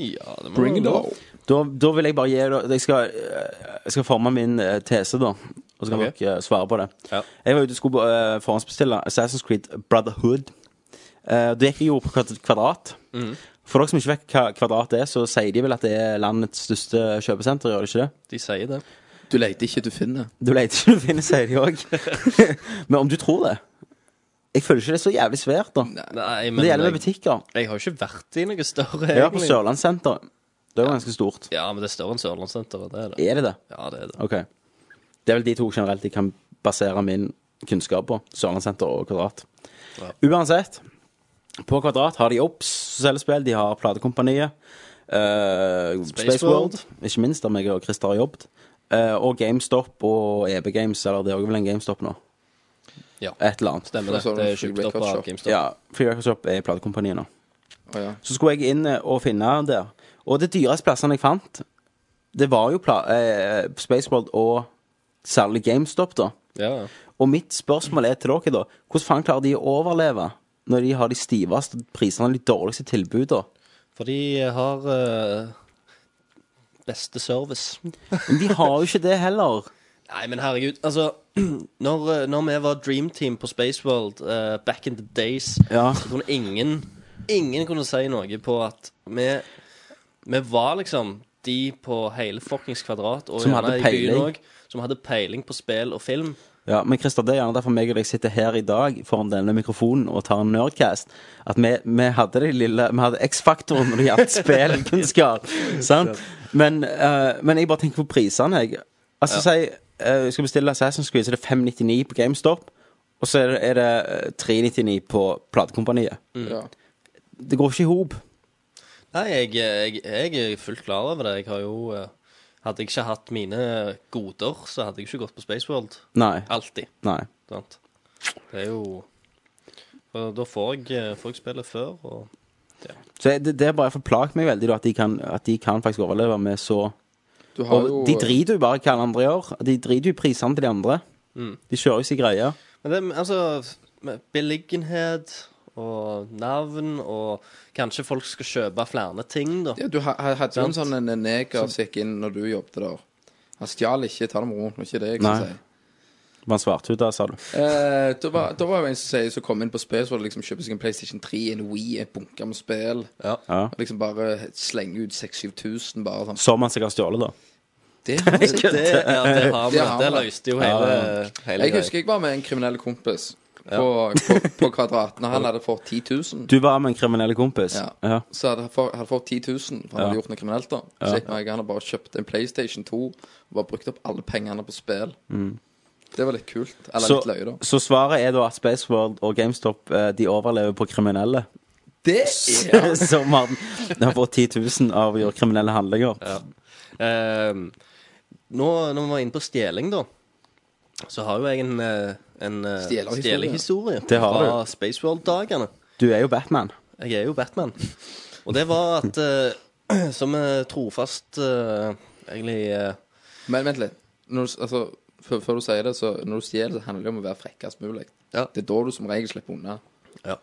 Speaker 3: Ja, det må
Speaker 2: Bring it
Speaker 3: vi.
Speaker 2: on.
Speaker 4: Da, da vil jeg bare gi dere Jeg skal, eh, jeg skal forme min eh, tese, da. Og så kan
Speaker 3: Ok.
Speaker 4: dere eh, svare på det.
Speaker 3: Ja.
Speaker 4: Jeg var ute og skulle eh, forhåndsbestille Assassin's Creed Brotherhood. Eh, det gikk jo på kvadrat- kvadrat.
Speaker 3: Mhm.
Speaker 4: For dere som ikke vet hva kvadrat er, så sier de vel at det er landets største kjøpesenter, gjør de ikke det?
Speaker 3: De sier det.
Speaker 2: Du leter ikke, du finner.
Speaker 4: Du leter ikke du finner, sier de òg. Men om du tror det Jeg føler ikke det er så jævlig svært, da.
Speaker 3: Nei,
Speaker 4: Men
Speaker 3: men
Speaker 4: det gjelder med
Speaker 3: jeg,
Speaker 4: butikker.
Speaker 3: jeg har jo ikke vært i noe større,
Speaker 4: Jeg var på
Speaker 3: egentlig.
Speaker 4: Sørlandssenteret. Det er jo ganske stort.
Speaker 3: Ja, men det er større enn Sørlandssenteret. Det er det.
Speaker 4: Er det det?
Speaker 3: Ja, det er det.
Speaker 4: Ok. Det er vel de to generelt jeg kan basere min kunnskap på. Sørlandssenter og Kvadrat. Uansett, på Kvadrat har de Obs som selger spill, de har Platekompaniet. Uh, Space World, ikke minst, der jeg og Christer har jobbet. eh, og GameStop og EB Games, eller det er også vel en GameStop nå.
Speaker 3: Ja.
Speaker 4: Et eller annet.
Speaker 3: Stemmer det.
Speaker 2: Så er det
Speaker 3: Det
Speaker 2: en
Speaker 3: er kjøpt opp
Speaker 2: record
Speaker 3: av
Speaker 2: shop.
Speaker 3: GameStop.
Speaker 4: Ja, Free Records Shop er platekompaniet nå.
Speaker 2: Å ja.
Speaker 4: Så skulle jeg inn eh, og finne der. Og det dyreste plassene jeg fant, det var jo pla eh, Space World og særlig GameStop, da.
Speaker 3: Ja, ja.
Speaker 4: Og mitt spørsmål er til dere, da. Hvordan faen klarer de å overleve når de har de stiveste prisene og de dårligste tilbudene?
Speaker 3: For de har eh, beste service.
Speaker 4: Men de har jo ikke det heller.
Speaker 3: Nei, men herregud. Altså, når, eh, når vi var Dream Team på Spaceworld eh, back in the days,
Speaker 4: Ja.
Speaker 3: så kunne ingen Ingen kunne si noe på at vi, vi var liksom de på hele fuckings kvadrat og
Speaker 4: Som
Speaker 3: gjerne
Speaker 4: hadde
Speaker 3: i byen
Speaker 4: peiling.
Speaker 3: også, som hadde peiling på spill og film.
Speaker 4: Ja, Men Christer, det er gjerne derfor meg og deg sitter her i dag foran denne mikrofonen og tar en Nerdcast. At vi, vi hadde det lille Vi hadde X-faktoren når det gjaldt spillkunnskap. sant? Men, eh, men jeg bare tenker på prisene, jeg. Altså, si eh, jeg skal bestille Assassin's Creed, så er det 599 på GameStop. Og så er det, er det eh, 399 på Platekompaniet.
Speaker 2: ja.
Speaker 4: Det går ikke i hop.
Speaker 3: Nei, jeg, jeg, jeg er fullt klar over det. Jeg har jo eh, Hadde jeg ikke hatt mine goder, så hadde jeg ikke gått på Spaceworld.
Speaker 4: Nei.
Speaker 3: Alltid.
Speaker 4: Nei.
Speaker 3: Sant? Det er jo og Da får jeg, eh, får jeg spillet før, og
Speaker 4: Så jeg- det, det er bare forplaget meg veldig da, at, de kan, at de kan faktisk overleve med så
Speaker 2: Du har jo eh,
Speaker 4: Og de driter jo bare i hva alle andre gjør. De driter jo i prisene til de andre.
Speaker 2: Mm.
Speaker 4: De kjører jo sin greie.
Speaker 3: Men det, altså, med beliggenhet og navn, og kanskje folk skal kjøpe flere ting, da.
Speaker 2: eh, Ja, du ha- ha- hadde jo en
Speaker 3: Sant.
Speaker 2: sånn en neger som gikk inn når du jobbet der. Han stjal ikke, ta det med ro. Det var ikke det jeg skulle
Speaker 4: Nei.
Speaker 2: si.
Speaker 4: man svarte ut da, sa du.
Speaker 2: Eh, da var da var jo en som sier Som kom inn på spill, så var det liksom kjøpe seg en PlayStation 3, en Wii, et bunke med spill.
Speaker 4: Ja.
Speaker 2: Og Liksom bare slenge ut 6000-7000, bare sånn.
Speaker 4: Som man seg har stjålet, da.
Speaker 2: Det, det,
Speaker 3: Det, ja, det har vi.
Speaker 2: Det har
Speaker 3: Det
Speaker 2: vi.
Speaker 3: løste jo hele, hele
Speaker 2: jeg husker jeg var med en kriminell kompis på, på, på Kvadraten, og han hadde fått 10 000.
Speaker 4: Du var med en kriminell kompis.
Speaker 2: Ja.
Speaker 4: Ja.
Speaker 2: Så hadde jeg fått, hadde fått 10 000, for han hadde
Speaker 4: Ja.
Speaker 2: gjort noe kriminelt. da Så gikk meg, han hadde bare kjøpt en PlayStation 2 og bare brukt opp alle pengene på spill. Det var litt kult. Eller
Speaker 4: Mm. Så,
Speaker 2: litt løye, da.
Speaker 4: så svaret er da at Spaceworld og GameStop eh, De overlever på kriminelle.
Speaker 2: Det er
Speaker 4: Som har, de har fått 10 000 av å gjøre kriminelle handlinger.
Speaker 3: Eh, nå, når vi var inne på stjeling, da, så har jo jeg en, eh, en eh,
Speaker 2: Stjelerhistorie.
Speaker 3: stjelehistorie
Speaker 4: Det har
Speaker 3: fra Spaceworld-dagene.
Speaker 4: Du er jo Batman.
Speaker 3: Jeg er jo Batman. Og det var at eh, som eh, trofast eh, egentlig eh,
Speaker 2: Men vent litt. Når du, s- altså, før, før du sier det, så når du stjeler, så handler det om å være frekkest mulig.
Speaker 3: Ja.
Speaker 2: Det er da du som regel slipper unna.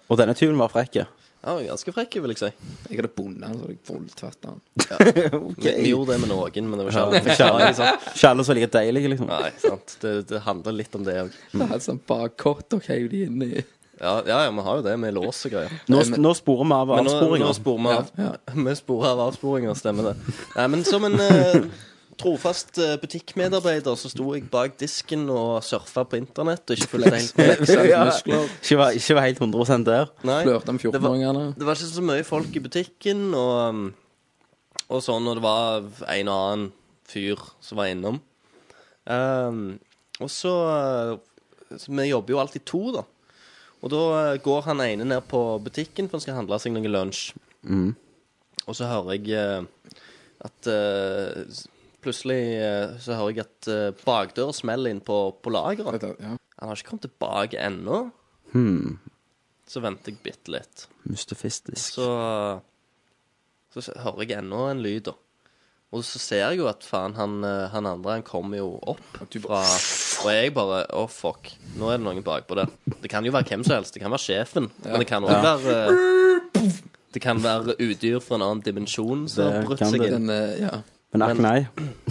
Speaker 4: Og denne tyven var frekk.
Speaker 3: ja, ganske frekk, vil jeg si.
Speaker 2: Jeg hadde bundet han, så hadde jeg voldtatt han.
Speaker 3: Vi, vi gjorde det med noen, men det var ikke alle.
Speaker 4: Ikke alle ikke alle liksom. som er like deilige, liksom.
Speaker 3: Nei, sant. Det, det handler litt om det òg.
Speaker 2: Jeg hadde sånn bakkott og heiv de inn i
Speaker 3: Ja, ja, ja, vi har jo det med lås og greier.
Speaker 4: Nå, nå sporer vi av
Speaker 3: Men nå, nå
Speaker 4: avsporinger.
Speaker 3: sporer vi av, vi sporer av avsporinger, stemmer det. Nei, men som en eh, trofast eh, butikkmedarbeider så sto jeg bak disken og surfa på internett og ikke fulgte helt med.
Speaker 4: Ja, Ikke var, ikke var helt 100 der.
Speaker 3: Nei,
Speaker 2: Flørta med
Speaker 3: det var-
Speaker 2: 14-åringene.
Speaker 3: Det var ikke så mye folk i butikken, og, um, og sånn, og det var en og annen fyr som var innom. Um, og så, uh, så Vi jobber jo alltid to, da. Og da uh, går han ene ned på butikken, for han skal handle seg noe lunsj. Og så hører jeg uh, at uh, s- Plutselig uh, så hører jeg at uh, bakdøra smeller inn på, på lageret.
Speaker 2: Ja.
Speaker 3: Han har ikke kommet tilbake ennå. Så venter jeg bitte litt.
Speaker 4: Mustafistisk.
Speaker 3: Så, så s- hører jeg ennå en lyd, da. Og så ser jeg jo at faen, han, eh, han andre han kommer jo opp fra Og jeg bare Å, fuck. Nå er det noen bakpå der. Det kan jo være hvem som helst. Det kan være sjefen. Men det kan òg være eh, Det kan være udyr fra en annen dimensjon som har
Speaker 4: Det
Speaker 3: brutt
Speaker 4: kan
Speaker 3: seg
Speaker 4: det.
Speaker 3: inn.
Speaker 2: Den, eh, ja.
Speaker 4: Men akk nei.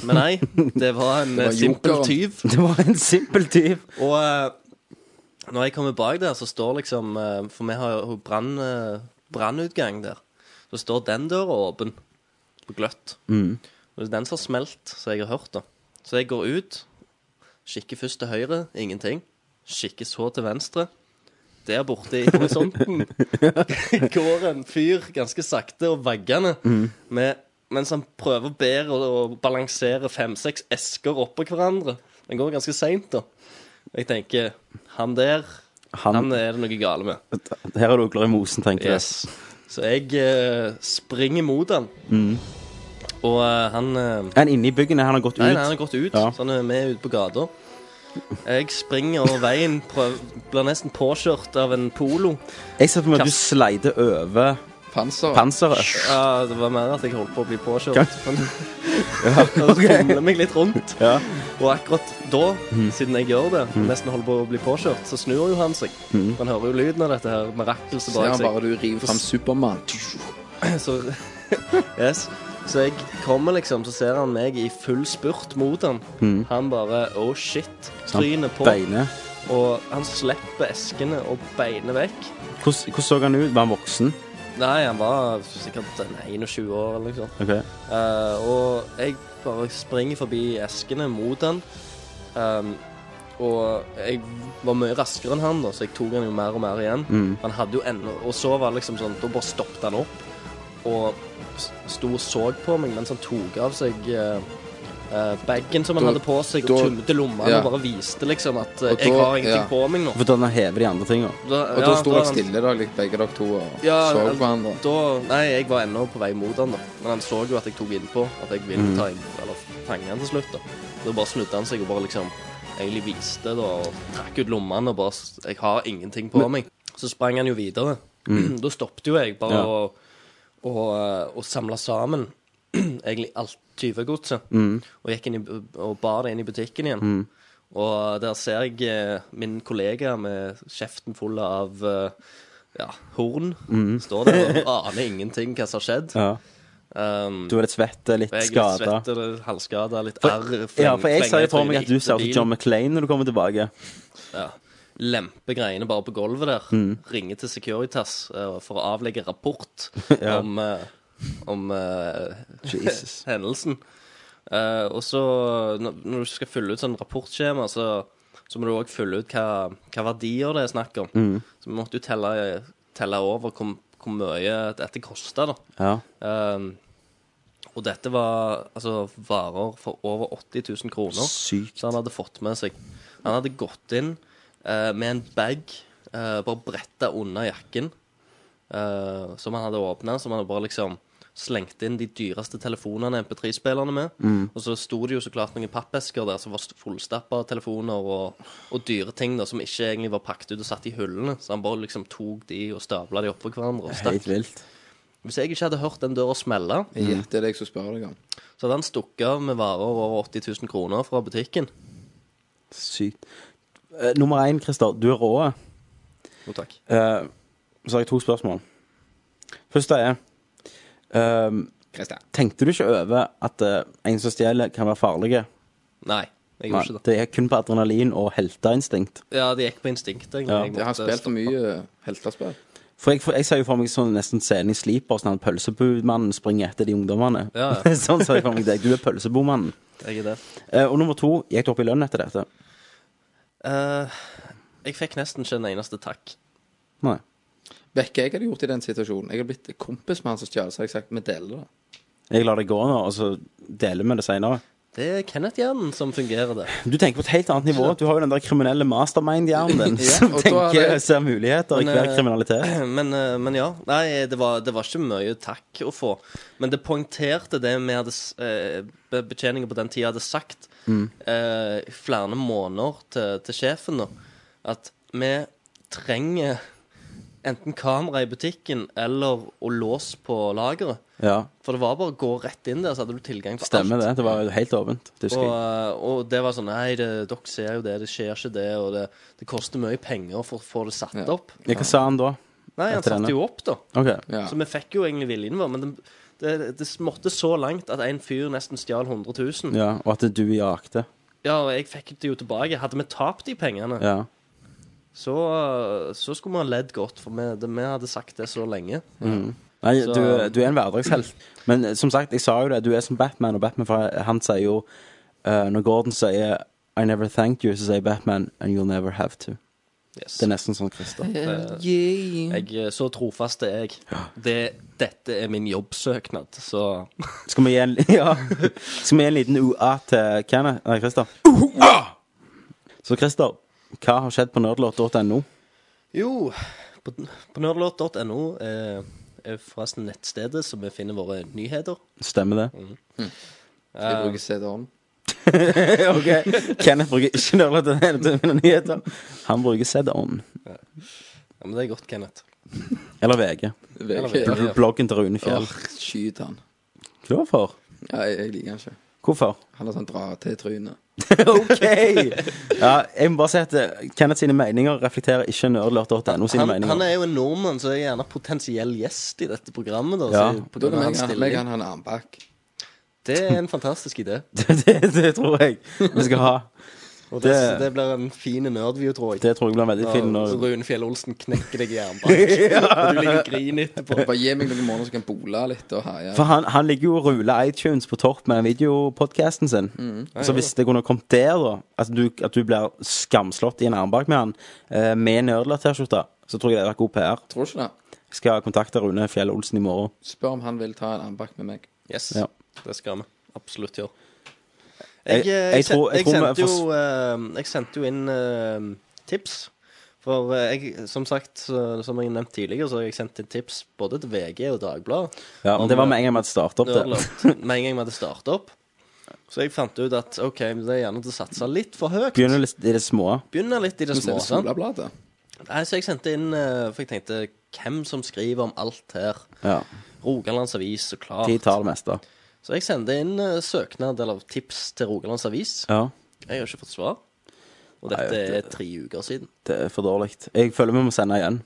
Speaker 3: Men nei, det var en eh,
Speaker 2: var
Speaker 3: simpel
Speaker 2: jokeren.
Speaker 3: tyv.
Speaker 4: Det var en simpel tyv.
Speaker 3: Og eh, når jeg kommer bak der, så står liksom eh, For vi har jo brann, eh, brannutgang der. Så står den døra åpen på gløtt. Og det er den som har smelt, som jeg har hørt, da. Så jeg går ut, kikker først til høyre, ingenting. Kikker så til venstre. Der borte i horisonten går en fyr ganske sakte og vaggende med, mens han prøver bedre å å balansere fem-seks esker oppå hverandre. Den går ganske seint, da. Jeg tenker Han der,
Speaker 4: Han-
Speaker 3: han, er det noe gale med.
Speaker 4: Her er det ugler i mosen, tenker jeg.
Speaker 3: Yes. Så jeg eh, springer mot han. Og eh, han eh,
Speaker 4: Er han inne i byggene? Han har gått ut?
Speaker 3: Nei, nei, han har gått ut,
Speaker 4: Ja.
Speaker 3: så han er med ute på gata. Jeg springer over veien, prøv, blir nesten påkjørt av en polo.
Speaker 4: Jeg ser for meg at du
Speaker 3: Kast.
Speaker 4: sleider over
Speaker 2: Panser.
Speaker 4: panseret.
Speaker 3: Ja, det var mer at jeg holdt på å bli påkjørt. Men Og så fomler meg litt rundt.
Speaker 4: Ja.
Speaker 3: Og akkurat da, siden jeg gjør det, nesten holder på å bli påkjørt, så snur jo han seg. Han hører jo lyden av dette her mirakelset
Speaker 2: Ser
Speaker 3: bak
Speaker 2: han
Speaker 3: seg.
Speaker 2: bare du river fram Supermann.
Speaker 3: Så, yes. så jeg kommer liksom, så ser han meg i full spurt mot han. Han bare oh shit. Trynet på.
Speaker 4: Beinet.
Speaker 3: Og han slipper eskene og beiner vekk.
Speaker 4: Hvordan hvordan så han ut? Var han voksen?
Speaker 3: Nei, han var sikkert en 21 år eller noe sånt.
Speaker 4: Ok.
Speaker 3: Eh, og jeg bare springer forbi eskene mot han. Ehm, og jeg var mye raskere enn han, da, så jeg tok han jo mer og mer igjen.
Speaker 2: Mm.
Speaker 3: Han hadde jo ennå Og så var det liksom sånn Da bare stoppet han opp og s- sto og så på meg mens han tok av seg eh, eh, bagen som han
Speaker 2: Da-
Speaker 3: hadde på seg, og
Speaker 2: da-
Speaker 3: tømte lommene
Speaker 2: ja.
Speaker 3: og bare viste liksom at eh,
Speaker 2: Og
Speaker 3: 'Jeg
Speaker 2: da-
Speaker 3: har ingenting
Speaker 2: ja.
Speaker 3: på meg nå'.
Speaker 4: For da han hever de andre tingene.
Speaker 3: Da-
Speaker 2: Og da
Speaker 3: ja,
Speaker 2: sto
Speaker 3: da
Speaker 2: jeg
Speaker 3: han-
Speaker 2: stille, da, like begge dere to, og
Speaker 3: Ja,
Speaker 2: så
Speaker 3: men-
Speaker 2: på hverandre.
Speaker 3: Da, nei, jeg var ennå på vei mot han da Men han så jo at jeg tok innpå At jeg ville ta inn, eller fange han til slutt da Da bare snudde han seg og bare liksom Egentlig viste da Og trakk ut lommene og bare s- Jeg har ingenting på meg Så sprang han jo videre Da stoppte jo jeg bare
Speaker 4: Ja.
Speaker 3: å og, og samlet sammen Egentlig alt tyvegodset
Speaker 4: Mm.
Speaker 3: Og gikk inn i, bu- og bar det inn i butikken igjen Og der ser jeg eh, min kollega med kjeften full av
Speaker 4: Mm.
Speaker 3: eh, ja, horn. Står der og aner ingenting hva som har skjedd.
Speaker 4: Ja.
Speaker 3: Um,
Speaker 4: Du er litt svett, eh, litt
Speaker 3: jeg er litt
Speaker 4: skada.
Speaker 3: svett og halvskada, litt
Speaker 4: For-
Speaker 3: arr.
Speaker 4: Ja,
Speaker 3: fleng-
Speaker 4: for jeg ser
Speaker 3: flenger
Speaker 4: jo for meg
Speaker 3: trynet
Speaker 4: at du
Speaker 3: etter
Speaker 4: ser ut som
Speaker 3: bilen.
Speaker 4: John McClane når du kommer tilbake.
Speaker 3: ja, lempe greiene bare på gulvet der.
Speaker 4: Mm.
Speaker 3: Ringe til Securitas eh, for å avlegge rapport
Speaker 4: Ja.
Speaker 3: om, eh, om eh,
Speaker 4: Jesus.
Speaker 3: hendelsen. Eh, og så, når, når du skal fylle ut sånn rapportskjema, så, så må du òg fylle ut hva, hva verdier det er snakk om.
Speaker 4: Mm.
Speaker 3: Så vi måtte jo telle, telle over hvor, hvor mye dette kosta, da.
Speaker 4: Ja.
Speaker 3: Ehm, og dette var altså varer for over 80 000 kroner.
Speaker 4: Sykt.
Speaker 3: Så han hadde fått med seg. Han hadde gått inn eh, med en bag eh, bare bretta under jakken, eh, som han hadde åpna, som han hadde bare liksom slengt inn de dyreste telefonene MP3-spillerne med. Og så sto det jo så klart noen pappesker der som var fullstappa av telefoner og, og dyre ting da, som ikke egentlig var pakket ut og satt i hyllene. Så han bare liksom tok de og stabla de oppå hverandre. og stakk
Speaker 4: Helt vilt.
Speaker 3: hvis jeg ikke hadde hørt den døra smelle,
Speaker 2: Ja, det er det jeg skal spørre deg om.
Speaker 3: så hadde han stukket av med varer over 80 000 kroner fra butikken.
Speaker 4: Sykt. Eh, nummer én, Christer, du er rå.
Speaker 3: Jo, takk.
Speaker 4: Eh, så har jeg to spørsmål. Første er eh,
Speaker 2: Kristian.
Speaker 4: Tenkte du ikke over at eh, en som stjeler, kan være farlige?
Speaker 3: Nei, jeg
Speaker 4: Nei,
Speaker 3: gjorde ikke det.
Speaker 4: det er kun på adrenalin og helteinstinkt.
Speaker 3: Ja, det gikk på instinkt, egentlig.
Speaker 4: Ja,
Speaker 3: Jeg
Speaker 2: Jeg har
Speaker 3: måtte
Speaker 2: spilt for
Speaker 3: stoppe.
Speaker 2: mye heltespill.
Speaker 4: For jeg, for jeg ser jo for meg sånn nesten scenen i Sleeper, sånn at pølsebudmannen springer etter de ungdommene.
Speaker 3: Ja.
Speaker 4: sånn ser jeg for meg deg. Du er pølsebomannen.
Speaker 3: Jeg er det.
Speaker 4: Eh, og nummer to, gikk du opp i lønn etter dette?
Speaker 3: Eh, jeg fikk nesten ikke en eneste takk.
Speaker 4: Nei.
Speaker 2: Vet ikke hva jeg hadde gjort i den situasjonen. Jeg hadde blitt kompis med han som stjal, så hadde jeg sagt vi deler det.
Speaker 4: Jeg lar det gå nå, og så deler vi det seinere.
Speaker 3: Det er Kenneth-hjernen som fungerer der.
Speaker 4: Du tenker på et helt annet nivå. Du har jo den der kriminelle mastermind-hjernen din
Speaker 2: Ja,
Speaker 4: som
Speaker 2: og da er
Speaker 4: tenker
Speaker 2: det-
Speaker 4: ser muligheter i
Speaker 3: Men,
Speaker 4: hver
Speaker 3: eh,
Speaker 4: kriminalitet.
Speaker 3: Men, eh, men ja. Nei, det var, det var ikke mye takk å få. Men det poengterte det vi hadde s- eh, be- Betjeningen på den tida hadde sagt eh, i flere måneder til, til sjefen nå, at vi trenger enten kamera i butikken eller å låse på lageret.
Speaker 4: Ja,
Speaker 3: For det var bare å gå rett inn der, så hadde du tilgang på
Speaker 4: stemmer
Speaker 3: alt.
Speaker 4: det. Det var jo helt åpent. Det husker
Speaker 3: Og,
Speaker 4: jeg.
Speaker 3: eh, og det var sånn Nei, det, dere ser jo det, det skjer ikke det, og det, det koster mye penger for å få det satt
Speaker 2: Ja.
Speaker 3: opp.
Speaker 4: Ja, Hva sa han da?
Speaker 3: Nei, han
Speaker 4: Etter denne.
Speaker 3: satte jo opp, da.
Speaker 4: OK.
Speaker 2: Ja.
Speaker 3: Så vi fikk jo egentlig viljen vår, men det, det, det måtte så langt at en fyr nesten stjal 100 000. Ja.
Speaker 4: Ja, og at du jakte.
Speaker 3: og jeg fikk det jo tilbake. Hadde vi tapt de pengene,
Speaker 4: Ja.
Speaker 3: så, så skulle vi ha ledd godt, for vi, det, vi hadde sagt det så lenge.
Speaker 4: Nei,
Speaker 3: Så-
Speaker 4: du, du er en hverdagshelt. Men eh, som sagt, jeg sa jo det, du er som Batman, og Batman for han sier jo eh, Når Gordon sier I never thanked you, så sier Batman And you'll never have to.
Speaker 3: Yes.
Speaker 4: Det er nesten sånn Christer.
Speaker 2: Eh,
Speaker 3: Jeg, så trofast er jeg. Det, dette er min jobbsøknad, så
Speaker 4: Skal vi gi en, ja, skal vi gi en liten UA til Kenneth? Nei, Christer. Så Christer, hva har skjedd på nerdlåt.no?
Speaker 3: Jo, på, på nerdlåt.no er, eh, er forresten nettstedet som vi finner våre nyheter.
Speaker 4: Stemmer det?
Speaker 3: Mm.
Speaker 2: Skal jeg bruke CD-en?
Speaker 4: ok, Kenneth bruker ikke nerdlåt.no til mine nyheter. Han bruker ZON.
Speaker 3: Ja, men det er godt, Kenneth.
Speaker 4: Eller VG.
Speaker 3: Ja.
Speaker 4: Bloggen til Rune Fjell.
Speaker 2: Åh, Skyt han.
Speaker 4: Hvorfor?
Speaker 2: Ja, jeg, jeg liker han ikke.
Speaker 4: Hvorfor?
Speaker 2: Han er sånn dra til trynet.
Speaker 4: OK! Ja, jeg må bare si at eh, Kenneth sine meninger reflekterer ikke nerdlurt.no sine
Speaker 3: Han,
Speaker 4: meninger.
Speaker 3: han er jo en nordmann, så er jeg gjerne potensiell gjest i dette programmet. Da,
Speaker 4: Ja.
Speaker 3: så på
Speaker 2: Da kan
Speaker 3: grunn av
Speaker 2: vi
Speaker 3: hans
Speaker 2: ha-
Speaker 3: stilling.
Speaker 2: vi kan ha en armbakk.
Speaker 3: Det er en fantastisk idé.
Speaker 4: det, det, det tror jeg vi skal ha.
Speaker 3: Og
Speaker 4: Det-
Speaker 3: det, det blir en fin nerdview, tror jeg.
Speaker 4: Det tror jeg blir veldig fint.
Speaker 3: Når
Speaker 4: Når...
Speaker 3: Rune Fjell Olsen knekker deg i armbåndet, og du ligger og griner etterpå.
Speaker 2: Bare gi meg noen måneder, så kan jeg bole litt og herje.
Speaker 4: For han, han ligger jo og ruler iTunes på topp med videopodcasten sin.
Speaker 3: Mm.
Speaker 4: Så hvis det kunne kommet der, da, at du, at du blir skamslått i en armbak med han, eh, med nerdlurt-T-skjorte, så tror jeg det hadde vært god PR.
Speaker 2: Tror du ikke det?
Speaker 4: Jeg skal kontakte Rune Fjell Olsen i morgen.
Speaker 2: Spør om han vil ta en armbakk med meg.
Speaker 3: Yes,
Speaker 4: Ja.
Speaker 3: det skal vi absolutt gjøre.
Speaker 4: Jeg-
Speaker 3: Jeg, eh, jeg,
Speaker 4: jeg
Speaker 3: sen-
Speaker 4: tror- jeg
Speaker 3: jeg,
Speaker 4: tror vi
Speaker 3: sendte
Speaker 4: får-
Speaker 3: jo, eh, jeg sendte jo inn eh, tips. For eh, jeg, som sagt, så- som jeg nevnte tidligere, så har jeg sendt inn tips både til VG og Dagbladet.
Speaker 4: Ja, men
Speaker 3: Om,
Speaker 4: det var
Speaker 3: eh,
Speaker 4: med en gang vi hadde startet opp det.
Speaker 3: Nerdlord, Med en gang vi hadde starta opp. Så jeg fant ut at OK, men det er gjerne til å satse litt for høyt.
Speaker 4: Begynner litt i det små.
Speaker 3: Begynner litt i det
Speaker 2: Men ser
Speaker 3: små.
Speaker 2: du
Speaker 3: Sant?
Speaker 2: Solabladet?
Speaker 3: Nei, så jeg sendte inn eh, For jeg tenkte hvem som skriver om alt her?
Speaker 4: Ja.
Speaker 3: Rogalands Avis, så klart.
Speaker 4: De tar det meste.
Speaker 3: Så jeg sendte inn eh, søknad eller tips til Rogalands Avis.
Speaker 4: Ja.
Speaker 3: Jeg har ikke fått svar. Og
Speaker 4: Nei,
Speaker 3: dette
Speaker 4: det-
Speaker 3: er tre uker siden.
Speaker 4: Det er eh, for dårlig.
Speaker 3: Mm.
Speaker 4: Jeg føler vi må sende igjen.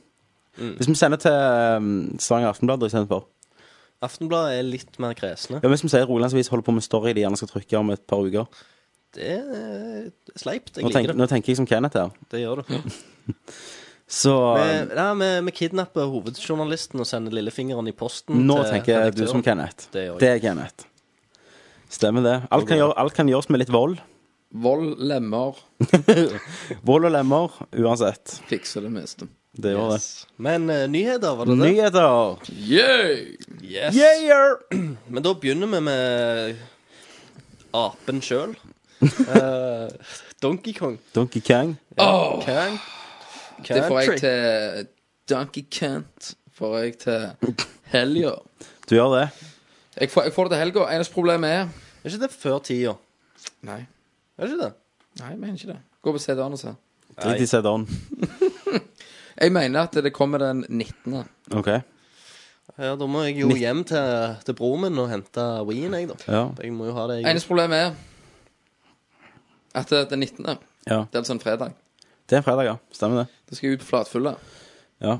Speaker 4: Hvis vi sender til um, Stavanger Aftenblad, er jeg sendt for.
Speaker 3: Aftenbladet er litt mer kresne.
Speaker 4: Ja, men som sier Rolandsvis holder på med story de gjerne skal trykke om et par uker.
Speaker 3: Det er eh, sleipt. Jeg
Speaker 4: Nå, tenk,
Speaker 3: liker det.
Speaker 4: nå tenker jeg som Kenneth her.
Speaker 3: Det gjør du.
Speaker 4: Så um,
Speaker 3: Vi- Nei, vi, vi kidnapper hovedjournalisten og sender lillefingeren i posten
Speaker 4: nå
Speaker 3: til
Speaker 4: tenker jeg du
Speaker 3: redaktøren.
Speaker 4: som Kenneth.
Speaker 3: Det gjør jeg.
Speaker 4: Det er Kenneth. Stemmer det. Alt kan, gjøre, alt kan gjøres med litt vold.
Speaker 2: Vold, lemmer,
Speaker 4: Vold og lemmer, uansett.
Speaker 2: fikser det meste.
Speaker 4: Det gjør
Speaker 3: Yes. Men eh, nyheter, var
Speaker 4: det.
Speaker 3: det det?
Speaker 4: Nyheter!
Speaker 2: Yeah!
Speaker 3: Yes.
Speaker 4: Yeah!
Speaker 3: Men da begynner vi med eh, apen sjøl. Eh, Donkey Kong.
Speaker 4: Donkey Kong.
Speaker 2: Åh,
Speaker 3: Kang.
Speaker 2: det får jeg til Donkey Kent. Får jeg til helga.
Speaker 4: Du gjør det.
Speaker 2: Jeg får, jeg får det til helga. Eneste problemet er
Speaker 3: Er ikke det før tida?
Speaker 2: Nei,
Speaker 3: Er det ikke det?
Speaker 2: nei, jeg mener ikke det. Gå på CD-en og se.
Speaker 4: Drit i CD-en.
Speaker 2: Jeg mener at det kommer den 19.
Speaker 4: OK.
Speaker 3: Ja, da må jeg jo hjem til, til broren min og hente Wien, jeg, da.
Speaker 4: Ja.
Speaker 3: Jeg må jo ha det. Jeg.
Speaker 2: Eneste problemet er at det er den 19. Det
Speaker 4: ja.
Speaker 2: er altså en fredag.
Speaker 4: Det er en fredag, ja. Stemmer det.
Speaker 2: Da skal jeg ut på flatfylla.
Speaker 4: Ja.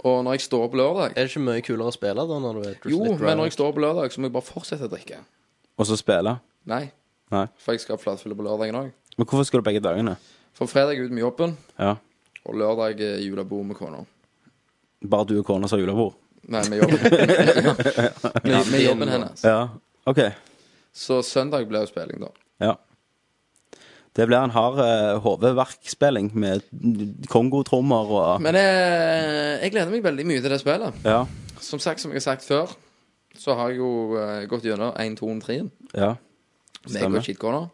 Speaker 2: Og når jeg står opp lørdag
Speaker 3: Er det ikke mye kulere å spille da når du er
Speaker 2: Jo,
Speaker 3: litt
Speaker 2: men
Speaker 3: drunk?
Speaker 2: når jeg står opp lørdag, så må jeg bare fortsette å drikke.
Speaker 4: Og så spille.
Speaker 2: Nei.
Speaker 4: Nei.
Speaker 2: For jeg skal ha flatfylle på lørdagen òg.
Speaker 4: Men hvorfor skal du begge dagene?
Speaker 2: For fredag er jeg ute med jobben,
Speaker 4: Ja.
Speaker 2: og lørdag er julebord med kona.
Speaker 4: Bare du og kona som har julebord?
Speaker 2: Nei, med jobben, med, med jobben hennes.
Speaker 4: Ja. OK.
Speaker 2: Så søndag blir jo spilling, da.
Speaker 4: Ja. Det blir en hard uh, hodeverkspilling med kongotrommer og
Speaker 2: Men eh, jeg gleder meg veldig mye til det spillet.
Speaker 4: Ja.
Speaker 2: Som sagt, som jeg har sagt før, så har jeg jo eh, gått gjennom 1, 2, 3.
Speaker 4: ja.
Speaker 2: Meg
Speaker 4: Stemmer.
Speaker 2: og shitkona.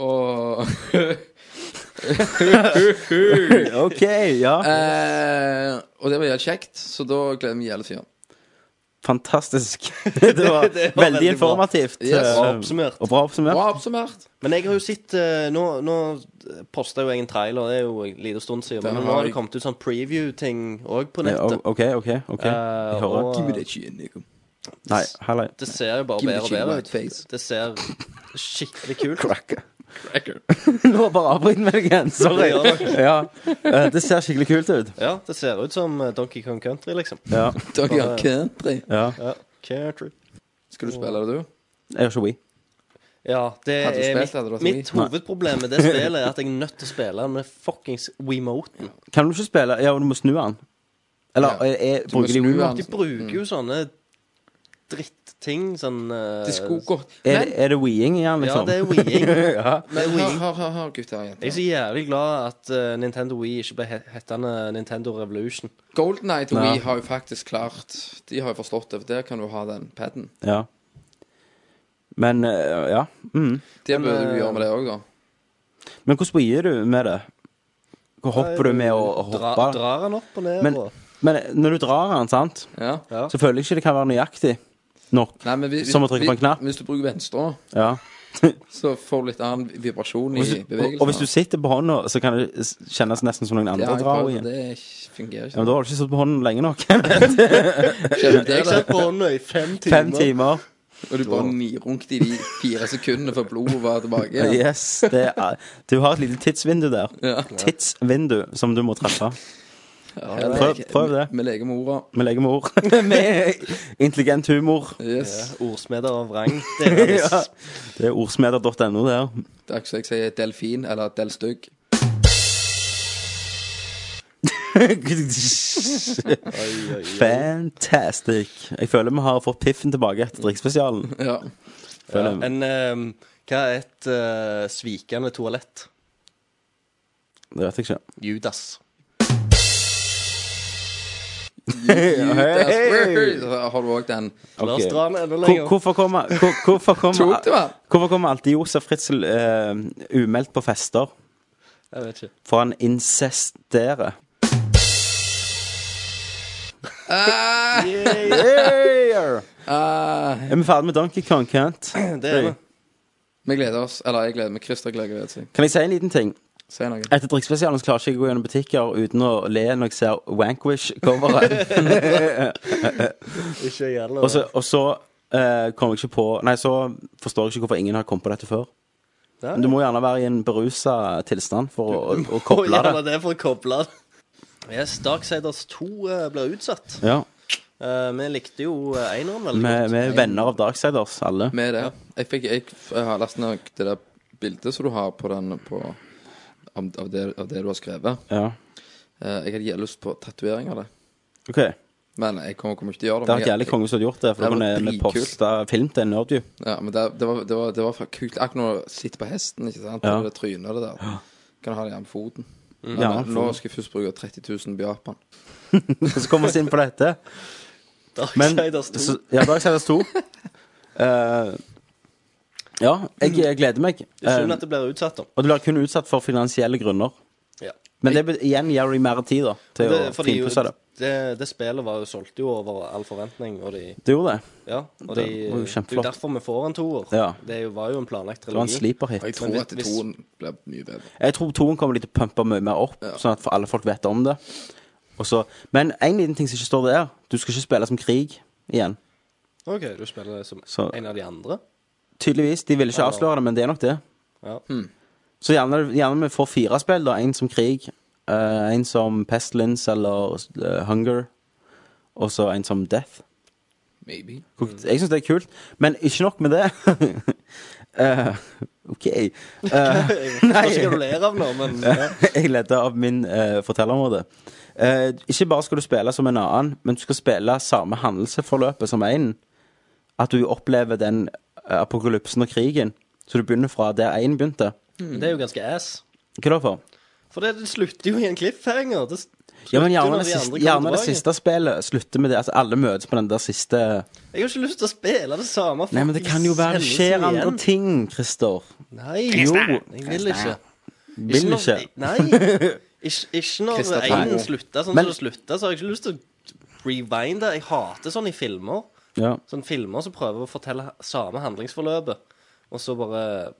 Speaker 2: Og
Speaker 4: OK, ja.
Speaker 2: eh, Og det var jævlig kjekt, så da gleder jeg meg jævlig til å gjøre det.
Speaker 4: Fantastisk. det var
Speaker 3: Det var
Speaker 4: veldig
Speaker 3: veldig bra.
Speaker 4: informativt.
Speaker 2: Yes.
Speaker 3: Bra
Speaker 4: eh,
Speaker 3: oppsummert.
Speaker 4: Og bra oppsummert.
Speaker 2: Bra oppsummert.
Speaker 3: Men jeg har jo sett eh, Nå, nå posta jo jeg en trailer, det er jo en liten stund siden.
Speaker 2: Den
Speaker 3: Men nå
Speaker 2: har
Speaker 3: har det
Speaker 2: jeg-
Speaker 3: kommet ut sånn preview-ting òg på
Speaker 4: Ja,
Speaker 3: nettet.
Speaker 4: OK, OK. ok
Speaker 3: Eh,
Speaker 4: Jeg hører.
Speaker 3: og-
Speaker 2: Give me that shit, nigga.
Speaker 4: Nei, hallei.
Speaker 3: Det ser jo bare
Speaker 2: Give me
Speaker 3: bedre og
Speaker 2: the
Speaker 3: bedre
Speaker 2: white
Speaker 3: ut.
Speaker 2: face.
Speaker 3: Det ser skikkelig kult ut.
Speaker 4: Cracker.
Speaker 2: Cracker.
Speaker 4: Nå bare avbryt meg igjen. Sorry.
Speaker 3: Det gjør
Speaker 4: ja. eh, Det ser skikkelig kult ut.
Speaker 3: Ja, det ser ut som eh, Donkey Kong Country, liksom.
Speaker 4: Ja.
Speaker 2: Doggy on country.
Speaker 4: ja.
Speaker 3: Ja, Country.
Speaker 2: Skal du spille det, du?
Speaker 4: Jeg gjør ikke We.
Speaker 3: Ja, det
Speaker 2: Hadde du
Speaker 3: er
Speaker 2: spilt,
Speaker 3: mitt,
Speaker 2: hadde du hatt
Speaker 3: mitt
Speaker 2: Wii?
Speaker 3: hovedproblem med det spillet er at jeg er nødt til å spille med fuckings Wiimoten.
Speaker 4: Kan du ikke spille Ja, du må snu den. Eller
Speaker 2: Ja.
Speaker 4: er, er,
Speaker 2: må
Speaker 4: bruker de
Speaker 2: snu
Speaker 4: Wii?
Speaker 2: den.
Speaker 3: De bruker
Speaker 2: Mm.
Speaker 3: jo sånne dritting, sånn eh,
Speaker 2: Det skulle gått
Speaker 4: Er,
Speaker 2: Men
Speaker 4: er det Wii-ing igjen,
Speaker 3: Ja,
Speaker 4: liksom?
Speaker 3: det er Wii-ing.
Speaker 4: ja.
Speaker 3: Det er
Speaker 2: Men
Speaker 3: Wii.
Speaker 2: hør, hør, hør, hør gutter og
Speaker 3: Jeg er
Speaker 2: jenter.
Speaker 3: så jævlig glad at eh, Nintendo Wii ikke ble he- hettende Nintendo Revolution.
Speaker 2: GoldenEye til Wii
Speaker 4: Ja.
Speaker 2: har jo faktisk klart De har jo forstått det, for der kan du ha den paden.
Speaker 4: Ja. Men eh, ja. Mm.
Speaker 2: Det
Speaker 3: Men,
Speaker 2: burde du
Speaker 3: eh,
Speaker 2: gjøre med det òg, da.
Speaker 4: Men hvordan bøyer du med det? Hvor hopper du med å å
Speaker 3: Dra,
Speaker 4: hoppe?
Speaker 3: drar han opp og ned
Speaker 4: Men-
Speaker 3: og
Speaker 4: Men eh, når du drar den, sant,
Speaker 2: Ja.
Speaker 3: ja.
Speaker 4: så føler jeg ikke det kan være nøyaktig nok.
Speaker 2: Nei, men hvis,
Speaker 4: Som å trykke på en knapp.
Speaker 2: Hvis du bruker venstre,
Speaker 4: Ja.
Speaker 2: så får du litt annen vibrasjon i
Speaker 4: Hvis du, og,
Speaker 2: bevegelsen.
Speaker 4: og hvis du sitter på hånda, så kan det s- kjennes nesten som noen
Speaker 2: ja,
Speaker 4: andre
Speaker 2: jeg
Speaker 4: drar
Speaker 2: prøvde,
Speaker 4: igjen.
Speaker 2: Det fungerer
Speaker 4: Ja, men
Speaker 2: ikke.
Speaker 4: da har du ikke sittet på hånden lenge nok.
Speaker 2: Skjønner du
Speaker 3: Jeg
Speaker 2: det?
Speaker 3: satt på hånda i fem timer.
Speaker 4: Fem timer.
Speaker 2: Og du bare nirunket i de fire sekundene før blodet var tilbake.
Speaker 4: Ja.
Speaker 2: igjen.
Speaker 4: Yes. Det er, du har et lite tidsvindu der.
Speaker 2: Ja.
Speaker 4: Tidsvindu som du må treffe.
Speaker 2: Ja,
Speaker 4: Prøv-
Speaker 2: leke-
Speaker 4: prøv det.
Speaker 2: Med legemora.
Speaker 4: Med legemor. Med intelligent humor.
Speaker 2: Yes.
Speaker 3: Ordsmeder og vrang. Det er det.
Speaker 4: Ja. Det er ordsmeder.no der.
Speaker 2: Det er ikke så jeg sier delfin eller delstygg.
Speaker 4: Fantastic. Jeg føler vi har fått piffen tilbake etter drikkspesialen.
Speaker 2: Ja.
Speaker 4: Føler jeg.
Speaker 3: En ehm, Hva er et eh, svikende toalett?
Speaker 4: Det vet jeg ikke.
Speaker 3: Judas.
Speaker 2: You
Speaker 4: Hey!
Speaker 2: desperate. Har du òg den?
Speaker 3: La oss
Speaker 4: Ok.
Speaker 3: dra den enda
Speaker 4: Hvor-
Speaker 3: lenger.
Speaker 4: Hvorfor kommer, hvor, hvorfor kommer,
Speaker 2: Tok du den?
Speaker 4: hvorfor kommer alltid Josef Fritzl eh, umeldt på fester?
Speaker 3: Jeg vet ikke.
Speaker 4: For han incesterer.
Speaker 2: Ah,
Speaker 4: Yeah!
Speaker 2: ah.
Speaker 4: Er vi ferdig med Donkey Kong, Kent?
Speaker 3: Det er det.
Speaker 2: Vi gleder oss. Eller jeg gleder meg. Christer gleder seg.
Speaker 4: Kan jeg si en liten ting?
Speaker 2: Si noe.
Speaker 4: Etter drikkspesialen så klarer jeg ikke å gå gjennom butikker uten å le når jeg ser Wankwish-coveret.
Speaker 3: Ikke
Speaker 4: og
Speaker 3: gjelder
Speaker 4: så, og så eh, kommer jeg ikke på Nei, så forstår jeg ikke hvorfor ingen har kommet på dette før.
Speaker 3: Nei.
Speaker 4: Men du må gjerne være i en berusa tilstand for å, å, å
Speaker 3: Å,
Speaker 4: koble
Speaker 3: gjelder
Speaker 4: det.
Speaker 3: det for å koble det. Yes, Darksiders 2 eh, blir utsatt.
Speaker 4: Ja.
Speaker 3: Eh, vi likte jo eh, eineren veldig
Speaker 4: Vi
Speaker 3: godt.
Speaker 4: vi er venner av Darksiders, alle.
Speaker 2: Med det. Jeg, fikk, jeg, f- jeg har lest nok det der bildet som du har på den på, om, av, det, av det du har skrevet.
Speaker 4: Ja.
Speaker 2: Eh, jeg hadde jævlig lyst på tatovering av det.
Speaker 4: OK. Det
Speaker 2: Men jeg kommer, kommer ikke til å gjøre det.
Speaker 4: har
Speaker 2: men
Speaker 4: vært
Speaker 2: jeg-
Speaker 4: jævlig konge som hadde gjort det, for
Speaker 2: Det
Speaker 4: da kunne
Speaker 2: var
Speaker 4: vi
Speaker 2: dritkult.
Speaker 4: posta film til Nerdview.
Speaker 2: Ja, men det, det, var, det, var, det var fa- kult. Akkurat når du sitter på hesten, ikke sant?
Speaker 4: Ja. Mm.
Speaker 2: Og det trynet det der. Kan du ha det gjerne på foten.
Speaker 4: Ja,
Speaker 2: Men
Speaker 4: for-
Speaker 2: nå skal jeg først bruke 30 000 på Japan.
Speaker 4: Så kommer vi oss inn på dette. Men,
Speaker 3: Darksiders 2.
Speaker 4: så- ja, Darksiders 2. Eh, ja, jeg, jeg gleder meg.
Speaker 3: Det er synd
Speaker 4: Eh,
Speaker 3: at det blir utsatt, da.
Speaker 4: og du blir kun utsatt for finansielle grunner.
Speaker 3: Ja.
Speaker 4: Men det bet- igjen gir de mer tid da til
Speaker 3: Det,
Speaker 4: å
Speaker 3: fordi jo,
Speaker 4: finpusse det.
Speaker 3: det, det spillet var jo solgte jo over all forventning, og de
Speaker 4: Det gjorde det.
Speaker 3: Ja, og de,
Speaker 4: Det
Speaker 3: det
Speaker 4: var jo
Speaker 3: er jo
Speaker 4: kjempeflott.
Speaker 3: derfor vi får en toer.
Speaker 4: Ja.
Speaker 3: Det er jo, var jo en planlagt
Speaker 4: Det var en
Speaker 3: trilogi.
Speaker 4: sleeper hit.
Speaker 2: Og jeg
Speaker 3: Men
Speaker 2: tror
Speaker 3: hvis-
Speaker 2: at
Speaker 3: hvis-
Speaker 2: toen blir mye bedre.
Speaker 4: Jeg tror toen kommer de til å pumpe mye mer opp, sånn at for alle folk vet om det. Og så, men en liten ting som ikke står der, du skal ikke spille som krig igjen.
Speaker 3: OK, du spiller det som
Speaker 4: Så-
Speaker 3: en av de andre?
Speaker 4: Tydeligvis. De ville ikke avsløre det, men det er nok det. Hmm.
Speaker 3: Ja.
Speaker 4: Så gjerne, gjerne vi får fire spill, da. En som krig, eh, en som Pestilence eller eh, Hunger, og så en som Death.
Speaker 2: Maybe.
Speaker 4: Hvor- Jeg syns det er kult, men ikke nok med det. Eh, OK. Eh,
Speaker 3: Hva skal du le av nå, men ja.
Speaker 4: jeg leder av min eh, fortellerområde. Eh, ikke bare skal du spille som en annen, men du skal spille samme handelsforløpet som en. At du opplever den eh, apokalypsen og krigen. Så du begynner fra der én begynte.
Speaker 3: Det er jo ganske ass.
Speaker 4: Hva da for?
Speaker 3: For det, det slutter jo i en cliffhanger. Det
Speaker 4: Ja, men gjerne, det
Speaker 3: slutter når de andre
Speaker 4: siste,
Speaker 3: kommer
Speaker 4: gjerne det
Speaker 3: tilbake.
Speaker 4: siste spillet slutter med det. Altså, alle møtes på den der siste
Speaker 3: Jeg har ikke lyst til å spille det samme.
Speaker 4: Nei, men det kan jo være det skjer
Speaker 3: hendelsen
Speaker 4: andre
Speaker 3: igjen.
Speaker 4: ting, Christer.
Speaker 3: Nei,
Speaker 4: Jo.
Speaker 3: jeg vil ikke.
Speaker 4: Vil
Speaker 3: når-
Speaker 4: ikke.
Speaker 3: Nei. Ikke, ikke når
Speaker 2: Christer Tangen.
Speaker 3: én slutta sånn
Speaker 4: Men-
Speaker 3: som det slutta, så har jeg ikke lyst til å rewinde. Jeg hater sånn i filmer.
Speaker 4: Ja.
Speaker 3: Sånn filmer som prøver å fortelle samme handlingsforløpet, og så bare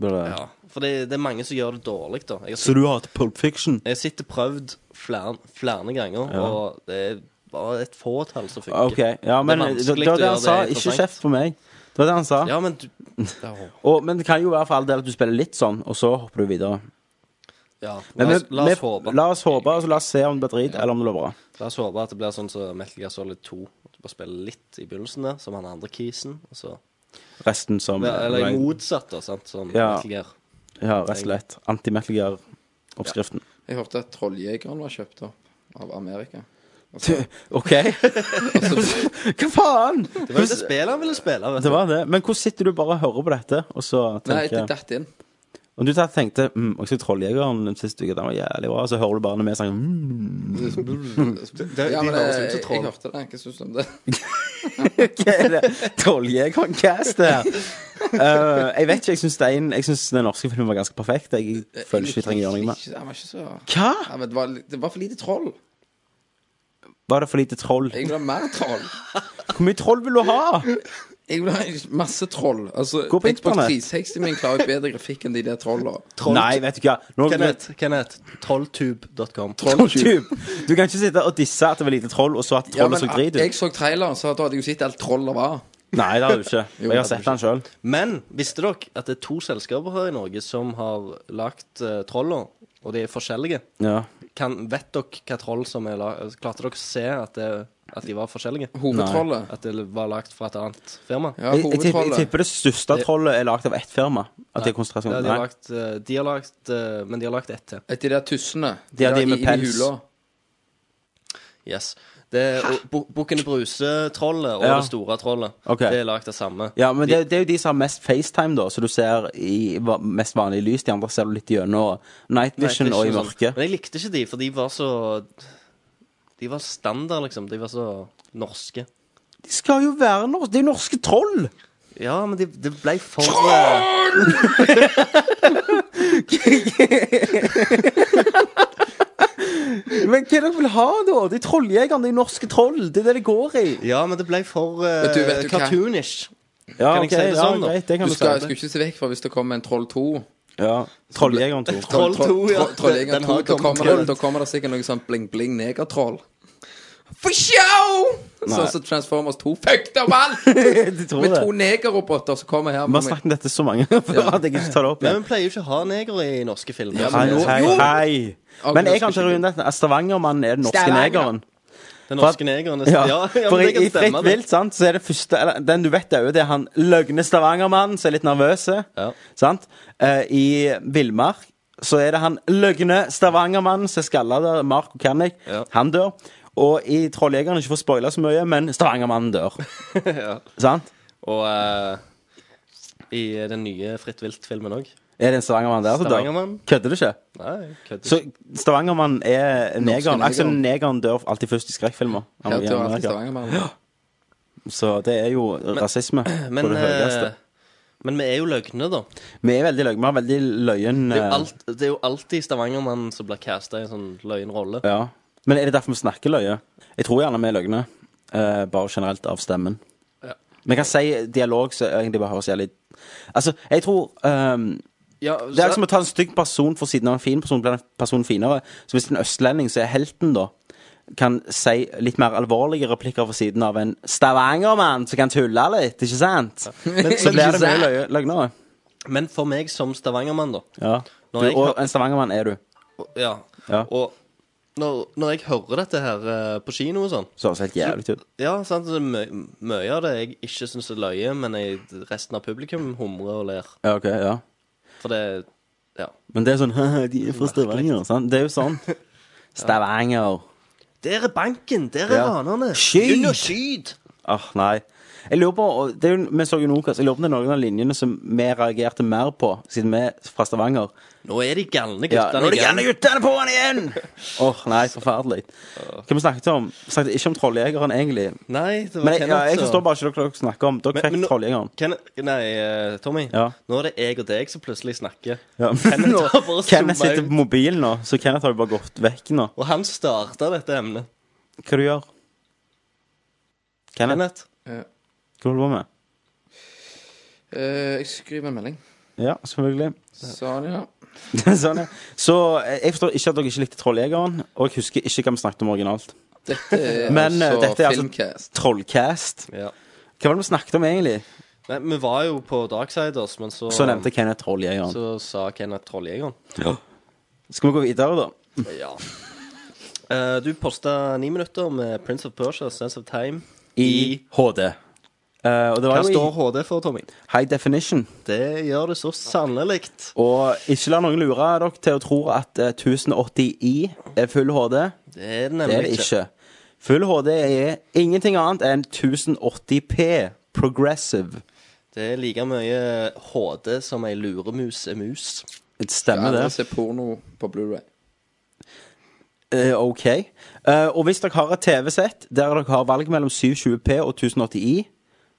Speaker 4: Bare,
Speaker 3: Ja. For det, det er mange som gjør det dårlig, da. Jeg har
Speaker 4: Så du hater Pulp Fiction?
Speaker 3: Jeg sitter prøvd flere, flere ganger, og det er bare et fåtall som funker.
Speaker 4: OK. Ja, men det, det,
Speaker 3: vanskelig
Speaker 4: var
Speaker 3: å
Speaker 4: det han
Speaker 3: gjøre
Speaker 4: sa.
Speaker 3: det
Speaker 4: Ikke
Speaker 3: interessant.
Speaker 4: kjeft på meg. Det var det han sa.
Speaker 3: Ja, men du Ja.
Speaker 4: Og, men det kan jo være for all del at du spiller litt sånn, og så hopper du videre.
Speaker 3: ja.
Speaker 4: Men
Speaker 3: La, oss,
Speaker 4: vi-
Speaker 3: la oss
Speaker 4: vi-
Speaker 3: håpe.
Speaker 4: La oss håpe, og så la oss se om det blir drit, eller om det blir bra.
Speaker 3: La oss håpe at det blir sånn som Metal Gear Solid 2. At du bare spiller litt i begynnelsen der, som han andre kisen, og så
Speaker 4: Resten som
Speaker 3: Eller motsatt, da, sant, som
Speaker 4: Ja.
Speaker 3: Metal Gear.
Speaker 4: Ja, rett og slett. Anti-Metal Gear-oppskriften.
Speaker 2: Jeg hørte at Trolljegeren var kjøpt opp av Amerika.
Speaker 4: OK? Hva faen?
Speaker 3: Det var jo det spillet han ville spille, vet
Speaker 4: Det
Speaker 3: du.
Speaker 4: var det. Men hvordan sitter du bare og hører på dette, og så
Speaker 2: Nei, det
Speaker 4: tenker
Speaker 2: datt inn.
Speaker 4: Om du tatt- tenkte mm, Og så Trolljegeren sist uke, den var jævlig bra, og så hører du bare når vi sang mm.
Speaker 3: de
Speaker 2: Ja, men
Speaker 3: høres
Speaker 2: jeg,
Speaker 3: ut som
Speaker 2: jeg
Speaker 3: troll.
Speaker 2: hørte det. Hva syns du om det?
Speaker 4: Hva er det? Trolljegeren-cast, det her. Eh, jeg vet ikke. Jeg syns den, jeg synes den norske filmen var ganske perfekt. Jeg føler ikke vi trenger gjøre noe med
Speaker 2: Ikke- Han var ikke så
Speaker 4: Hva?
Speaker 2: ja, men det, var, det var for lite troll.
Speaker 4: Var det for lite troll?
Speaker 2: Jeg vil ha mer troll.
Speaker 4: Hvor mye troll vil du ha?
Speaker 2: Jeg vil ha masse troll. Altså,
Speaker 4: Gå på
Speaker 2: Xbox
Speaker 4: internett.
Speaker 2: 360 min klarer jo bedre grafikk enn de der trolla.
Speaker 3: Troll-
Speaker 4: Nei, vet du hva. Nå,
Speaker 3: Kenneth, Kenneth. Trolltube.com.
Speaker 4: Trolltube. Du kan ikke sitte og disse at det var lite troll, og så at trollet så drit ut.
Speaker 2: jeg så traileren, så da hadde jeg jo sett alt trollet var.
Speaker 4: Nei, det har du ikke.
Speaker 2: Jo,
Speaker 4: jeg
Speaker 2: det
Speaker 4: har sett
Speaker 2: har
Speaker 4: den sjøl.
Speaker 3: Men visste dere at det er to selskaper her i Norge som har lagt uh, troller, og de er forskjellige?
Speaker 4: Ja.
Speaker 3: Kan, vet dere hva troll som er lagd Klarte dere å se at, det, at de var forskjellige?
Speaker 2: Hovedtrollet.
Speaker 3: At det var lagd fra et annet firma?
Speaker 2: Ja,
Speaker 4: Jeg, jeg, tipper, jeg
Speaker 2: hovedtrollet.
Speaker 4: tipper det største trollet er lagd av ett firma. At det er
Speaker 3: Ja,
Speaker 4: konsentrasjon.
Speaker 3: de har
Speaker 4: Nei.
Speaker 3: lagt, eh, de har lagt eh, Men de har lagt ett til.
Speaker 2: Et de der tussene.
Speaker 4: De er de
Speaker 2: der
Speaker 4: med
Speaker 2: i- i
Speaker 4: pels.
Speaker 2: hula.
Speaker 3: Yes. Det er og Bu- Bukken i Bruse-trollet og
Speaker 4: Ja.
Speaker 3: det store trollet.
Speaker 4: Ok.
Speaker 3: Det er lagd av samme.
Speaker 4: Ja, men det, det er jo de som har mest FaceTime, da, så du ser i va- mest vanlig lys. De andre ser du litt gjennom night vision og i
Speaker 3: Night Vision
Speaker 4: mørket.
Speaker 3: sånn. Men jeg likte ikke de, for de var så De var standard, liksom. De var så norske.
Speaker 4: De skal jo være norske. Det er jo norske troll!
Speaker 3: Ja, men det de ble for eh, Troll!
Speaker 4: Men hva er det dere vil ha, da? De trolljegerne, de norske troll. Det er det det går i.
Speaker 3: Ja, men det ble for eh,
Speaker 2: Vet du- vet du hva?
Speaker 3: cartoonish.
Speaker 4: Ja,
Speaker 3: Kan jeg si det
Speaker 4: ja,
Speaker 3: sånn, da?
Speaker 4: greit, det kan
Speaker 2: Du
Speaker 4: du,
Speaker 2: skal, jeg
Speaker 4: si.
Speaker 2: skal ikke se vekk fra hvis det kommer en Troll 2.
Speaker 4: Ja. Trolljegeren 2.
Speaker 3: Troll 2, ja.
Speaker 2: Troll- Trolljegeren
Speaker 3: Den
Speaker 2: 2,
Speaker 3: har
Speaker 2: da
Speaker 3: kommet.
Speaker 2: kommer, det, da kommer det sikkert noe sånn bling-bling negertroll. For show! Sånn som Transformers 2. Fuck dem alt!
Speaker 4: Jeg tror
Speaker 2: Med
Speaker 4: det.
Speaker 2: to negerroboter som kommer her.
Speaker 4: Vi har
Speaker 2: med-
Speaker 4: snakket om dette så mange før at jeg ikke tar det opp
Speaker 3: Nei,
Speaker 4: igjen.
Speaker 3: men vi pleier jo ikke å ha negere i norske filmer.
Speaker 2: Ja,
Speaker 4: Hei,
Speaker 2: men-
Speaker 4: hei, hei.
Speaker 2: Ok,
Speaker 4: Men
Speaker 2: nå skal
Speaker 4: jeg kan ikke
Speaker 2: ikke-
Speaker 4: runde dette. Altså, Stavangermannen er den norske
Speaker 2: Stavanger.
Speaker 4: negeren.
Speaker 3: Den
Speaker 4: For at-
Speaker 3: norske negeren.
Speaker 4: Ja,
Speaker 3: Ja, ja,
Speaker 4: for
Speaker 3: men
Speaker 4: i,
Speaker 3: det kan
Speaker 4: i Fritt
Speaker 3: stemme. det.
Speaker 4: vilt sant, så er det første eller, Den du vet dauer, det er han løgne stavangermannen som er litt nervøs.
Speaker 3: Ja.
Speaker 4: Sant? Eh, I villmark så er det han løgne stavangermannen som er skalla der, Marco Canik.
Speaker 3: Ja.
Speaker 4: Han dør. Og i Trolljegerne, ikke for å spoile så mye, men stavangermannen dør.
Speaker 3: ja.
Speaker 4: sant?
Speaker 3: Og eh, i den nye Fritt vilt-filmen òg.
Speaker 4: Er det en stavangermann der som dør?
Speaker 3: Stavangermann?
Speaker 4: Kødder du ikke?
Speaker 3: Nei, kødder
Speaker 4: Så stavangermann er negeren.
Speaker 2: negeren.
Speaker 4: Aksel Negeren dør alltid først i skrekkfilmer.
Speaker 2: Ja,
Speaker 4: Han må
Speaker 2: det var
Speaker 4: gjerne
Speaker 2: alltid
Speaker 4: være-
Speaker 2: Stavanger-mannen.
Speaker 4: Så det er jo rasisme på
Speaker 3: Men,
Speaker 4: det høyeste.
Speaker 3: eh, men vi er jo løgne, da.
Speaker 4: Vi er veldig løgne. Vi har veldig løyen
Speaker 3: Det er jo,
Speaker 4: eh,
Speaker 3: alt, det er jo alltid Stavangermannen som blir casta i en sånn løgnrolle.
Speaker 4: Ja. Men er det derfor vi snakker løye? Jeg tror gjerne vi er løgne. eh, bare generelt av stemmen.
Speaker 3: Ja.
Speaker 4: Vi kan si dialog som egentlig bare høres jævlig Altså, jeg tror ehm,
Speaker 3: Ja,
Speaker 4: Det er som å ta en stygg person for siden av en fin person, blir den personen finere. Så hvis det er en østlending, så er helten, da, kan si litt mer alvorlige replikker for siden av en stavangermann som kan tulle litt, ikke sant? så blir det mye løye- løgnere.
Speaker 3: Men for meg som Stavangermann, da
Speaker 4: Ja. Du,
Speaker 3: Når jeg
Speaker 4: og
Speaker 3: har-
Speaker 4: en stavangermann er du.
Speaker 3: og- Ja.
Speaker 4: Ja.
Speaker 3: Og når, når jeg hører dette her eh, på kino og sånn
Speaker 4: Så høres helt jævlig ut.
Speaker 3: Ja, sant, så mø- mye av det jeg ikke syns er løye, men jeg, resten av publikum humrer og ler.
Speaker 4: Ja, ok, ja.
Speaker 3: For det Ja.
Speaker 4: Men det er sånn De er fra Stavanger. Sant? Det er jo sånn. Stavanger.
Speaker 3: Der er banken! Der er
Speaker 4: Ja.
Speaker 3: ranerne!
Speaker 4: Skyt!
Speaker 3: Begynn å skyte!
Speaker 4: Åh, Ah, nei. Jeg lurer på, og det er jo, Vi så jo Nokas. Jeg lurer på om det er noen av linjene som vi reagerte mer på, siden vi er fra Stavanger.
Speaker 3: Nå er de galne
Speaker 4: Ja,
Speaker 3: guttene
Speaker 4: nå er det gjerne guttene på han igjen! Åh, nei, forferdelig. Hva vi snakket om? Vi snakket ikke om Trolljegeren, egentlig.
Speaker 3: Nei, det var
Speaker 4: Men jeg, ja,
Speaker 3: Kenneth
Speaker 4: jeg
Speaker 3: som-
Speaker 4: forstår bare ikke hva dere snakker om. Dere
Speaker 3: Men- men
Speaker 4: fikk
Speaker 3: nå-
Speaker 4: Trolljegeren.
Speaker 3: Kenneth, nei, eh, Tommy.
Speaker 4: Ja.
Speaker 3: Nå er det jeg og deg som plutselig snakker.
Speaker 4: Ja.
Speaker 3: Kenneth
Speaker 4: Nå-
Speaker 3: har bare
Speaker 4: Kenneth
Speaker 3: zoomet
Speaker 4: sitter
Speaker 3: ut.
Speaker 4: på mobilen nå, så Kenneth har jo bare gått vekk nå.
Speaker 3: Og han starta dette emnet.
Speaker 4: Hva du gjør Kenneth,
Speaker 3: Kenneth.
Speaker 2: Ja.
Speaker 4: hva holder du på med?
Speaker 2: Eh, Jeg skriver en melding.
Speaker 4: Ja, selvfølgelig.
Speaker 2: Sånn, ja.
Speaker 4: sånn, ja. Så eh, jeg forstår ikke at dere ikke likte Trolljegeren, og jeg husker ikke hva vi snakket om originalt.
Speaker 2: Dette er
Speaker 4: Men, eh,
Speaker 2: altså
Speaker 4: dette er altså-
Speaker 2: Filmcast.
Speaker 4: Trollcast.
Speaker 3: Ja.
Speaker 4: Hva var det vi snakket om egentlig?
Speaker 3: Nei, vi var jo på Darksiders, men så
Speaker 4: Så nevnte Kenneth Trolljegeren.
Speaker 3: Så sa Kenneth Trolljegeren.
Speaker 4: Skal vi gå videre, da?
Speaker 3: Ja. Eh, du posta ni minutter med Prince of Persia, Sense of Time.
Speaker 4: I HD. Eh, og det
Speaker 3: Hva
Speaker 4: var jo
Speaker 3: står
Speaker 4: i
Speaker 3: HD for, Tommy?
Speaker 4: High Definition.
Speaker 3: Det gjør det så sannelig.
Speaker 4: Og ikke la noen lure dere til å tro at eh, 1080i er full HD.
Speaker 3: Det er det
Speaker 4: Det
Speaker 3: nemlig
Speaker 4: er det ikke. Full HD er ingenting annet enn 1080p progressive.
Speaker 3: Det er like mye HD som ei luremus er mus.
Speaker 4: Det
Speaker 2: Jeg
Speaker 4: stemmer,
Speaker 2: har
Speaker 4: det.
Speaker 2: aldri sett porno på Blu-ray.
Speaker 4: Eh, OK. Eh, og hvis dere har et TV-sett der dere har valg mellom 720P og 1080i,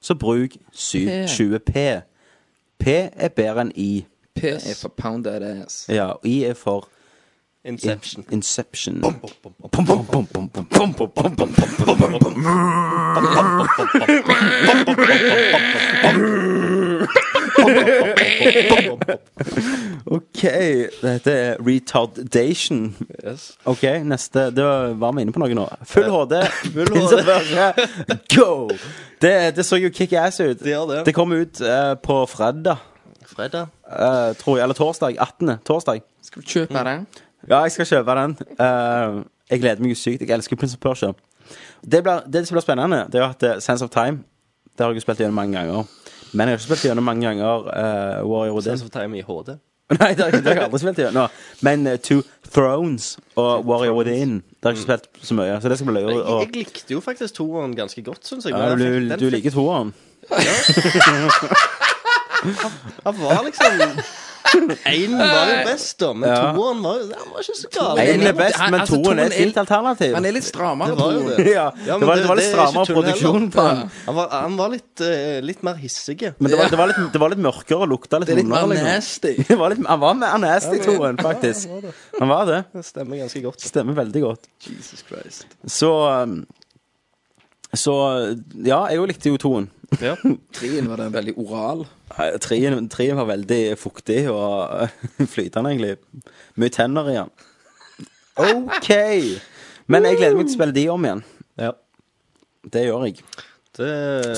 Speaker 4: så bruk 720P. P er bedre enn I.
Speaker 2: P er for pound that ass.
Speaker 4: Ja, og I er for in-
Speaker 3: Inception.
Speaker 4: Inception. OK. Dette er retardation.
Speaker 3: Yes.
Speaker 4: OK, neste. Da var vi inne på noe nå. Full HD.
Speaker 3: Full
Speaker 4: Pins
Speaker 3: HD.
Speaker 4: og børre. Go! Det, det så jo kickass ut.
Speaker 3: Det gjør det.
Speaker 4: Det kom ut eh, på fredag,
Speaker 3: Fredag.
Speaker 4: eh, tror jeg. Eller torsdag. 18. torsdag.
Speaker 2: Skal du kjøpe den?
Speaker 4: Ja, jeg skal kjøpe den. Eh, jeg gleder meg jo sykt. Jeg elsker Prince of Persia. Det, blir, det som blir spennende, det er jo at eh, Sense of Time Det har jeg jo spilt gjennom mange ganger. Men jeg har ikke spilt gjennom mange ganger eh, Warrior Within.
Speaker 3: Sense of Time i HD.
Speaker 4: Nei, det har jeg- det har jeg aldri spilt gjennom. Men eh, Two Thrones og Warrior Within Det har jeg ikke spilt så mye, så det skal bli løye.
Speaker 3: Jeg,
Speaker 4: å-
Speaker 3: jeg likte jo faktisk toeren ganske godt, syns jeg.
Speaker 4: Ja,
Speaker 3: men den
Speaker 4: du,
Speaker 3: fikk- den
Speaker 4: du
Speaker 3: fikk-
Speaker 4: liker toeren?
Speaker 3: Han var liksom Én var jo best, da, men
Speaker 4: Ja.
Speaker 3: toeren var, jo- han var ikke så gal.
Speaker 4: Én er best,
Speaker 2: Han-
Speaker 4: men
Speaker 2: altså,
Speaker 4: toen er
Speaker 2: toen
Speaker 4: et fint
Speaker 2: er-
Speaker 4: alternativ.
Speaker 2: Han er litt strammere
Speaker 3: Det var jo
Speaker 2: på
Speaker 3: det.
Speaker 4: Ja, det
Speaker 3: Ja, men
Speaker 4: var,
Speaker 3: det-
Speaker 4: det var litt
Speaker 3: det er ikke
Speaker 4: strammere
Speaker 3: tull
Speaker 4: produksjon på den.
Speaker 3: Han var, han var litt, eh, litt mer hissig.
Speaker 4: Men det var, det var, litt, det var litt mørkere og lukta litt
Speaker 2: Det er litt
Speaker 4: vondere,
Speaker 2: mer
Speaker 4: liksom.
Speaker 2: nasty.
Speaker 4: Det var litt, han var mer nasty, toen, faktisk. Han var det.
Speaker 3: Det stemmer ganske godt.
Speaker 4: Stemmer veldig godt.
Speaker 2: Jesus Christ.
Speaker 4: Så um, Så ja, jeg òg likte jo toen.
Speaker 3: Ja.
Speaker 2: Trien var den veldig oral.
Speaker 4: Eh, Treen treen var veldig fuktig og eh, flytende, egentlig. Mye tenner i den. OK! Men jeg gleder meg til å spille de om igjen.
Speaker 3: Ja.
Speaker 4: Det gjør jeg.
Speaker 3: Det,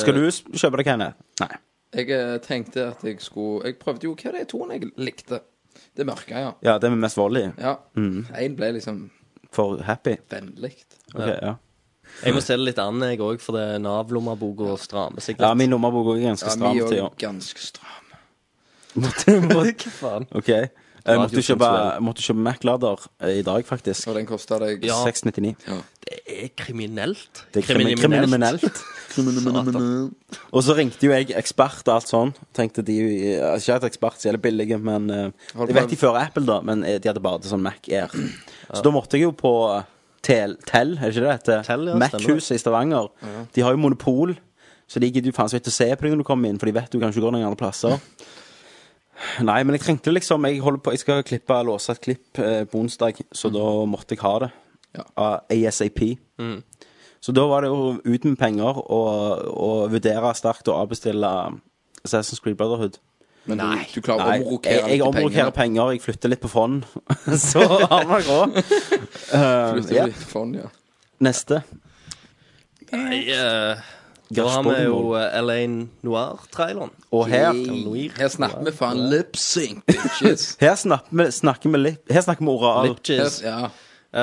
Speaker 4: Skal du s- kjøpe det, Kenneth? Nei.
Speaker 2: Jeg eh, tenkte at jeg skulle Jeg prøvde jo hva er det toen jeg likte. Det mørke, ja.
Speaker 4: Ja, det med mest vold i.
Speaker 2: Ja. Én ble liksom
Speaker 4: For happy.
Speaker 2: vennlig.
Speaker 4: Ok, ja.
Speaker 3: Jeg må se det litt an, jeg òg, for det Nav-lommeboka strammer seg
Speaker 4: Ja,
Speaker 3: litt.
Speaker 4: min lommebok er ganske
Speaker 2: Ja,
Speaker 4: stram
Speaker 2: vi
Speaker 4: til
Speaker 2: er
Speaker 4: ja.
Speaker 2: òg ganske stram.
Speaker 3: Hva faen?
Speaker 4: OK. Eh, Jeg måtte jo kjøpe,
Speaker 3: Radiosensuell.
Speaker 4: måtte kjøpe Mac-lader eh, i dag, faktisk.
Speaker 2: Og den kosta deg
Speaker 3: Ja.
Speaker 4: 699.
Speaker 3: Det er kriminelt.
Speaker 4: Det er krimi- kriminelt.
Speaker 3: Satan.
Speaker 4: Og så ringte jo jeg ekspert og alt sånn. Tenkte de eh, Ikke at ekspert så jævlig billige, men eh,
Speaker 2: Har du
Speaker 4: Jeg vet
Speaker 2: prøvd-
Speaker 4: de fører Apple, da, men eh, de hadde bare til sånn Mac Air. Så da måtte jeg jo på eh, Tel, tel er ikke det det heter?
Speaker 3: Tel, ja,
Speaker 4: Mac-huset i Stavanger. De har jo monopol, så de gidder jo faen så vidt å se på deg når du kommer inn, for de vet du kan ikke gå noen andre plasser. Nei, men jeg trengte liksom Jeg, holder på, jeg skal klippe låse et klipp eh, på onsdag, så da måtte jeg ha det.
Speaker 2: Ja.
Speaker 4: Av ASAP. Så da var det jo ut med penger og, og vurdere sterkt å avbestille Assassin's Creed Brotherhood.
Speaker 2: Men du, du klarer å
Speaker 4: Nei, jeg,
Speaker 2: omrokere
Speaker 4: jeg
Speaker 2: litt
Speaker 4: omrokerer penger, jeg flytter litt på fond. Så har vi råd.
Speaker 2: Plutselig
Speaker 4: Eh, ja.
Speaker 2: blir det fond, ja.
Speaker 4: Neste.
Speaker 3: Nei, eh, da har vi jo eh, Elaine Noir-traileren.
Speaker 4: Og her,
Speaker 3: Noir.
Speaker 2: Her snakker vi faen lipsync, bitches.
Speaker 4: her snakker vi, snakker vi litt Her snakker vi oral.
Speaker 2: Her,
Speaker 3: Lipchis.
Speaker 2: ja.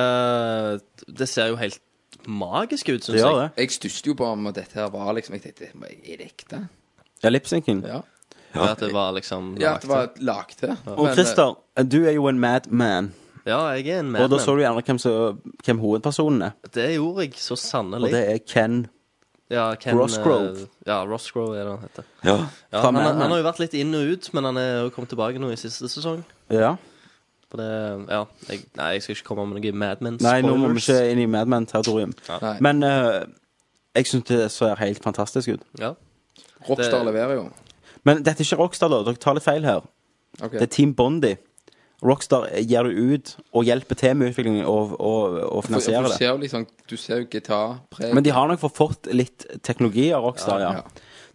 Speaker 3: Eh, det ser jo helt magisk ut, syns
Speaker 4: Det gjør
Speaker 3: jeg.
Speaker 4: det.
Speaker 2: Jeg stusset jo på om dette her var liksom Jeg tenkte, er det ekte?
Speaker 4: Ja, lipsyncing.
Speaker 2: Ja.
Speaker 3: Ja, At det var liksom
Speaker 2: ja, at det var lagt til.
Speaker 4: Og Christer, du er jo en madman.
Speaker 3: Ja, jeg er en
Speaker 4: Og da så
Speaker 3: madman.
Speaker 4: du gjerne hvem, som- hvem hovedpersonen er.
Speaker 3: Det gjorde jeg så
Speaker 4: Og
Speaker 3: sannelig.
Speaker 4: det er Ken
Speaker 3: ja, Ken,
Speaker 4: Rosgrove.
Speaker 3: eh, Ja, Rosgrove er det han heter.
Speaker 4: ja,
Speaker 3: Ja, han, han, har jo vært litt inn og ut, men han er jo kommet tilbake nå i siste sesong.
Speaker 4: Ja.
Speaker 3: For det, ja, jeg, nei, jeg skal ikke komme med noen Madmen
Speaker 4: Nei, nå må vi ikke inn i madman-territorium.
Speaker 2: Nei.
Speaker 4: Men eh, jeg syns det ser helt fantastisk ut.
Speaker 3: Ja.
Speaker 2: Rockstar
Speaker 3: det-
Speaker 2: leverer jo.
Speaker 4: Men dette er ikke Rockstar, da. Dere tar litt feil her.
Speaker 2: Ok.
Speaker 4: Det er Team Bondi. Rockstar gir det ut og hjelper til med utviklingen og, og, og
Speaker 2: For- for
Speaker 4: finansierer
Speaker 2: du
Speaker 4: det.
Speaker 2: ser jo liksom Du ser jo gitarpreg.
Speaker 4: Men de har nok fått litt teknologi av Rockstar,
Speaker 2: Ja,
Speaker 4: ja.
Speaker 2: ja.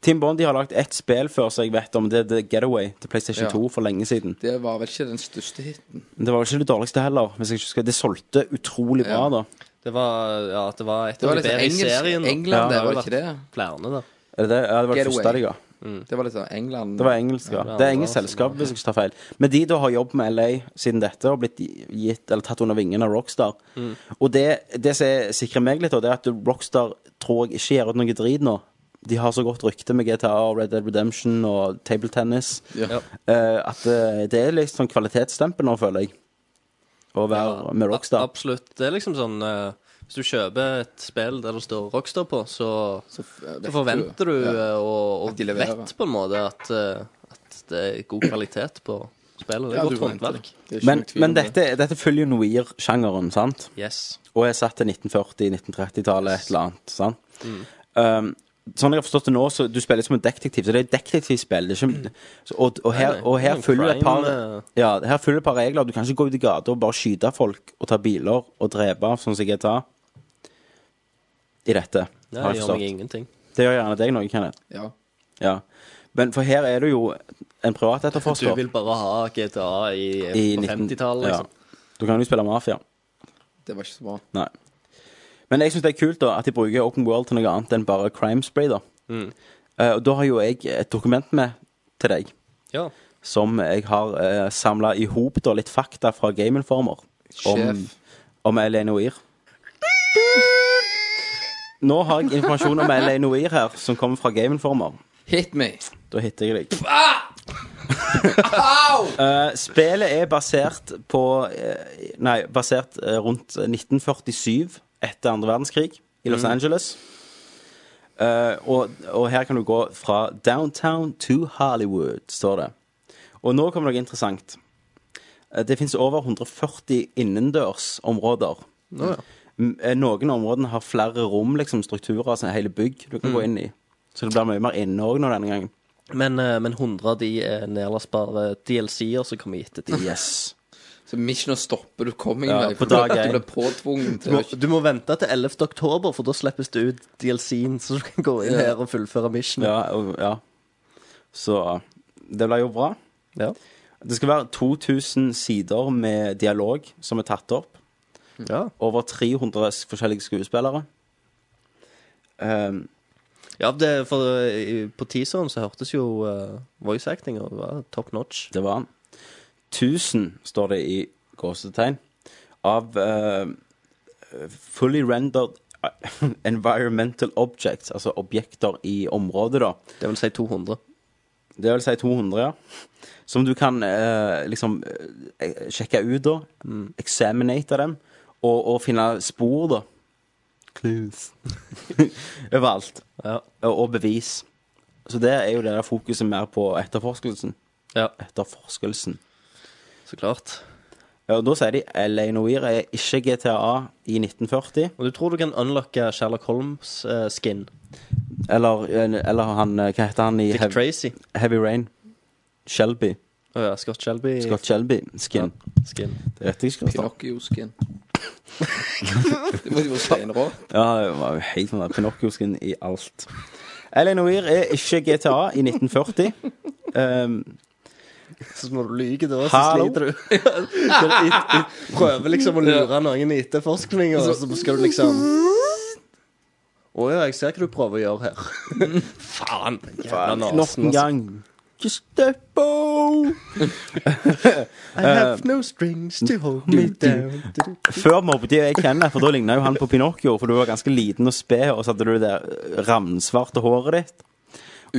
Speaker 4: Team Bondi har lagd ett spill før, så jeg vet om det er The Getaway til PlayStation
Speaker 2: Ja.
Speaker 4: 2 for lenge siden.
Speaker 2: Det var vel ikke den største hiten.
Speaker 4: Men Det var ikke det dårligste heller. Hvis jeg ikke husker. Det solgte utrolig bra,
Speaker 2: Ja.
Speaker 4: da.
Speaker 3: Det var, ja, det var et
Speaker 2: Det
Speaker 3: av
Speaker 2: var
Speaker 3: de
Speaker 2: liksom
Speaker 3: bedre i serien.
Speaker 2: engelsk,
Speaker 3: da.
Speaker 2: England,
Speaker 4: Ja,
Speaker 2: det
Speaker 3: det
Speaker 2: var
Speaker 3: var
Speaker 2: ikke det?
Speaker 3: Flere, da.
Speaker 4: Er det det? Ja, det var det
Speaker 2: Getaway.
Speaker 4: første de ga.
Speaker 2: Det var liksom England
Speaker 4: Det var engelsk, ja.
Speaker 3: det
Speaker 4: Det er
Speaker 3: var
Speaker 4: engelsk
Speaker 3: sånn,
Speaker 4: selskap, hvis jeg ikke tar feil. Men de da har jobb med LA siden dette, og blitt gitt, eller tatt under vingen av Rockstar.
Speaker 3: Mm.
Speaker 4: Og det, det som er- sikrer meg litt, da, det er at Rockstar tror jeg ikke gjør ut noe drit nå. De har så godt rykte med GTA og Red Dead Redemption og table tennis
Speaker 2: Ja.
Speaker 4: eh, at eh, det er litt sånn kvalitetsstempel nå, føler jeg, å være med
Speaker 3: Ab-
Speaker 4: Rockstar.
Speaker 3: Absolutt. Det er liksom sånn eh, Hvis du kjøper et spill der det står Rockstar på, så,
Speaker 2: Så, f- vet
Speaker 3: så forventer du
Speaker 2: ja.
Speaker 3: eh, og,
Speaker 2: At
Speaker 3: og
Speaker 2: de leverer.
Speaker 3: vet på en måte at, eh, at det er god kvalitet på spillet. Det
Speaker 2: Ja,
Speaker 3: er
Speaker 2: du
Speaker 3: godt
Speaker 2: forventer
Speaker 3: håndverk.
Speaker 2: det. Det er ikke
Speaker 4: Men,
Speaker 2: noe tvil om
Speaker 4: men
Speaker 2: det.
Speaker 4: dette, dette følger jo noir-sjangeren, sant?
Speaker 3: Yes.
Speaker 4: Og er satt til 1940-1930-tallet, et eller annet. Sant?
Speaker 3: Mm.
Speaker 4: Um, sånn jeg har forstått det nå, så du spiller som en detektiv, så det er et detektivspill. Det er ikke, så, og, og her,
Speaker 3: Mm. Nei, nei.
Speaker 4: og her
Speaker 3: Det er
Speaker 4: følger et par
Speaker 3: crime, eh.
Speaker 4: Ja, her følger et par regler. Du kan ikke gå ut i gata og bare skyte folk og ta biler og drepe, sånn som GTA. I dette, har jeg
Speaker 3: Nei, det gjør meg
Speaker 4: forstått.
Speaker 3: ingenting.
Speaker 4: Det gjør gjerne deg noe, Kenneth.
Speaker 2: Ja.
Speaker 4: Ja. Men for her er du jo en
Speaker 3: Du
Speaker 4: privatetterforsker
Speaker 3: vil bare ha GTA i, eh,
Speaker 4: i
Speaker 3: på
Speaker 4: 19...
Speaker 3: 50-tallet,
Speaker 4: ja.
Speaker 3: liksom.
Speaker 4: Du kan jo spille mafia.
Speaker 2: Det var ikke så bra.
Speaker 4: Nei. Men jeg syns det er kult da at de bruker Open World til noe annet enn bare Crime Spray. da Eh, Og da har jo jeg et dokument med til deg
Speaker 3: Ja.
Speaker 4: som jeg har uh, samla i hop litt fakta fra Game Informer om,
Speaker 2: Sjef.
Speaker 4: om Elaine Noir. Nå har jeg informasjon om Elaine Noir her, som kommer fra Game Informer.
Speaker 2: Hit me!
Speaker 4: Da hitter jeg deg. Eh, spillet er basert på eh, Nei, basert eh, rundt 1947, etter andre verdenskrig, i Los Angeles. Eh, og, og her kan du gå fra downtown to Hollywood, står det. Og nå kommer noe interessant. Eh, det fins over 140 innendørsområder. M- eh, Noen områder har flere rom, liksom strukturer, altså hele bygg du kan gå inn i. Så det blir mye mer inne òg nå denne gangen.
Speaker 3: Men, eh, men 100 av de er nedlastbare DLC-er som kommer i ettertid.
Speaker 4: Yes.
Speaker 2: Så missioner stopper, du kommer ingen
Speaker 4: Ja,
Speaker 2: vei.
Speaker 4: på
Speaker 2: for Du
Speaker 4: dag
Speaker 2: du
Speaker 4: én.
Speaker 2: blir påtvungen
Speaker 3: Du
Speaker 2: til
Speaker 3: må,
Speaker 2: å
Speaker 3: du må vente til 11. oktober, for da slippes det ut DLC-en, så du kan gå inn her og fullføre mission.
Speaker 4: Ja, og- ja. Så det ble jo bra.
Speaker 3: Ja.
Speaker 4: Det skal være 2000 sider med dialog som er tatt opp.
Speaker 3: Ja.
Speaker 4: Over 300 s- forskjellige skuespillere. Ehm,
Speaker 3: Ja, det, for i- på teaseren så hørtes jo eh, voice acting og det var top notch.
Speaker 4: det var han. 1000, står det i gåsetegn, av eh, fully rendered environmental objects, altså objekter i området, da.
Speaker 3: Det vil si 200.
Speaker 4: Det vil si 200, ja. Som du kan eh, liksom eh, sjekke ut, da. Examinate dem. Og, og finne spor, da. Clues. Overalt.
Speaker 3: Ja.
Speaker 4: Og, og bevis. Så det er jo det der fokuset mer på etterforskelsen.
Speaker 3: ja,
Speaker 4: Etterforskelsen.
Speaker 3: så klart.
Speaker 4: Ja, og da sier de LA Noir er ikke GTA i 1940.
Speaker 3: Og du tror du kan unlocke Sherlock eh, Holmes-skin?
Speaker 4: Eller, eller han eh, Hva heter han i
Speaker 3: Dick
Speaker 4: Hev-
Speaker 3: Tracy.
Speaker 4: Heavy Rain? Shelby.
Speaker 3: Å ja, Scott Shelby.
Speaker 4: Scott Shelby-skin.
Speaker 3: Skin.
Speaker 4: Det er riktig skrift. da.
Speaker 2: Pinocchio-skin. det må jo være steinrå.
Speaker 4: Ja, det var jo helt sånn der Pinocchio-skin i alt. L.A. Noir er ikke GTA i 1940. Um,
Speaker 3: Så må du lyge, da, så
Speaker 4: Hallo?
Speaker 3: sliter du. Når du et- et- Prøver liksom å lure noen i etterforskning, og så skal du liksom Å ja, jeg ser hva du prøver å gjøre her. Faen! Jævla
Speaker 4: nok
Speaker 3: nasen.
Speaker 4: en
Speaker 3: altså.
Speaker 4: gang. Gestapo!
Speaker 3: I
Speaker 4: eh,
Speaker 3: have no strings to hold
Speaker 4: mm.
Speaker 3: me down.
Speaker 4: Før mobbet jeg Kenneth, for da ligna jo han på Pinocchio. For du var ganske liten og sped, og så hadde du det der ravnsvarte håret ditt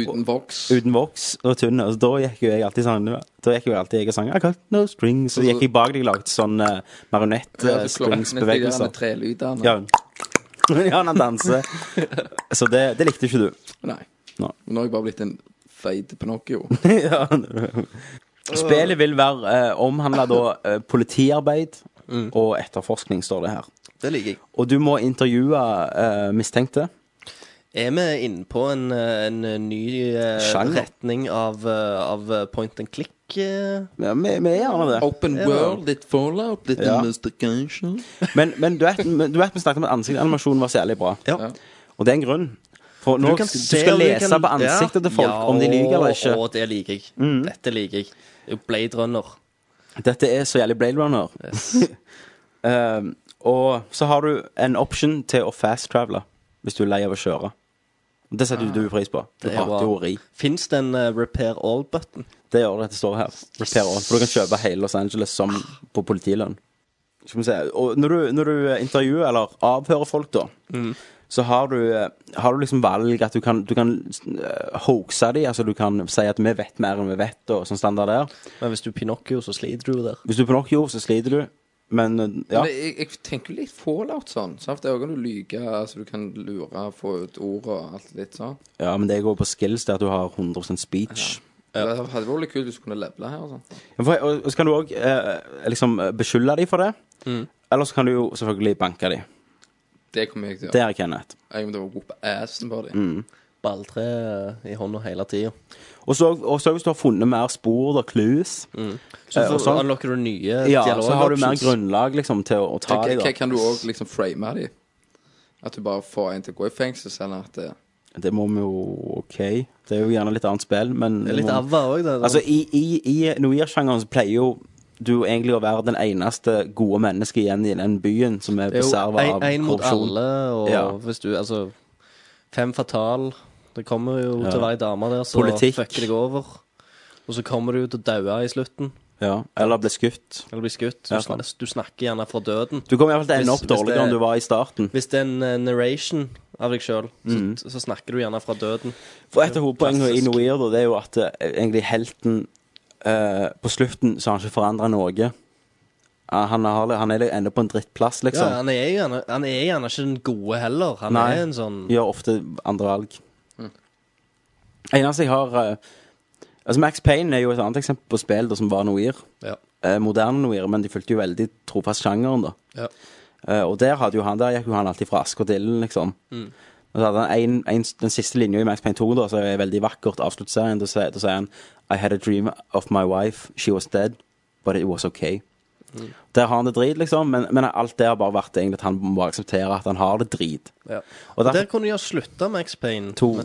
Speaker 2: Uten voks.
Speaker 4: uten voks og tynn. Og da gikk jo jeg alltid sånn Da gikk jo alltid jeg og sang I got no strings. Så gikk jeg bak deg og lagde sånn
Speaker 2: Ja,
Speaker 4: uh,
Speaker 2: så klokken etter de der
Speaker 4: marionett-strings-bevegelser.
Speaker 2: Trelydene.
Speaker 4: eh, Ja. ja, han danser. Så det, det likte ikke du.
Speaker 2: Nei.
Speaker 4: Nei.
Speaker 2: Men nå har jeg bare blitt en feit Pinocchio.
Speaker 4: ja. Spillet vil være eh, omhandla da eh, politiarbeid
Speaker 3: Mm.
Speaker 4: og etterforskning, står det her.
Speaker 3: Det liker jeg.
Speaker 4: Og du må intervjue eh, mistenkte.
Speaker 3: Er vi inne på en, eh, en ny eh,
Speaker 4: Sjanger.
Speaker 3: retning av, eh, av eh, point and click? eh?
Speaker 4: Ja, vi, vi er gjerne det.
Speaker 2: Open world, litt fallout, litt
Speaker 4: Ja.
Speaker 2: investigation.
Speaker 4: Men, men du, vet, men du vet vi snakket om at ansiktsanimasjonen var så jævlig bra.
Speaker 3: Ja.
Speaker 4: Og det er en grunn. For nå
Speaker 3: kan
Speaker 4: du
Speaker 3: se
Speaker 4: skal
Speaker 3: om du
Speaker 4: lese
Speaker 3: kan-
Speaker 4: på ansiktet
Speaker 3: Ja.
Speaker 4: til folk om de lyver eller ikke. Mm.
Speaker 3: Å, det liker jeg. Dette liker jeg. Det er jo Blade Runner.
Speaker 4: Dette er så jævlig Blade Runner. Ehm, og så har du en option til å fast travele hvis du er lei av å kjøre. Det setter du pris på. Du
Speaker 3: Ah. Det er
Speaker 4: har
Speaker 3: bra.
Speaker 4: teori.
Speaker 3: Fins det en eh, repair all-button?
Speaker 4: Det gjør det at det står her. Repair all. For du kan kjøpe hele Los Angeles som på politilønn. Skal vi se. Og når du, når du intervjuer eller avhører folk, da, så har du, har du liksom valg at du kan, du kan eh, hoaxe dem. Altså du kan si at 'vi vet mer enn vi vet', og sånn standard der.
Speaker 3: Men hvis du er Pinocchio, så sliter du der.
Speaker 4: Hvis du er på nok jord, så sliter du. Men eh, ja.
Speaker 2: Men jeg, jeg tenker litt fallout sånn. Sant? Der kan du lyge, altså du kan lure, få ut ord og alt litt sånn.
Speaker 4: Ja, men det går på skills, det at du har 100 speech.
Speaker 2: Det hadde vært litt kult hvis du kunne levele her. og sånn.
Speaker 4: Ja. For, og, og så kan du òg eh, liksom eh, beskylde dem for det. Eller så kan du jo selvfølgelig banke dem.
Speaker 2: Det kommer jeg til å
Speaker 4: Det Mm.
Speaker 2: gjøre.
Speaker 4: er Kenneth.
Speaker 2: Jeg må whoope assen på dem.
Speaker 3: Balltre eh, i hånda hele tida.
Speaker 4: Og så og så hvis du har funnet mer spor og clues,
Speaker 3: Så,
Speaker 4: Eh, og
Speaker 3: så
Speaker 4: sånn.
Speaker 3: unlocker du nye
Speaker 4: ja,
Speaker 3: dialog
Speaker 4: så har du mer
Speaker 3: options.
Speaker 4: grunnlag liksom til å, å ta
Speaker 2: K-
Speaker 4: dem.
Speaker 2: k- Kan du òg liksom frame dem? At du bare får en til å gå i fengsel, sånn at det,
Speaker 4: Det må vi jo OK. Det er jo gjerne litt annet spill, men
Speaker 3: Det er Litt
Speaker 4: må-
Speaker 3: avva òg, det. der.
Speaker 4: Altså, i, i, i noir-sjangeren så pleier jo du egentlig å være den eneste gode mennesket igjen i den byen som er
Speaker 3: Det er jo
Speaker 4: beserva
Speaker 3: en-
Speaker 4: av
Speaker 3: en mot
Speaker 4: korrupsjon.
Speaker 3: alle, og
Speaker 4: Ja.
Speaker 3: hvis du Altså, fem fatal Det kommer jo til å være ei dame der som
Speaker 4: Politikk.
Speaker 3: fucker deg over. Og så kommer du til å daue i slutten,
Speaker 4: Ja, eller ble skutt.
Speaker 3: eller blir skutt. Du,
Speaker 4: Ja,
Speaker 3: sn-
Speaker 4: sant.
Speaker 3: du snakker gjerne fra døden.
Speaker 4: Du kommer iallfall til å ende
Speaker 3: Hvis-
Speaker 4: opp
Speaker 3: hvis det-
Speaker 4: dårligere enn du var i starten.
Speaker 3: Hvis det er en eh, narration av deg sjøl,
Speaker 4: Mm.
Speaker 3: så, så snakker du gjerne fra døden.
Speaker 4: For et av hovedpoengene i
Speaker 3: Klassisk.
Speaker 4: Noir da, det er jo at eh, egentlig helten eh, på slutten så har han ikke forandra noe. Ah, Han, har, han er ennå på en drittplass,
Speaker 3: Ja,
Speaker 4: liksom.
Speaker 3: han er, gjerne, han er gjerne ikke den gode heller. Han
Speaker 4: Nei.
Speaker 3: er en sånn Mm.
Speaker 4: Gjør ofte andre valg. Eneste jeg har eh, Altså Max Payne er jo et annet eksempel på spill da, som var Noir.
Speaker 3: Ja.
Speaker 4: Eh, moderne Noir, men de fulgte jo veldig trofast sjangeren, da.
Speaker 3: Ja.
Speaker 4: Eh, og der hadde jo han Der gikk jo han alltid fra ask og dillen, liksom. Og så hadde han en, en, den siste linja i Max Payne 2, da, som er veldig vakkert, avslutter serien. Da sier da sier han I had a dream of my wife. She was dead, but it was okay. Der har han det drit, liksom, men, men alt det har bare vært egentlig at han må akseptere at han har det drit.
Speaker 3: Ja.
Speaker 4: Og
Speaker 3: Der
Speaker 4: derfor
Speaker 3: kunne de ha slutta med X-Pain.
Speaker 4: to ja.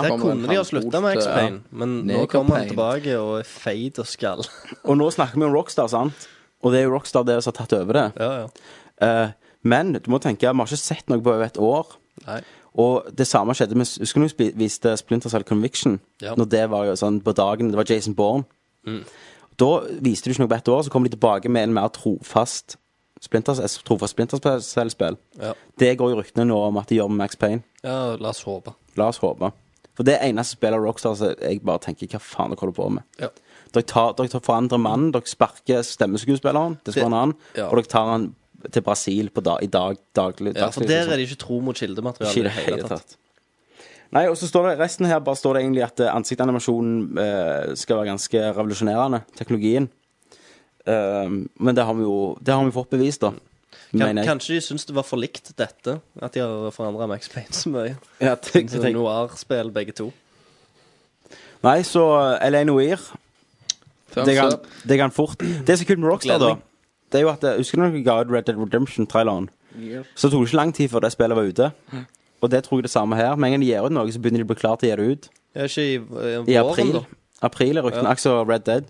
Speaker 3: Der
Speaker 2: Kommer
Speaker 3: kunne
Speaker 2: en
Speaker 3: de ha
Speaker 2: halv
Speaker 3: slutta
Speaker 2: bot,
Speaker 3: med
Speaker 2: ja.
Speaker 3: X-Pain, men nå
Speaker 2: Neger
Speaker 3: kommer han
Speaker 2: pain.
Speaker 3: tilbake og er feit og skall.
Speaker 4: Og nå snakker vi om Rockstar, sant? Og det er jo Rockstar det som har tatt over det.
Speaker 3: Ja, ja.
Speaker 4: Eh, men du må tenke, vi har ikke sett noe på over et år.
Speaker 3: Nei.
Speaker 4: Og det samme skjedde med Husker du vi viste Splinter Cell Conviction?
Speaker 3: Ja. Mm.
Speaker 4: Når det var jo sånn på dagen Det var Jason Bourne. Da viste du ikke noe på ett år, så kom de tilbake med en mer trofast Splinter, jeg tror for Splinter Cell-spill.
Speaker 3: Ja.
Speaker 4: Det går jo ryktene nå om at de gjør med Max Payne.
Speaker 3: ja, la oss håpe.
Speaker 4: La oss håpe. For det er eneste spillet av Rockstar som jeg bare tenker hva faen dere holder på med.
Speaker 3: Ja.
Speaker 4: Dere, tar, dere tar forandrer mannen, dere sparker stemmeskuespilleren, det skal
Speaker 3: Det-
Speaker 4: være en annen,
Speaker 3: ja.
Speaker 4: og dere tar han til Brasil på da, i dag, daglig. liksom.
Speaker 3: Ja, for der er de ikke tro mot kildemateriale
Speaker 4: Ikke i det hele tatt. Nei, og så står det resten her bare står det egentlig at eh, ansiktsanimasjonen eh, skal være ganske revolusjonerende, teknologien. Eh, men det har vi jo det har vi fått bevist, da.
Speaker 3: Kan,
Speaker 4: mener jeg.
Speaker 3: kanskje de syns det var for likt dette, at de har forandra Max Payne så mye.
Speaker 4: Ja, tenk,
Speaker 3: Sånn
Speaker 4: tenk.
Speaker 3: Noir-spill, begge to.
Speaker 4: Nei, så Elaine Weir
Speaker 2: Thumbs
Speaker 4: det kan,
Speaker 2: up.
Speaker 4: det kan fort Det som er kult med Rockstar,
Speaker 3: Gleder
Speaker 4: da
Speaker 3: meg.
Speaker 4: Det er jo at eh, Husker du når dere ga ut Red Dead Redemption-traileren? Så tok det ikke lang tid før det spillet var ute. Og det tror jeg det samme her. Med en gang de gir ut noe, så begynner de å bli klare til å gi det ut.
Speaker 3: Ja, ikke i, eh,
Speaker 4: I
Speaker 3: våren,
Speaker 4: april.
Speaker 3: da.
Speaker 4: April er ryktene.
Speaker 3: Ja.
Speaker 4: Altså Red Dead.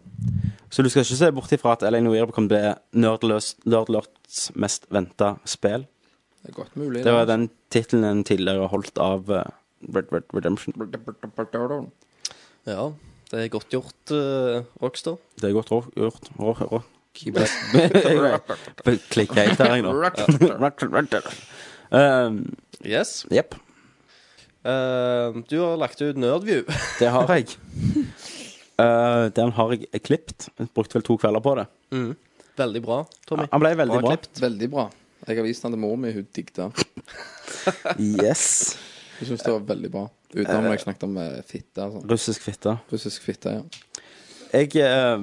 Speaker 4: Så du skal ikke se bort ifra at Elaine Weir kommer til å bli nerdløs- nerdlords mest venta spill.
Speaker 2: Det er godt mulig.
Speaker 4: Det var
Speaker 2: da.
Speaker 4: den tittelen en tidligere holdt av eh, Red Red Redemption.
Speaker 3: Ja, det er godt gjort, eh, Rockstar.
Speaker 4: Det er godt ro- gjort. Ro- ro- Klikk helt der, jeg nå. Um,
Speaker 3: Yes.
Speaker 4: Jepp.
Speaker 3: Eh, du har lagt ut Nerdview.
Speaker 4: Det har jeg. Eh, den har jeg klippet. Jeg brukte vel to kvelder på det.
Speaker 3: Veldig bra, Tommy.
Speaker 4: Han ble veldig bra.
Speaker 2: Veldig bra. Jeg har vist den til mor mi, hun digget den.
Speaker 4: Yes.
Speaker 2: Hun syntes det var veldig bra. Utenom når jeg snakket om eh, fitte. Altså.
Speaker 4: Russisk fitte.
Speaker 2: Russisk fitte, ja.
Speaker 4: Jeg, eh, jeg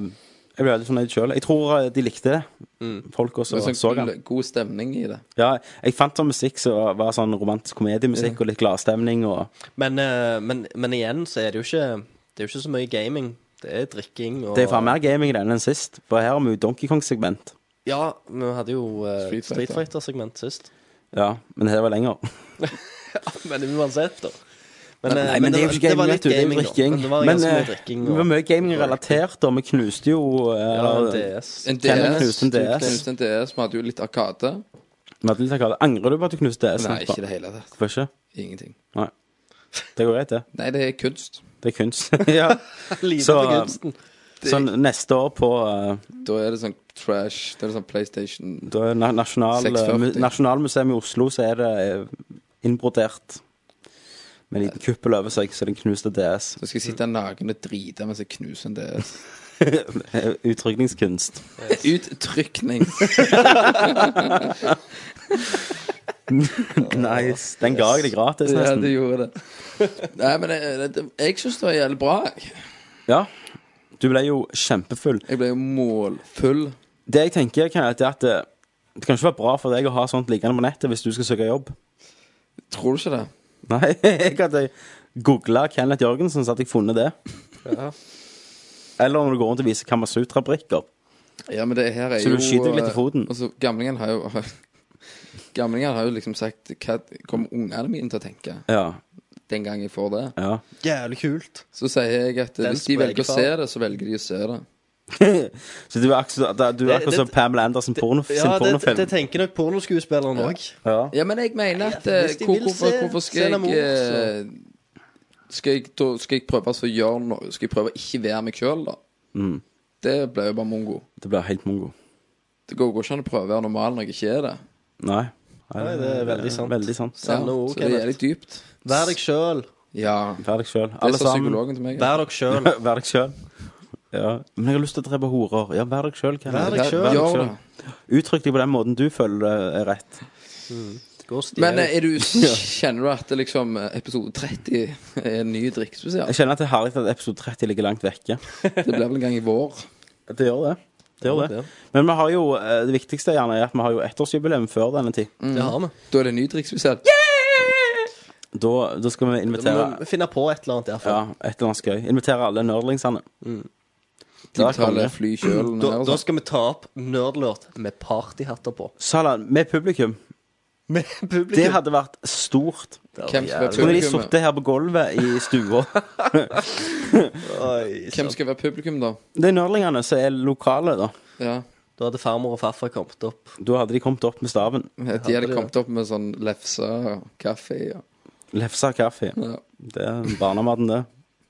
Speaker 4: ble veldig fornøyd sjøl. Jeg tror eh, de likte det.
Speaker 3: Mm.
Speaker 4: Folk også
Speaker 2: Det var
Speaker 4: så
Speaker 2: sånn
Speaker 4: den.
Speaker 2: god- god stemning i det.
Speaker 4: Ja, jeg fant sånn musikk som var sånn romantisk komediemusikk og litt gladstemning og
Speaker 3: Men, eh, men, men igjen så er det jo ikke Det er jo ikke så mye gaming. Det er drikking og
Speaker 4: Det er faen mer gaming i denne enn sist, for her har vi jo Donkey Kong-segment.
Speaker 3: Ja, vi hadde jo eh,
Speaker 2: Street Fighter.
Speaker 3: Street Fighter-segment sist.
Speaker 4: Ja, men det her var lenger.
Speaker 3: Men uansett, da. Men, eh,
Speaker 4: Nei, men det er jo ikke gaming, eh, vet du. Det er jo
Speaker 3: da.
Speaker 4: drikking.
Speaker 3: Men det var ganske mye drikking.
Speaker 4: det var mye gaming relatert, og vi knuste jo eh,
Speaker 3: ja, en DS.
Speaker 2: En
Speaker 4: Kenneth
Speaker 2: DS.
Speaker 4: knuste en
Speaker 2: du
Speaker 4: DS.
Speaker 2: knuste en DS. Vi hadde jo litt Arkade.
Speaker 4: vi hadde litt akkurat- Angrer du på at du knuste DS?
Speaker 2: Nei, ikke i det hele tatt.
Speaker 4: Hvorfor ikke?
Speaker 2: Ingenting.
Speaker 4: Nei. Det går greit, det.
Speaker 2: Nei, det er kunst.
Speaker 4: Det er kunst. ja.
Speaker 3: Lite
Speaker 4: Så,
Speaker 3: for kunsten.
Speaker 4: Så neste år på eh,
Speaker 2: Da er det sånn trash. Det er sånn PlayStation
Speaker 4: da er na- nasjonal, eh,
Speaker 2: 640.
Speaker 4: mu- Nasjonalmuseet i Oslo, så er det eh, innbrodert med en liten kuppel over seg, så den knuste DS.
Speaker 2: Så skal jeg sitte naken og drite mens jeg knuser en DS.
Speaker 4: Utrykningskunst.
Speaker 2: Uttrykning.
Speaker 4: Nice. Den ga jeg deg gratis,
Speaker 2: Ja,
Speaker 4: nesten.
Speaker 2: du gjorde det. Nei, men jeg, jeg, jeg syns det var jævlig bra. jeg.
Speaker 4: Ja. Du ble jo kjempefull.
Speaker 2: Jeg ble jo målfull.
Speaker 4: Det jeg tenker, kan er at det, det kan ikke være bra for deg å ha sånt liggende på nettet hvis du skal søke jobb.
Speaker 2: Tror du ikke det?
Speaker 4: Nei, jeg hadde googla Kenneth Jørgensen, så hadde jeg funnet det. Eller når du går rundt og viser Kamasutra-brikker.
Speaker 2: Ja, men det her er
Speaker 4: Så
Speaker 2: jo
Speaker 4: du skyter deg litt i foten?
Speaker 2: Altså, Gamlingen har jo Gamlingen har jo liksom sagt Hva kommer ungene mine til å tenke
Speaker 4: Ja,
Speaker 2: den gang jeg får det?
Speaker 4: ja.
Speaker 3: Jævlig kult.
Speaker 2: Så sier jeg at eh, hvis de velger å
Speaker 3: sprekefar.
Speaker 2: se det, så velger de å se det.
Speaker 4: Så du er akkurat så- da- du er
Speaker 3: Det-
Speaker 4: akkurat
Speaker 3: det-
Speaker 4: som Pamela Andersen porno, sin
Speaker 3: Ja, det,
Speaker 4: pornofilm.
Speaker 3: det tenker nok pornoskuespilleren òg.
Speaker 4: ja.
Speaker 2: Ja, men jeg mener at
Speaker 3: Ja,
Speaker 2: eh,
Speaker 3: hvis de
Speaker 2: hvor,
Speaker 3: vil
Speaker 2: hvorfor,
Speaker 3: se-
Speaker 2: hvorfor
Speaker 3: se
Speaker 2: skal
Speaker 3: dem
Speaker 2: jeg
Speaker 3: også,
Speaker 2: eh, skal jeg, da, skal jeg prøve altså å gjøre noe? Skal jeg prøve å ikke være meg sjøl, da?
Speaker 4: Mm.
Speaker 2: Det ble jo bare mongo.
Speaker 4: Det blir helt mongo.
Speaker 2: Det går går ikke an å prøve å være normal når jeg ikke er det.
Speaker 4: Nei. Nei,
Speaker 3: det er veldig sant.
Speaker 4: Veldig sant.
Speaker 2: Ja,
Speaker 3: Sanne ord,
Speaker 2: så det er
Speaker 3: Kenneth.
Speaker 2: jævlig dypt.
Speaker 3: Vær deg sjøl.
Speaker 2: Ja.
Speaker 4: Vær deg sjøl.
Speaker 2: Det
Speaker 4: Alle
Speaker 2: sa
Speaker 4: sammen.
Speaker 2: psykologen til meg.
Speaker 3: Vær dere sjøl.
Speaker 4: Vær deg sjøl. Ja. Men jeg har lyst til å drepe horer. Ja, vær deg sjøl,
Speaker 3: Vær
Speaker 4: Kenneth.
Speaker 3: deg
Speaker 4: Vær
Speaker 3: selv.
Speaker 4: deg
Speaker 2: Gjør
Speaker 4: selv.
Speaker 2: det.
Speaker 4: Uttrykk deg på den måten du føler det er rett.
Speaker 3: Gå og stjel.
Speaker 2: Men eh, er du, kjenner du at det liksom eh, episode 30 er en ny drikkespesial?
Speaker 4: Jeg kjenner at det er herlig at episode 30 ligger langt vekke.
Speaker 2: Det blir vel en gang i vår.
Speaker 4: Det gjør det. Det gjør det. Men vi har jo, eh, det viktigste gjerne er at vi har jo ettårsjubileum før denne tid.
Speaker 3: Det har vi.
Speaker 2: Da er det en ny drikkespesial. Yeah!
Speaker 4: Da, da skal vi
Speaker 3: Vi må
Speaker 4: invitere
Speaker 3: finne på et eller annet derfra.
Speaker 4: ja, et eller annet skøy. Invitere alle nerdlingsene.
Speaker 3: Mm.
Speaker 2: De
Speaker 4: Der
Speaker 2: betaler
Speaker 4: kommer det.
Speaker 2: flykjølen
Speaker 3: Da,
Speaker 2: her og
Speaker 3: da
Speaker 2: sånn.
Speaker 3: skal vi ta opp nerdlåt med partyhatter på.
Speaker 4: Sala, med publikum.
Speaker 3: Med
Speaker 4: Det
Speaker 3: publikum.
Speaker 4: hadde vært stort.
Speaker 2: Hvem skal være
Speaker 4: Kunne de
Speaker 2: publikum?
Speaker 4: sittet her på gulvet i stua?
Speaker 3: Oi,
Speaker 2: Hvem
Speaker 3: sant.
Speaker 2: skal være publikum, da?
Speaker 4: Det er nerdlingene som er lokale, da.
Speaker 2: Ja.
Speaker 3: Da hadde farmor og farfar kommet opp.
Speaker 4: Da hadde de kommet opp med staven.
Speaker 2: De hadde kommet opp med sånn lefse og kaffe og
Speaker 4: Lefse og kaffe.
Speaker 2: Ja.
Speaker 4: Det er barnematen, det.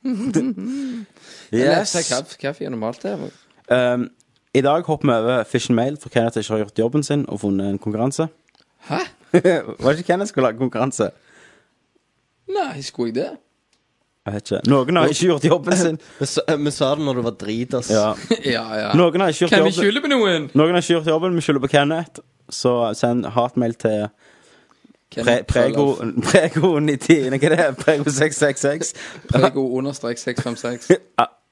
Speaker 2: Lefse
Speaker 4: Yes.
Speaker 2: og kaffe, kaffe er normalt, det. vel?
Speaker 4: Um, I dag hopper vi over Fish and Mail, for Kenneth ikke har gjort jobben sin og funnet en konkurranse.
Speaker 2: Hæ?
Speaker 4: Var det ikke Kenneth skulle lage konkurranse?
Speaker 2: Nei, skulle jeg det?
Speaker 4: Jeg vet ikke. Noen har ikke gjort jobben sin.
Speaker 3: Vi sa, vi sa det når du var drit, ass.
Speaker 4: Ja.
Speaker 2: ja, ja.
Speaker 4: Noen har ikke gjort
Speaker 2: Kan vi
Speaker 4: jobben.
Speaker 2: skylde på noen?
Speaker 4: Noen har ikke gjort jobben, vi skylder på Kenneth. Så send hatmail til
Speaker 2: Kan
Speaker 4: pre
Speaker 2: jeg-
Speaker 4: prego, prego 90, hva er det? Prego 666.
Speaker 2: Prego understrek 656.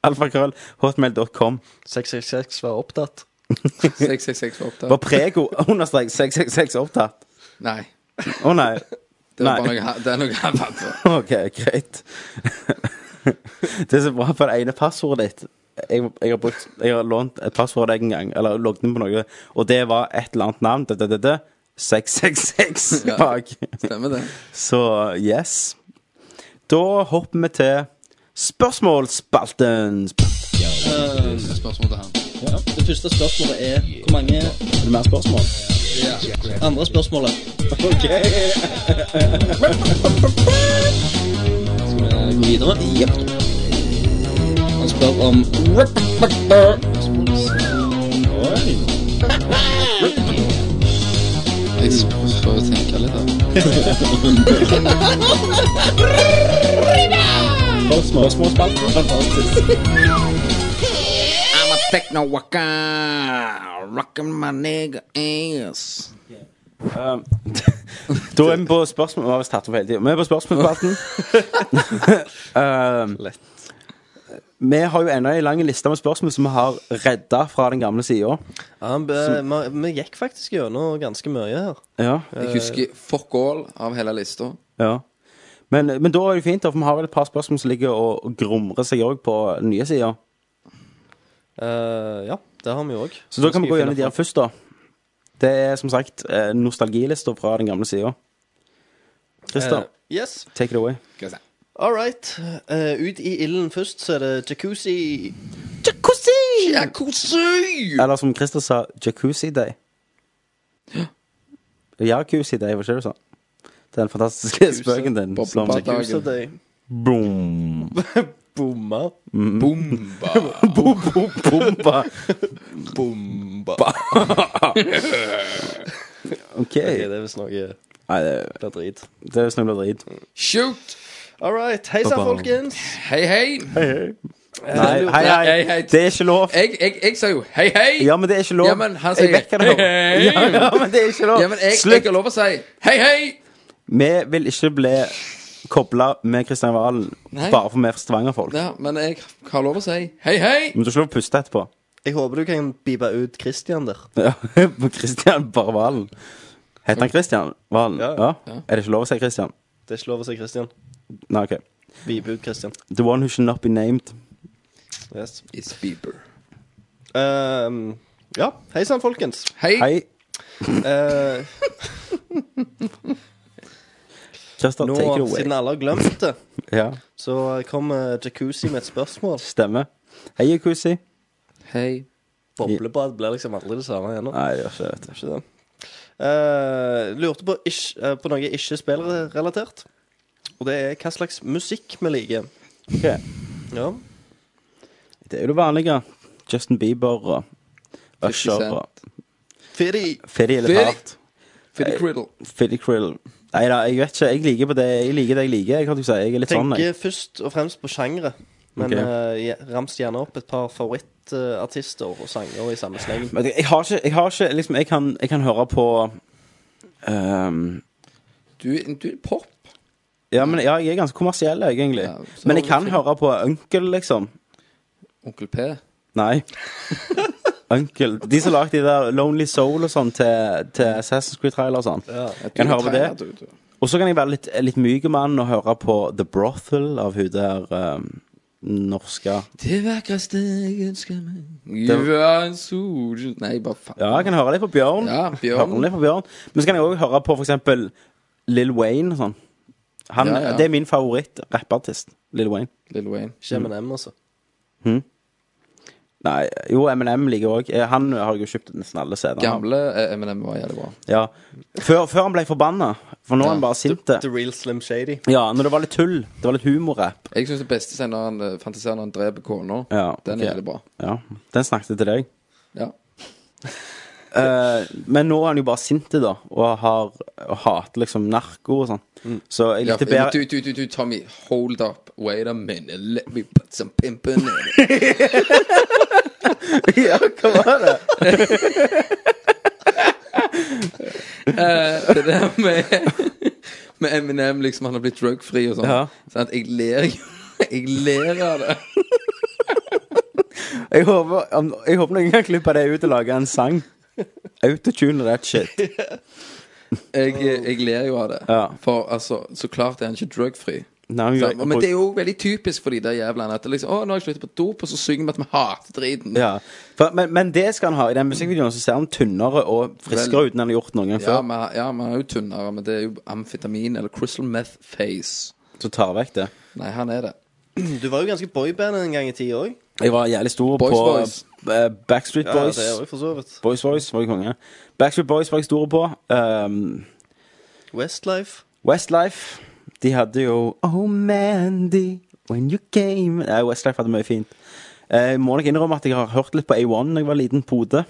Speaker 4: Alfakrøll, hotmail.com.
Speaker 3: 666 var opptatt.
Speaker 2: 666 var opptatt.
Speaker 4: Var prego understrek 666 opptatt?
Speaker 2: Nei.
Speaker 4: Å nei.
Speaker 2: Det, var
Speaker 4: Nei.
Speaker 2: bare noe, ha- det er noe jeg fant på.
Speaker 4: OK, greit. det er så bra på det ene passordet ditt. Jeg, jeg, har brukt, jeg har lånt et passord av deg en gang, eller logget inn på noe, og det var et eller annet navn. Det, det, det, det. 666
Speaker 2: Ja.
Speaker 4: bak.
Speaker 2: Stemmer det.
Speaker 4: Så yes. Da hopper vi til spørsmålsspalten.
Speaker 2: Spørsmål til han.
Speaker 8: Det første spørsmålet er hvor mange
Speaker 4: Er det mer spørsmål?
Speaker 8: andre spørsmålet Skal vi gå videre? Jepp. Han spør om
Speaker 2: Jeg sp- får jo tenke litt, da. I'm a techno walker, rocking my nigga ass.
Speaker 4: Um, da er vi på spørsmål Vi har visst tatt opp hele tiden. Vi er på spørsmålsspalten. um, vi har jo ennå en lang liste med spørsmål som vi har redda fra den gamle sida.
Speaker 3: Ja, vi, vi, vi gikk faktisk gjennom ganske mye her.
Speaker 4: Ja,
Speaker 2: Jeg husker fuck all av hele lista.
Speaker 4: ja. Men, men da er det fint, da, for vi har vel et par spørsmål som ligger og og grumrer seg òg på den nye sida.
Speaker 3: Eh, ja, det har vi òg.
Speaker 4: Så da kan vi gå gjennom de her først, da. Det er som sagt eh, nostalgilista fra den gamle sida.
Speaker 3: Eh.
Speaker 4: Christer,
Speaker 3: yes.
Speaker 4: take it away.
Speaker 3: All right. Eh, ut i ilden først, så er det jacuzzi.
Speaker 2: Jacuzzi!
Speaker 4: Eller som Christer sa, Jacuzzi Day. Jacuzzi Day, hva skjer det sånn? Den fantastiske spøken din.
Speaker 2: Bob-
Speaker 4: Som,
Speaker 2: Bob-
Speaker 3: Jacuzzi Day.
Speaker 4: boom.
Speaker 3: Bomma.
Speaker 2: Bomba.
Speaker 4: Boom, boom, bomba.
Speaker 3: Bomba.
Speaker 4: OK.
Speaker 3: Ok, det er visst noe det
Speaker 4: Nei, det,
Speaker 3: er drit.
Speaker 4: det er snøvla drit.
Speaker 2: Shoot!
Speaker 3: All right. Hei sann,
Speaker 4: Ba-bam.
Speaker 3: folkens.
Speaker 2: Hei, hei.
Speaker 4: Nei, hei, hei.
Speaker 2: Nei, hei.
Speaker 4: Det er ikke lov.
Speaker 2: Jeg, jeg, jeg sa jo hei, hei.
Speaker 4: Ja, men det er ikke lov.
Speaker 2: Ja, men han sier
Speaker 4: jeg vet hva det er.
Speaker 2: hei.
Speaker 4: Ja, ja, men det er ikke lov.
Speaker 2: Ja, men jeg, jeg
Speaker 4: Slutt.
Speaker 2: har lov å si hei, hei.
Speaker 4: Vi vil ikke bli kobla med Kristian Valen
Speaker 2: Nei.
Speaker 4: bare for vi er Stavanger-folk.
Speaker 2: Ja, men jeg har lov å si hei, hei.
Speaker 4: Men du slår puste etterpå.
Speaker 3: Jeg håper du kan bipe ut Christian der.
Speaker 4: Ja, på Kristian bare Valen. Heter han Kristian Valen?
Speaker 3: Ja,
Speaker 4: Ja.
Speaker 3: ja.
Speaker 4: Er det ikke lov å si Kristian?
Speaker 3: Det er ikke lov å si Christian.
Speaker 4: Nei, OK.
Speaker 3: Bipe ut Christian.
Speaker 4: The one who should not be named.
Speaker 3: Yes.
Speaker 2: It's Bieber.
Speaker 3: Ehm, ja. Hei sann, folkens.
Speaker 2: Hei.
Speaker 4: Hei,
Speaker 3: Eh,
Speaker 4: Christer,
Speaker 3: nå,
Speaker 4: take it away.
Speaker 3: siden alle har glemt det,
Speaker 4: Ja,
Speaker 3: så kommer jacuzzi med et spørsmål.
Speaker 4: stemmer. Hei, Yakuzi.
Speaker 2: Hei.
Speaker 3: Boblebad blir liksom aldri det samme igjen. nå.
Speaker 4: Nei, det gjør ikke det.
Speaker 3: Ikke det. Eh, lurte på, ish, eh, på noe ikke spillrelatert. Og det er hva slags musikk vi liker.
Speaker 4: Ok.
Speaker 3: Ja.
Speaker 4: Det er jo det vanlige. Justin Bieber og
Speaker 2: 50
Speaker 4: Usher og
Speaker 3: Firi.
Speaker 4: Fiddy eller
Speaker 2: Fiddy.
Speaker 4: Part.
Speaker 2: Fiddy Criddle.
Speaker 4: Fiddy Krill. Nei da, jeg vet ikke. Jeg liker på det jeg liker. det jeg liker Jeg kan ikke si Jeg er litt sånn,
Speaker 3: Tenker
Speaker 4: jeg.
Speaker 3: først og fremst på sjangre. Men
Speaker 4: Ok.
Speaker 3: eh, ja, rams gjerne opp et par favorittartister og sanger i samme sleng.
Speaker 4: Men Jeg har ikke, jeg har ikke liksom, jeg, kan, jeg kan høre på ehm,
Speaker 2: Du, du er pop.
Speaker 4: ja, men ja, jeg er ganske kommersiell, jeg, egentlig.
Speaker 2: Ja, så
Speaker 4: men jeg kan
Speaker 2: fint.
Speaker 4: høre på Uncle, liksom.
Speaker 2: Onkel P.
Speaker 4: Nei. Uncle. De som lagde de der Lonely Soul og sånn til, til Assassin's Creed Trailer og sånn. Kan høre på det. Og så kan jeg være litt, litt myk mann og høre på The Brothel av hun der um, norske
Speaker 2: Det vakreste jeg ønsker meg Du er en sol Nei, bare faen.
Speaker 4: Ja, jeg kan høre litt på Bjørn.
Speaker 2: Ja, Bjørn.
Speaker 4: Høre litt på Bjørn. Men så kan jeg òg høre på for eksempel Lill Wayne og sånn. Han,
Speaker 2: Ja, ja.
Speaker 4: Det er min favoritt-rappartist. Lill Wayne.
Speaker 2: Lil Wayne.
Speaker 3: Ikke M&M, altså.
Speaker 4: Nei, jo, MNM liker jeg òg. Han har jeg jo kjøpt nesten alle CD-ene.
Speaker 2: Gamle eh, Eminem var jævlig bra.
Speaker 4: Ja. Før, før han ble forbanna. For nå er han bare sint.
Speaker 3: The Real Slim Shady.
Speaker 4: Ja, når det var litt tull. Det var litt humorrapp.
Speaker 2: Jeg syns det beste er når han eh, fantaserer når han dreper kona.
Speaker 4: Ja,
Speaker 2: Den
Speaker 4: ok.
Speaker 2: er jævlig bra.
Speaker 4: Ja, den snakket jeg til deg.
Speaker 2: Ja.
Speaker 4: Eh, men nå er han jo bare sint, da, og har og hater liksom narko og sånn. Så
Speaker 2: Mm.
Speaker 4: jeg
Speaker 2: ja
Speaker 4: likte
Speaker 2: du,
Speaker 4: bedre
Speaker 2: du, du, du, Tommy, hold up. Wait a minute. Let me put some pimpin in it.
Speaker 4: Ja, hva var det?
Speaker 2: Eh, det der med, med Eminem, liksom, han har blitt drugfri og sånn.
Speaker 4: Ja.
Speaker 2: Sant? jeg ler jo Jeg ler av det.
Speaker 4: Jeg håper, om, jeg håper noen kan klippe det ut og lage en sang. Autotune that shit.
Speaker 2: Jeg, jeg ler jo av det.
Speaker 4: Ja.
Speaker 2: For altså, så klart er han ikke drugfri.
Speaker 4: Nei, men,
Speaker 2: Sant? Men det er jo veldig typisk for de der jævlene at det liksom, å, nå har jeg sluttet på dop, og så synger vi at vi hater driten.
Speaker 4: ja. For, men, men det skal han ha. I den musikkvideoen så ser han tynnere og friskere ut enn han har gjort noen gang
Speaker 2: Ja,
Speaker 4: før.
Speaker 2: men ja, men han er jo tynnere, men det er jo amfetamin eller crystal meth face.
Speaker 4: Så tar vekk det.
Speaker 2: Nei, han er det.
Speaker 3: Du var jo ganske boyband en gang i tida òg.
Speaker 4: Jeg var jævlig stor
Speaker 2: Boys
Speaker 4: på
Speaker 2: Voice.
Speaker 4: eh, Backstreet
Speaker 3: Ja,
Speaker 4: Boys.
Speaker 3: det er jo for så vidt.
Speaker 4: Boys Voice var jeg konge. Backstreet Boys var jeg stor på. Um,
Speaker 3: Westlife.
Speaker 4: Westlife De hadde jo Oh Mandy, when you came Nei, Westlife hadde mye fint. Eh, Jeg må nok innrømme at jeg har hørt litt på A1 da jeg var liten på Bodø.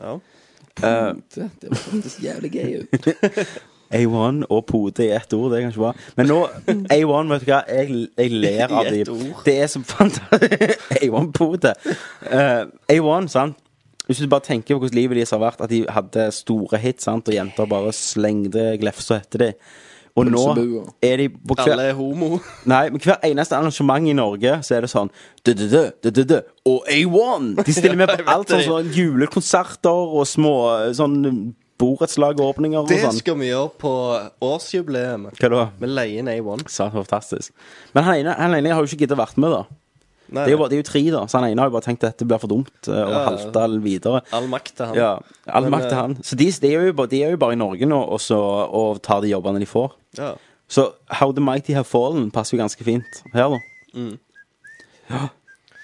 Speaker 3: Ja.
Speaker 4: Eh,
Speaker 2: Det, det var faktisk jævlig gøy ut.
Speaker 4: A1 og Pode i ett ord, det er kanskje bra. Men nå, A1, vet du hva, jeg, jeg ler av
Speaker 3: I ett
Speaker 4: dem.
Speaker 3: ord.
Speaker 4: Det er så fantastisk. A1 Pode. Eh, A1, sant. Hvis du bare tenker på hvordan livet deres har vært, at de hadde store hits, sant, og jenter bare slengte glefser etter dem. Og nå
Speaker 2: Pølsebua.
Speaker 4: er de på hver
Speaker 3: Alle er homo.
Speaker 4: Nei, men hver eneste arrangement i Norge Så er det sånn «Du-du-du, du-du-du», Og A1 De stiller med
Speaker 3: Ja, jeg
Speaker 4: på
Speaker 3: vet
Speaker 4: alt sånn
Speaker 3: det.
Speaker 4: sånn Julekonserter og små Sånn borettslagåpninger og
Speaker 3: Det
Speaker 4: sånn
Speaker 3: skal vi gjøre på årsjubileet.
Speaker 4: Hva da?
Speaker 3: Vi leier inn A1.
Speaker 4: Så fantastisk Men han ene, han ene har jo ikke giddet vært med da
Speaker 3: Nei,
Speaker 4: det er, jo bare, det er jo tre da Så han ene har jo bare tenkt at dette blir for dumt eh, Og
Speaker 3: Ja, ja.
Speaker 4: halta videre
Speaker 3: all makt til han.
Speaker 4: Ja, all
Speaker 3: Men,
Speaker 4: makt til
Speaker 3: eh,
Speaker 4: han Så de, de, er jo bare, de er jo bare i Norge nå Og, så, og tar de jobbene de får
Speaker 3: Ja.
Speaker 4: Så How the Mighty Have Fallen passer jo ganske fint her, da.
Speaker 3: Mm.
Speaker 4: Ja.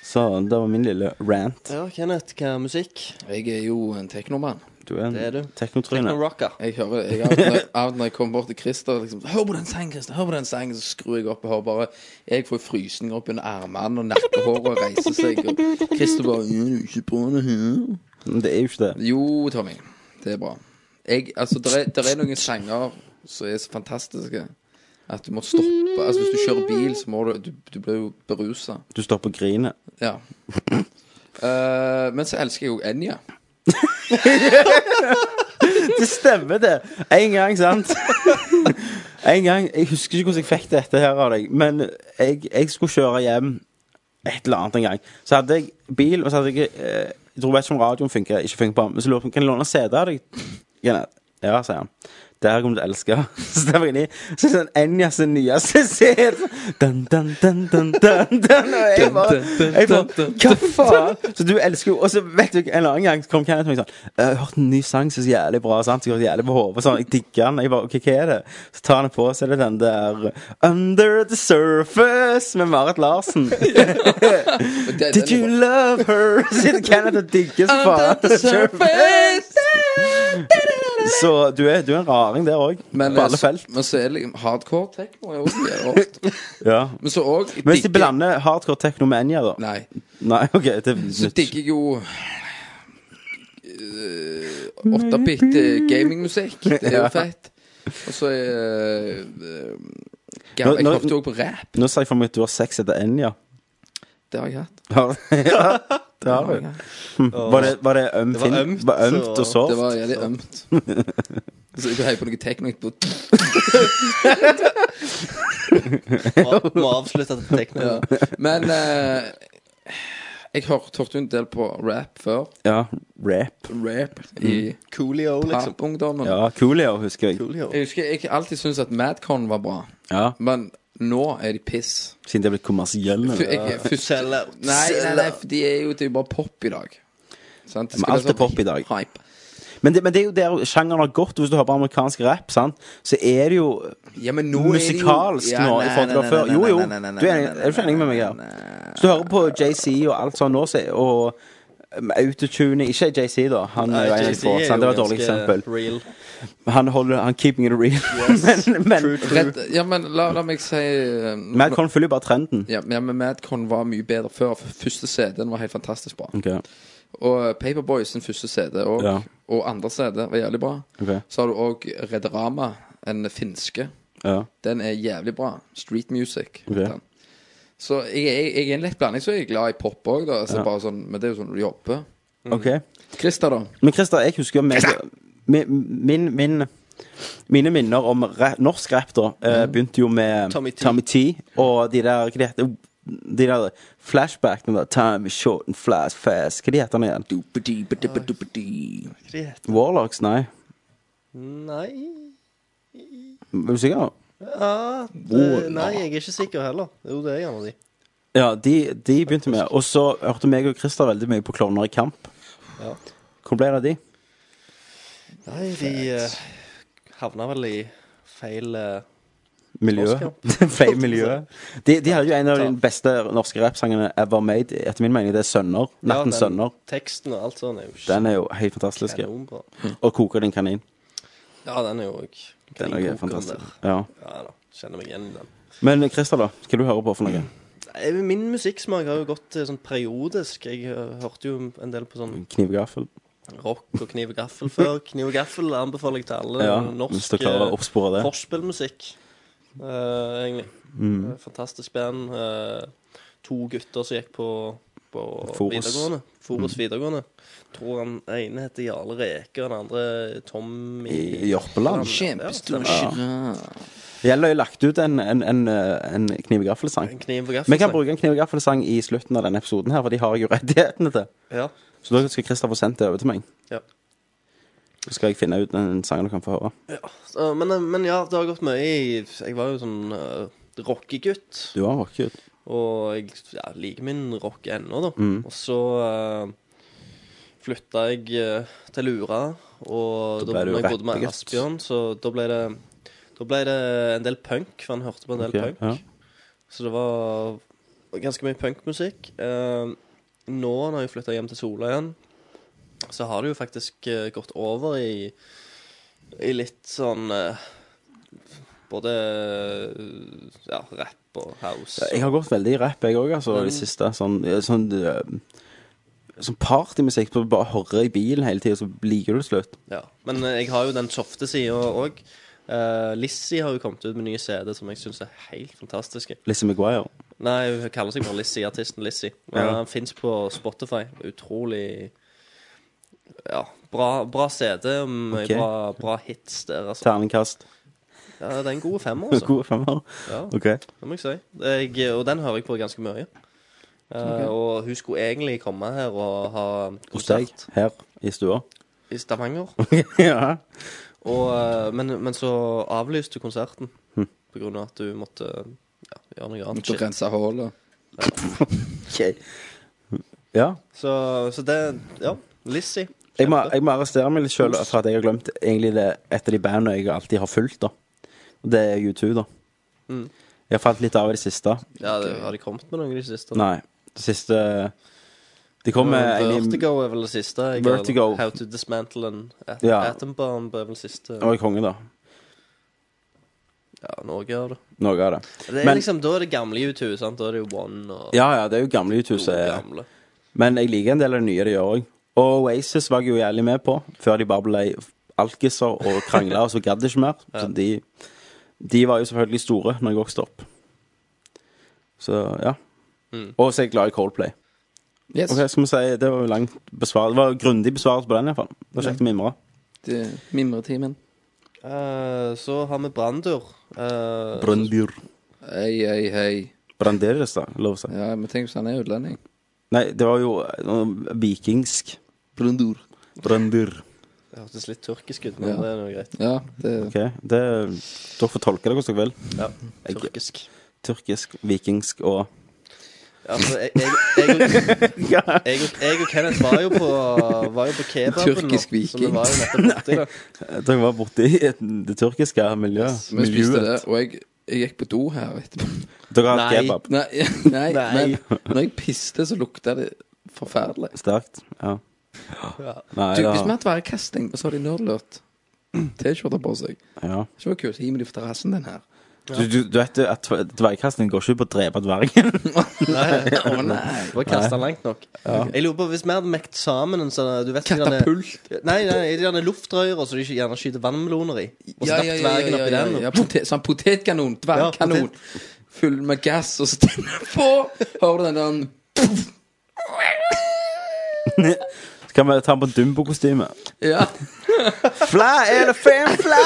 Speaker 4: Så det var min lille rant.
Speaker 3: ja, Kenneth, hva er musikk?
Speaker 2: Jeg er jo en teknomann.
Speaker 4: Du er en
Speaker 3: Det er du.
Speaker 4: teknotryne.
Speaker 3: Rocka.
Speaker 2: Jeg hører jeg, av, når, av når jeg kommer bort til Christer liksom, 'Hør på den sangen, Christer!' Hør på den sangen Så skrur jeg opp og hører bare Jeg får frysninger opp under armene, og nakkehåret reiser seg. Og Christer bare «Ja, du er ikke på det her.»
Speaker 4: Men Det er jo ikke det.
Speaker 2: Jo, Tommy. Det er bra. Jeg, altså, der er, der er noen sanger som er så fantastiske at du må stoppe Altså, hvis du kjører bil, så må du Du, du blir jo berusa.
Speaker 4: Du står på grinet.
Speaker 2: Ja. Eh, men så elsker jeg jo Enja.
Speaker 4: Det stemmer, det! En gang, sant? en gang Jeg husker ikke hvordan jeg fikk dette her av deg, men jeg, jeg skulle kjøre hjem et eller annet en gang. Så hadde jeg bil, og så hadde jeg eh, Jeg tror ikke om radioen funker, ikke funker på den, men så lurte jeg på kan jeg låne CD av deg. Kenneth? Ja, sier han. Det her kommer du til å elske. Så stemmer jeg inn i. Så er det sånn Enja sin nyeste CD. Dun, dun, dun, dun, dun, dun. Og jeg bare, jeg bare Hva faen? Så du elsker jo Og så vet du, en annen gang så kom Kenneth og meg sånn Jeg har hørt en ny sang som er så jævlig bra, sant? Så jeg har hørt jævlig på hodet. Sånn, jeg digger den. Jeg bare OK, hva er det? Så tar han det på, så er det den der Under the surface med Marit Larsen.
Speaker 2: Og det- den
Speaker 4: Did
Speaker 2: er
Speaker 4: you love her? Sitter Kenneth og digger som
Speaker 2: bra. Under the
Speaker 4: faen.
Speaker 2: surface.
Speaker 4: Så du er, du er en raring der òg, på
Speaker 2: Men,
Speaker 4: alle
Speaker 2: eh, så-
Speaker 4: felt.
Speaker 2: Men så er det liksom hardcore techno er også mye rart.
Speaker 4: Ja.
Speaker 2: Men så òg
Speaker 4: Men hvis de blander hardcore techno med Enya, da?
Speaker 2: Nei.
Speaker 4: Nei, ok, det er
Speaker 2: Så
Speaker 4: nytt.
Speaker 2: digger jeg jo eh, 8-bit eh, gamingmusikk. Det er jo
Speaker 4: Ja.
Speaker 2: fett. Og så er eh,
Speaker 4: Nå-
Speaker 2: Jeg
Speaker 4: nå-
Speaker 2: hoppet jo også på rap.
Speaker 4: Nå ser jeg for meg at du har sex etter Enya.
Speaker 2: Det har jeg hatt.
Speaker 4: ja, det har
Speaker 2: Det
Speaker 4: du.
Speaker 2: har jeg hatt.
Speaker 4: Var det, var det ømt?
Speaker 3: Det var ømt,
Speaker 4: var ømt
Speaker 3: så-
Speaker 4: og sårt?
Speaker 2: Det var jævlig ømt. Så jeg heier på noe techno. jeg bare-
Speaker 3: Må, må avslutte dette teknikken.
Speaker 2: Ja. Men eh, jeg hørte, hørte jo en del på rap før.
Speaker 4: Ja. Rap. Mm.
Speaker 2: Rap i
Speaker 3: Coolio, liksom.
Speaker 2: papungdommen.
Speaker 4: Ja, Coolio, husker jeg.
Speaker 3: Coolio.
Speaker 2: Jeg husker jeg alltid syntes at Madcon var bra,
Speaker 4: Ja,
Speaker 2: men nå er de piss.
Speaker 4: Siden de er blitt kommersielle.
Speaker 2: F- jeg- først-
Speaker 3: Sell out.
Speaker 2: Nei, nei,
Speaker 3: Sell
Speaker 2: nei,
Speaker 3: out.
Speaker 2: for de er jo, det er jo bare pop i dag. Sant? Det
Speaker 4: Men
Speaker 2: skal
Speaker 4: alt
Speaker 2: være
Speaker 4: er pop i dag.
Speaker 2: Hype.
Speaker 4: Men det, men det er jo der sjangeren har gått. Hvis du hører på amerikansk rap, sant? så er det jo
Speaker 2: Ja, men nå
Speaker 4: musikalsk
Speaker 2: er det jo...
Speaker 4: nå i forhold til det var før. Jo, jo. Du er, enig- er du ikke enig med meg her? Hvis du hører på JC og alt sånn nå, så og um, autotune Ikke JC, da. Han er jo en av de få.
Speaker 3: JC er
Speaker 4: sant? Det var et
Speaker 3: jo
Speaker 4: dårlig
Speaker 3: ganske
Speaker 4: eksempel.
Speaker 3: Real.
Speaker 4: Han holder Han keeping it real. men men
Speaker 2: Rett, ja, men la, la meg si eh,
Speaker 4: Madcon følger jo bare trenden.
Speaker 2: ja, men- ja, men Madcon var mye bedre før. for Første CD-en var helt fantastisk bra.
Speaker 4: Ok.
Speaker 2: Og Paperboy sin første CD og,
Speaker 4: Ja.
Speaker 2: og andre CD var jævlig bra.
Speaker 4: Ok.
Speaker 2: Så har du òg Rederama, en finske.
Speaker 4: Ja.
Speaker 2: Den er jævlig bra. Street music.
Speaker 4: Ok.
Speaker 2: heter den. Så jeg, jeg, jeg er en lett blanding, så jeg er glad i pop òg, da. Så bare sånn, men det er jo sånn du jobber.
Speaker 4: Ok.
Speaker 2: Christer, da?
Speaker 4: Men Christer, jeg husker meg, min, min, min, Mine minner om ra norsk rap da eh, begynte jo med
Speaker 3: Mm. Tommy T.
Speaker 4: og de der Hva de heter de der flashbackene der Time is short and flash fast. Hva de heter de igjen?
Speaker 3: Greit.
Speaker 4: Warlocks? Nei.
Speaker 3: Nei
Speaker 4: Er du sikker?
Speaker 3: ja, det, Nei, jeg er ikke sikker heller. Jo, det er gjerne de.
Speaker 4: Ja, de, de begynte med. Og så hørte meg og Christer veldig mye på Klovner i kamp.
Speaker 3: Ja.
Speaker 4: Hvor ble det av de?
Speaker 3: Nei, de eh, havna vel i feil eh,
Speaker 4: Miljø. Feil miljø. De, de hadde jo en av de beste norske rappsangene ever made. Etter min mening det er Sønner.
Speaker 3: ja, den
Speaker 4: Nattens Sønner.
Speaker 3: Teksten og alt sånt er jo ikke
Speaker 4: Den er jo helt fantastisk.
Speaker 3: kanonbra.
Speaker 4: Og koker din kanin.
Speaker 3: Ja, den er jo òg
Speaker 4: Den er jo fantastisk. Ja.
Speaker 3: Ja da, kjenner meg igjen i den.
Speaker 4: Men Christer, da? Hva du hører på for noe?
Speaker 3: Nei, men Min musikksmak har jo gått eh, sånn periodisk. Jeg eh, hørte jo en del på sånn
Speaker 4: Kniv og gaffel?
Speaker 3: rock og kniv og gaffel før. Kniv og gaffel anbefaler jeg til alle.
Speaker 4: Ja, hvis
Speaker 3: norsk
Speaker 4: dere klarer å
Speaker 3: eh,
Speaker 4: oppspore det.
Speaker 3: forspillmusikk, eh, egentlig.
Speaker 4: Mm.
Speaker 3: Eh, Fantastisk band. Eh, to gutter som gikk på, på
Speaker 4: Forus.
Speaker 3: videregående. Forus
Speaker 4: Mm.
Speaker 3: videregående. Tror han ene heter Jarle Reke, og den andre Tommy
Speaker 4: I Jørpeland.
Speaker 3: Kjempestor
Speaker 2: Ja.
Speaker 4: Gjelder jo lagt ut en, en, en, eh, en kniv og gaffel-sang.
Speaker 3: En kniv og gaffel.
Speaker 4: Vi kan bruke en kniv og gaffel-sang i slutten av denne episoden, her, for de har jeg jo rettighetene til.
Speaker 3: Ja.
Speaker 4: Så da skal Christer få sendt det over til meg.
Speaker 3: Ja.
Speaker 4: Så skal jeg finne ut den sangen du kan få høre.
Speaker 3: Så, men, eh, men ja, det har gått mye i Jeg var jo sånn uh, rockegutt.
Speaker 4: Du har rocket ut.
Speaker 3: Og jeg ja, liker min rock ennå, da.
Speaker 4: Mm.
Speaker 3: Og så uh, flytta jeg eh, til Lura, og
Speaker 4: Da
Speaker 3: da,
Speaker 4: ble du
Speaker 3: når jeg bodde med
Speaker 4: rappegutt.
Speaker 3: Asbjørn, så da ble det Da ble det en del punk, for han hørte på en del
Speaker 4: Ok,
Speaker 3: punk.
Speaker 4: ja.
Speaker 3: Så det var ganske mye punkmusikk. Eh, nå når jeg flytta hjem til Sola igjen, så har det jo faktisk eh, gått over i, i litt sånn eh, Både eh, ja, rapp og house.
Speaker 4: Jeg har gått veldig i rapp, jeg òg, altså,
Speaker 3: Mm.
Speaker 4: i det siste. Sånn, sånn, eh, sånn partymusikk som du bare hører i bilen hele tida, så liker du det slutt.
Speaker 3: Ja, Men eh, jeg har jo den softe sida òg. Lissi har jo kommet ut med nye CD som jeg syns er helt fantastiske.
Speaker 4: Lizzie McGuire.
Speaker 3: Nei, hun kaller seg bare Lissi, artisten Lissi. Men
Speaker 4: Ja.
Speaker 3: Han fins på Spotify. Utrolig Ja, bra, bra CD. Mye
Speaker 4: Ok.
Speaker 3: bra, bra hits der, altså.
Speaker 4: Terningkast.
Speaker 3: Ja, det er en god femmer, altså.
Speaker 4: Gode femmer.
Speaker 3: Ja,
Speaker 4: OK.
Speaker 3: det må jeg si. Jeg, og den hører jeg på ganske mye. Eh, og hun skulle egentlig komme her og ha
Speaker 4: Hos deg,
Speaker 3: konsert
Speaker 4: her i stua.
Speaker 3: i Stavanger.
Speaker 4: ja.
Speaker 3: Og, eh, men, men så avlyste du konserten
Speaker 4: Hm.
Speaker 3: på grunn av at du måtte ja, gjøre noe annet.
Speaker 2: Måtte
Speaker 3: shit.
Speaker 2: rense hullet.
Speaker 4: ja.
Speaker 3: Så, så det Ja, Lizzie.
Speaker 4: Jeg må,
Speaker 3: Kjempe.
Speaker 4: jeg må arrestere meg litt sjøl for at jeg har glemt egentlig det et av de bandene jeg alltid har fulgt. da Og Det er U2, da.
Speaker 3: Mm. Sånn.
Speaker 4: Jeg har falt litt av i det siste.
Speaker 3: Ja, det, Har de kommet med noen i det siste?
Speaker 4: Nei. Det siste De kom med en i-
Speaker 3: Vertigo er vel det siste. Jeg,
Speaker 4: Vertigo.
Speaker 3: How to dismantle an at
Speaker 4: Ja.
Speaker 3: atom bomb er vel det siste.
Speaker 4: Han var konge, da.
Speaker 3: Ja, Norge av det.
Speaker 4: Noe av det.
Speaker 3: det er
Speaker 4: Men-
Speaker 3: liksom, da er det gamle U2. sant? Da er det jo One og
Speaker 4: Ja ja, det er jo gamle U2 som er
Speaker 3: gamle.
Speaker 4: Men jeg liker en del av det nye de gjør òg. Og Oasis var jeg jo jævlig med på, før de bare ble alkiser og krangla, og så gadd de ikke mer. Så de, de var jo selvfølgelig store når jeg vokste opp. Så ja.
Speaker 3: Mm.
Speaker 4: Og så er jeg glad i Coldplay.
Speaker 2: Yes.
Speaker 4: Ok, skal vi si, Det var jo langt besvar. Det var grundig besvarelse på den, iallfall. Det var kjekt å mimre.
Speaker 2: Det er Mimretimen.
Speaker 3: Eh, så har vi Brandur. eh,
Speaker 4: Brandir.
Speaker 2: Hei, hei, hei.
Speaker 4: Branderes, da. Lov å si.
Speaker 2: Ja, men tenk hvis han er utlending.
Speaker 4: Nei, det var jo eh, vikingsk.
Speaker 2: Brundur.
Speaker 4: Brandir.
Speaker 3: det hørtes litt tyrkisk ut, men
Speaker 2: Ja.
Speaker 3: det er nå greit.
Speaker 2: Ja, det
Speaker 4: Ok, det, Dere får tolke det hvordan dere vil.
Speaker 3: Ja,
Speaker 4: Jeg-
Speaker 3: tyrkisk.
Speaker 4: Tyrkisk, vikingsk og
Speaker 3: Altså, jeg, jeg, jeg, jeg, jeg og Kenneth var jo på, var jo på kebaben.
Speaker 2: Tyrkisk
Speaker 3: nå, som vi
Speaker 2: viking.
Speaker 3: var jo nettopp borti da.
Speaker 4: Dere var borte i det tyrkiske miljøet.
Speaker 2: Vi spiste det,
Speaker 4: Miljøet.
Speaker 2: og jeg, jeg gikk på do her etterpå.
Speaker 4: Dere har hatt
Speaker 3: Nei.
Speaker 4: kebab.
Speaker 2: Nei, nei, men når jeg piste, så lukta det forferdelig.
Speaker 4: Sterkt. Ja. Nei,
Speaker 2: Du,
Speaker 4: det
Speaker 2: hvis vi
Speaker 4: har
Speaker 2: hadde vært casting, og så har de nerdlurt T-skjorter på seg
Speaker 4: ja.
Speaker 2: Det var kult. Hiv meg de på terrassen din her.
Speaker 4: Du, du, du vet at dvergkastning går ikke ut på å drepe dvergen.
Speaker 2: Å nei.
Speaker 3: Bare kaste den langt nok. Jeg lurer på hvis vi hadde mekt sammen en sånn du vet, de derne-
Speaker 2: Katapult.
Speaker 3: Nei, nei, de derne luftrøra som de ikke gjerne skyter vannmeloner i. Og så datt dvergen oppi den.
Speaker 2: ja, potet, sånn potetkanon. Dvergkanon.
Speaker 3: Ja, potet.
Speaker 2: Full med gass, og så tenner den på. Hører du den der
Speaker 4: Så kan vi ta den på Dumbo-kostyme.
Speaker 2: Ja.
Speaker 4: Fly, elephant, fly!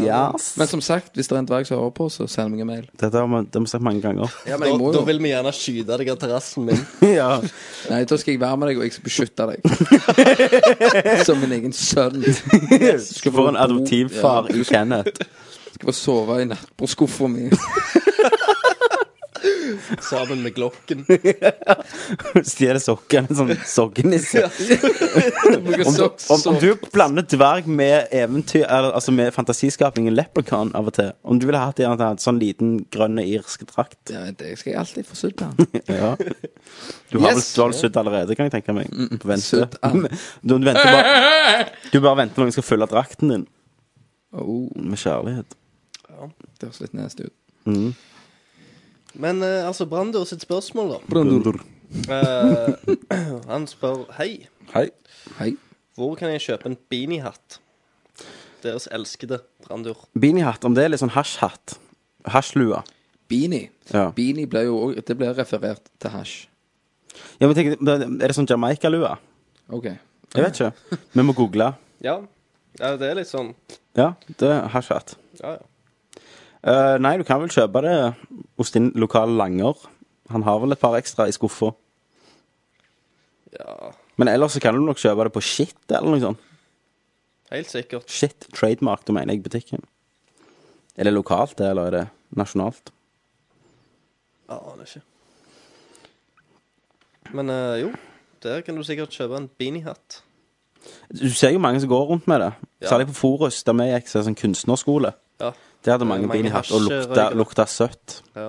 Speaker 4: Yes.
Speaker 2: Men som sagt, hvis det er en dverg som hører på, så send meg en mail.
Speaker 4: Dette har vi det har vi sagt mange ganger.
Speaker 2: Ja, men
Speaker 3: Da,
Speaker 2: jeg må
Speaker 3: da
Speaker 2: jo
Speaker 3: vil vi gjerne skyte deg av terrassen min.
Speaker 4: ja.
Speaker 2: Nei, da skal jeg være med deg, og jeg skal beskytte deg. Som min egen sønn. Du
Speaker 4: Skal få en adoptivfar i Kenneth.
Speaker 2: skal få sove i nattbordskuffa mi.
Speaker 3: Sammen med Glocken.
Speaker 4: Stjele sokkene sånn som sokkenisse.
Speaker 2: Bruker
Speaker 4: Om,
Speaker 2: sokk-
Speaker 4: du- om, om
Speaker 2: sokk.
Speaker 4: du blander dverg med eventyr eller, Altså med fantasiskapingen Leprechaun av og til Om du ville hatt en eller annen sånn liten grønne irsk drakt
Speaker 2: Ja, men det skal jeg alltid få sydd på.
Speaker 4: ja. Du har
Speaker 2: Yes.
Speaker 4: vel, du har vel sudd allerede, kan jeg tenke meg På vente.
Speaker 2: Sudd, ja.
Speaker 4: du, du venter bare Du bare venter når noen skal fylle drakten din
Speaker 2: Oh,
Speaker 4: Med kjærlighet
Speaker 2: det høres litt nasty ut.
Speaker 3: Men eh, altså, Brando sitt spørsmål, da.
Speaker 2: Brundur.
Speaker 3: Eh, han spør Hei,
Speaker 4: Hei
Speaker 2: Hei.
Speaker 3: hvor kan jeg kjøpe en beaniehatt? Deres elskede Brandur.
Speaker 4: Beanie-hatt, om det er litt sånn hasj-hatt Hasjlua
Speaker 2: Beanie.
Speaker 4: Ja.
Speaker 2: Beanie blir jo òg Det blir referert til hasj.
Speaker 4: ja, men tenk, Er det sånn Jamaica-lua?
Speaker 2: OK.
Speaker 4: Jeg vet ikke Vi må google
Speaker 3: Ja. ja, det er litt sånn
Speaker 4: Ja, det er hasj-hatt
Speaker 3: Ja, ja.
Speaker 4: Eh, nei, du kan vel kjøpe det hos din lokale langer. Han har vel et par ekstra i skuffa.
Speaker 3: ja
Speaker 4: Men ellers så kan du nok kjøpe det på Shit eller noe sånt.
Speaker 3: helt sikkert.
Speaker 4: Shit trademark, da mener jeg butikken. Er det lokalt, det, eller er det nasjonalt?
Speaker 3: Jeg aner ikke. Men eh, jo, der kan du sikkert kjøpe en beaniehatt.
Speaker 4: Du ser jo mange som går rundt med det.
Speaker 3: Ja.
Speaker 4: Særlig på Forus, der vi gikk som sånn kunstnerskole.
Speaker 3: Ja.
Speaker 4: Der hadde
Speaker 3: er
Speaker 4: mange,
Speaker 3: Eh, mange
Speaker 4: beanie hatt og lukta,
Speaker 3: hasjerøykere.
Speaker 4: lukta søtt.
Speaker 3: ja.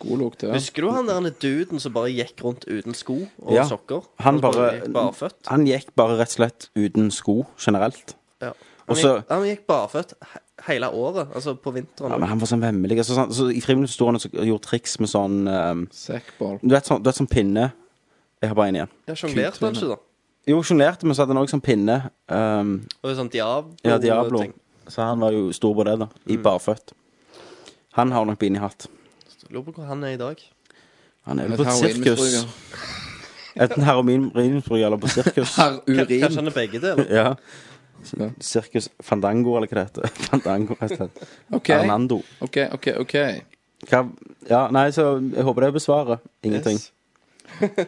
Speaker 2: God lukt, ja.
Speaker 3: Husker du han der duden som bare gikk rundt uten sko og
Speaker 4: Ja.
Speaker 3: sokker?
Speaker 4: Han bare-
Speaker 3: gikk barføtt.
Speaker 4: Han gikk bare rett og slett uten sko generelt.
Speaker 3: Ja. Han,
Speaker 4: Og så-
Speaker 3: gikk, han gikk barføtt he hele året, altså på vinteren.
Speaker 4: Ja, men han var sånn vemmelig. Altså, sånn, så I friminuttet sto han og så- gjorde triks med sånn ehm,
Speaker 2: Sackball.
Speaker 4: Du vet sånn, du vet, sånn pinne Jeg har bare en igjen.
Speaker 3: Ja, Sjonglerte han ikke, da?
Speaker 4: Jo, sjonglerte, men så hadde han også sånn pinne. Um,
Speaker 3: Og sånn Diablo.
Speaker 4: ja, Diablo.
Speaker 3: ting.
Speaker 4: Så han var jo stor på det, da. I barføtt. Han har nok beanie-hatt.
Speaker 3: Lurer på hvor han er i dag.
Speaker 4: Han er
Speaker 2: Et
Speaker 4: jo på et sirkus.
Speaker 2: heroinmisbruker.
Speaker 4: Enten heroinmisbruker eller på sirkus.
Speaker 3: Kanskje
Speaker 2: Herurin.
Speaker 3: han er begge deler.
Speaker 4: ja.
Speaker 2: Ja.
Speaker 4: Sirkus Fandango, eller hva det heter. Fandango, rett og slett.
Speaker 2: OK,
Speaker 4: Arnando.
Speaker 2: OK, OK. ok
Speaker 4: Hva Ja, nei, så jeg håper det besvarer. Ingenting.
Speaker 3: Yes.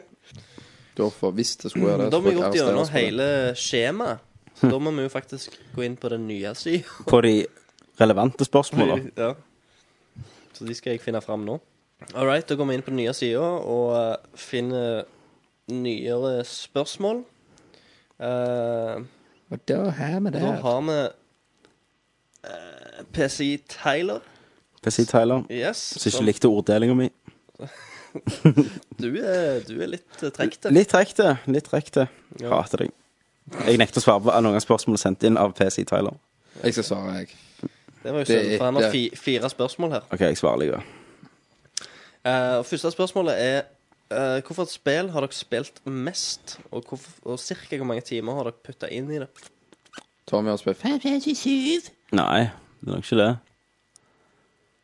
Speaker 2: Da får Hvis det skulle være det,
Speaker 3: Mm, Da
Speaker 2: så
Speaker 3: må
Speaker 2: får
Speaker 3: vi
Speaker 2: jeg
Speaker 3: gått
Speaker 2: arrestere
Speaker 3: gjennom
Speaker 2: oss på det.
Speaker 3: hele skjemaet. Så da må vi jo faktisk gå inn på den nye sida.
Speaker 4: På de relevante spørsmåla.
Speaker 3: Ja. Så de skal jeg finne fram nå. All right, da går vi inn på den nye sida og eh, finner nyere spørsmål. Eh,
Speaker 2: Og da har vi det.
Speaker 3: da har vi eh, PC Tyler.
Speaker 4: PC Tyler,
Speaker 3: Yes.
Speaker 4: som ikke
Speaker 3: som-
Speaker 4: likte orddelinga mi.
Speaker 3: Du er, du er litt eh, trekt.
Speaker 4: Litt rekte. Litt rekte. Hater deg. Jeg nekter å svare på noen av spørsmålene sendt inn av PC Tyler.
Speaker 2: Jeg skal svare, jeg.
Speaker 3: Det var jo
Speaker 2: Det er
Speaker 3: synd, for han har
Speaker 2: ikke-
Speaker 3: fi, fire spørsmål her.
Speaker 4: OK, jeg svarer likevel.
Speaker 3: Eh, og første spørsmålet er eh, Hvorfor et spill har dere spilt mest, og, hvorf- og cirka hvor mange timer har dere putta inn i det?
Speaker 2: Tommy har spilt fem.
Speaker 4: Nei, det er nok ikke det.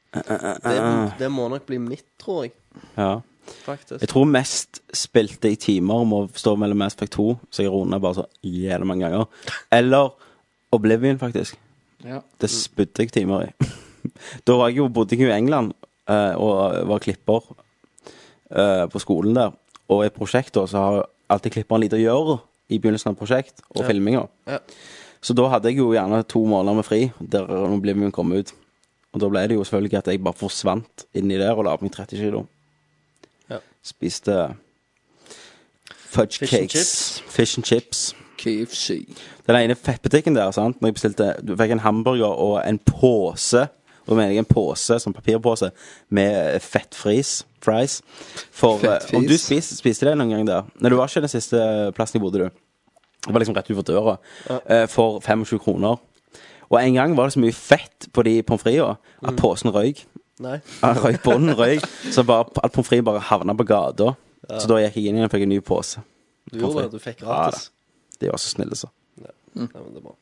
Speaker 3: Det,
Speaker 4: Eh.
Speaker 3: det må nok bli mitt, tror jeg.
Speaker 4: Ja.
Speaker 3: Faktisk.
Speaker 4: Jeg tror mest spilte i timer må stå mellom Mass Effect 2, så jeg runder bare så jævlig mange ganger. Eller Oblivion, faktisk.
Speaker 2: Ja.
Speaker 4: Det spydde jeg timer i. da var jeg jo, bodde jeg jo i England eh, og var klipper eh, på skolen der. Og i prosjekter så har alltid klipperen lite å gjøre i begynnelsen av prosjekt og filminga.
Speaker 3: Ja.
Speaker 4: Så da hadde jeg jo gjerne to måneder med fri der Oblivion kom ut. Og da ble det jo selvfølgelig at jeg bare forsvant inni der og la på meg 30 kilo.
Speaker 3: Ja.
Speaker 4: Spiste eh, fudge
Speaker 3: Fish and
Speaker 4: cakes. Fish and chips.
Speaker 2: KFC.
Speaker 4: Den ene fettbutikken der, sant? Når jeg bestilte, du fikk en hamburger og en pose, og da mener jeg en pose, sånn papirpose, med fettfries, fries. For, eh,
Speaker 2: Fettfries.
Speaker 4: om du spiste, spiste det noen gang der, nei, du var ikke den siste plassen jeg bodde, du. Det var liksom rett utenfor døra, eh, for 25 kroner. Og en gang var det så mye fett på de pommes fritesene at posen røyk.
Speaker 3: Nei.
Speaker 4: Ja, Røyk bånden røyk, så bare, at pommes frites bare havna på gata. Så da gikk jeg inn igjen og fikk en ny pose.
Speaker 3: Du gjorde det. Du fikk gratis.
Speaker 4: De var så snille, så. Mm.
Speaker 3: Nei, men det er bra.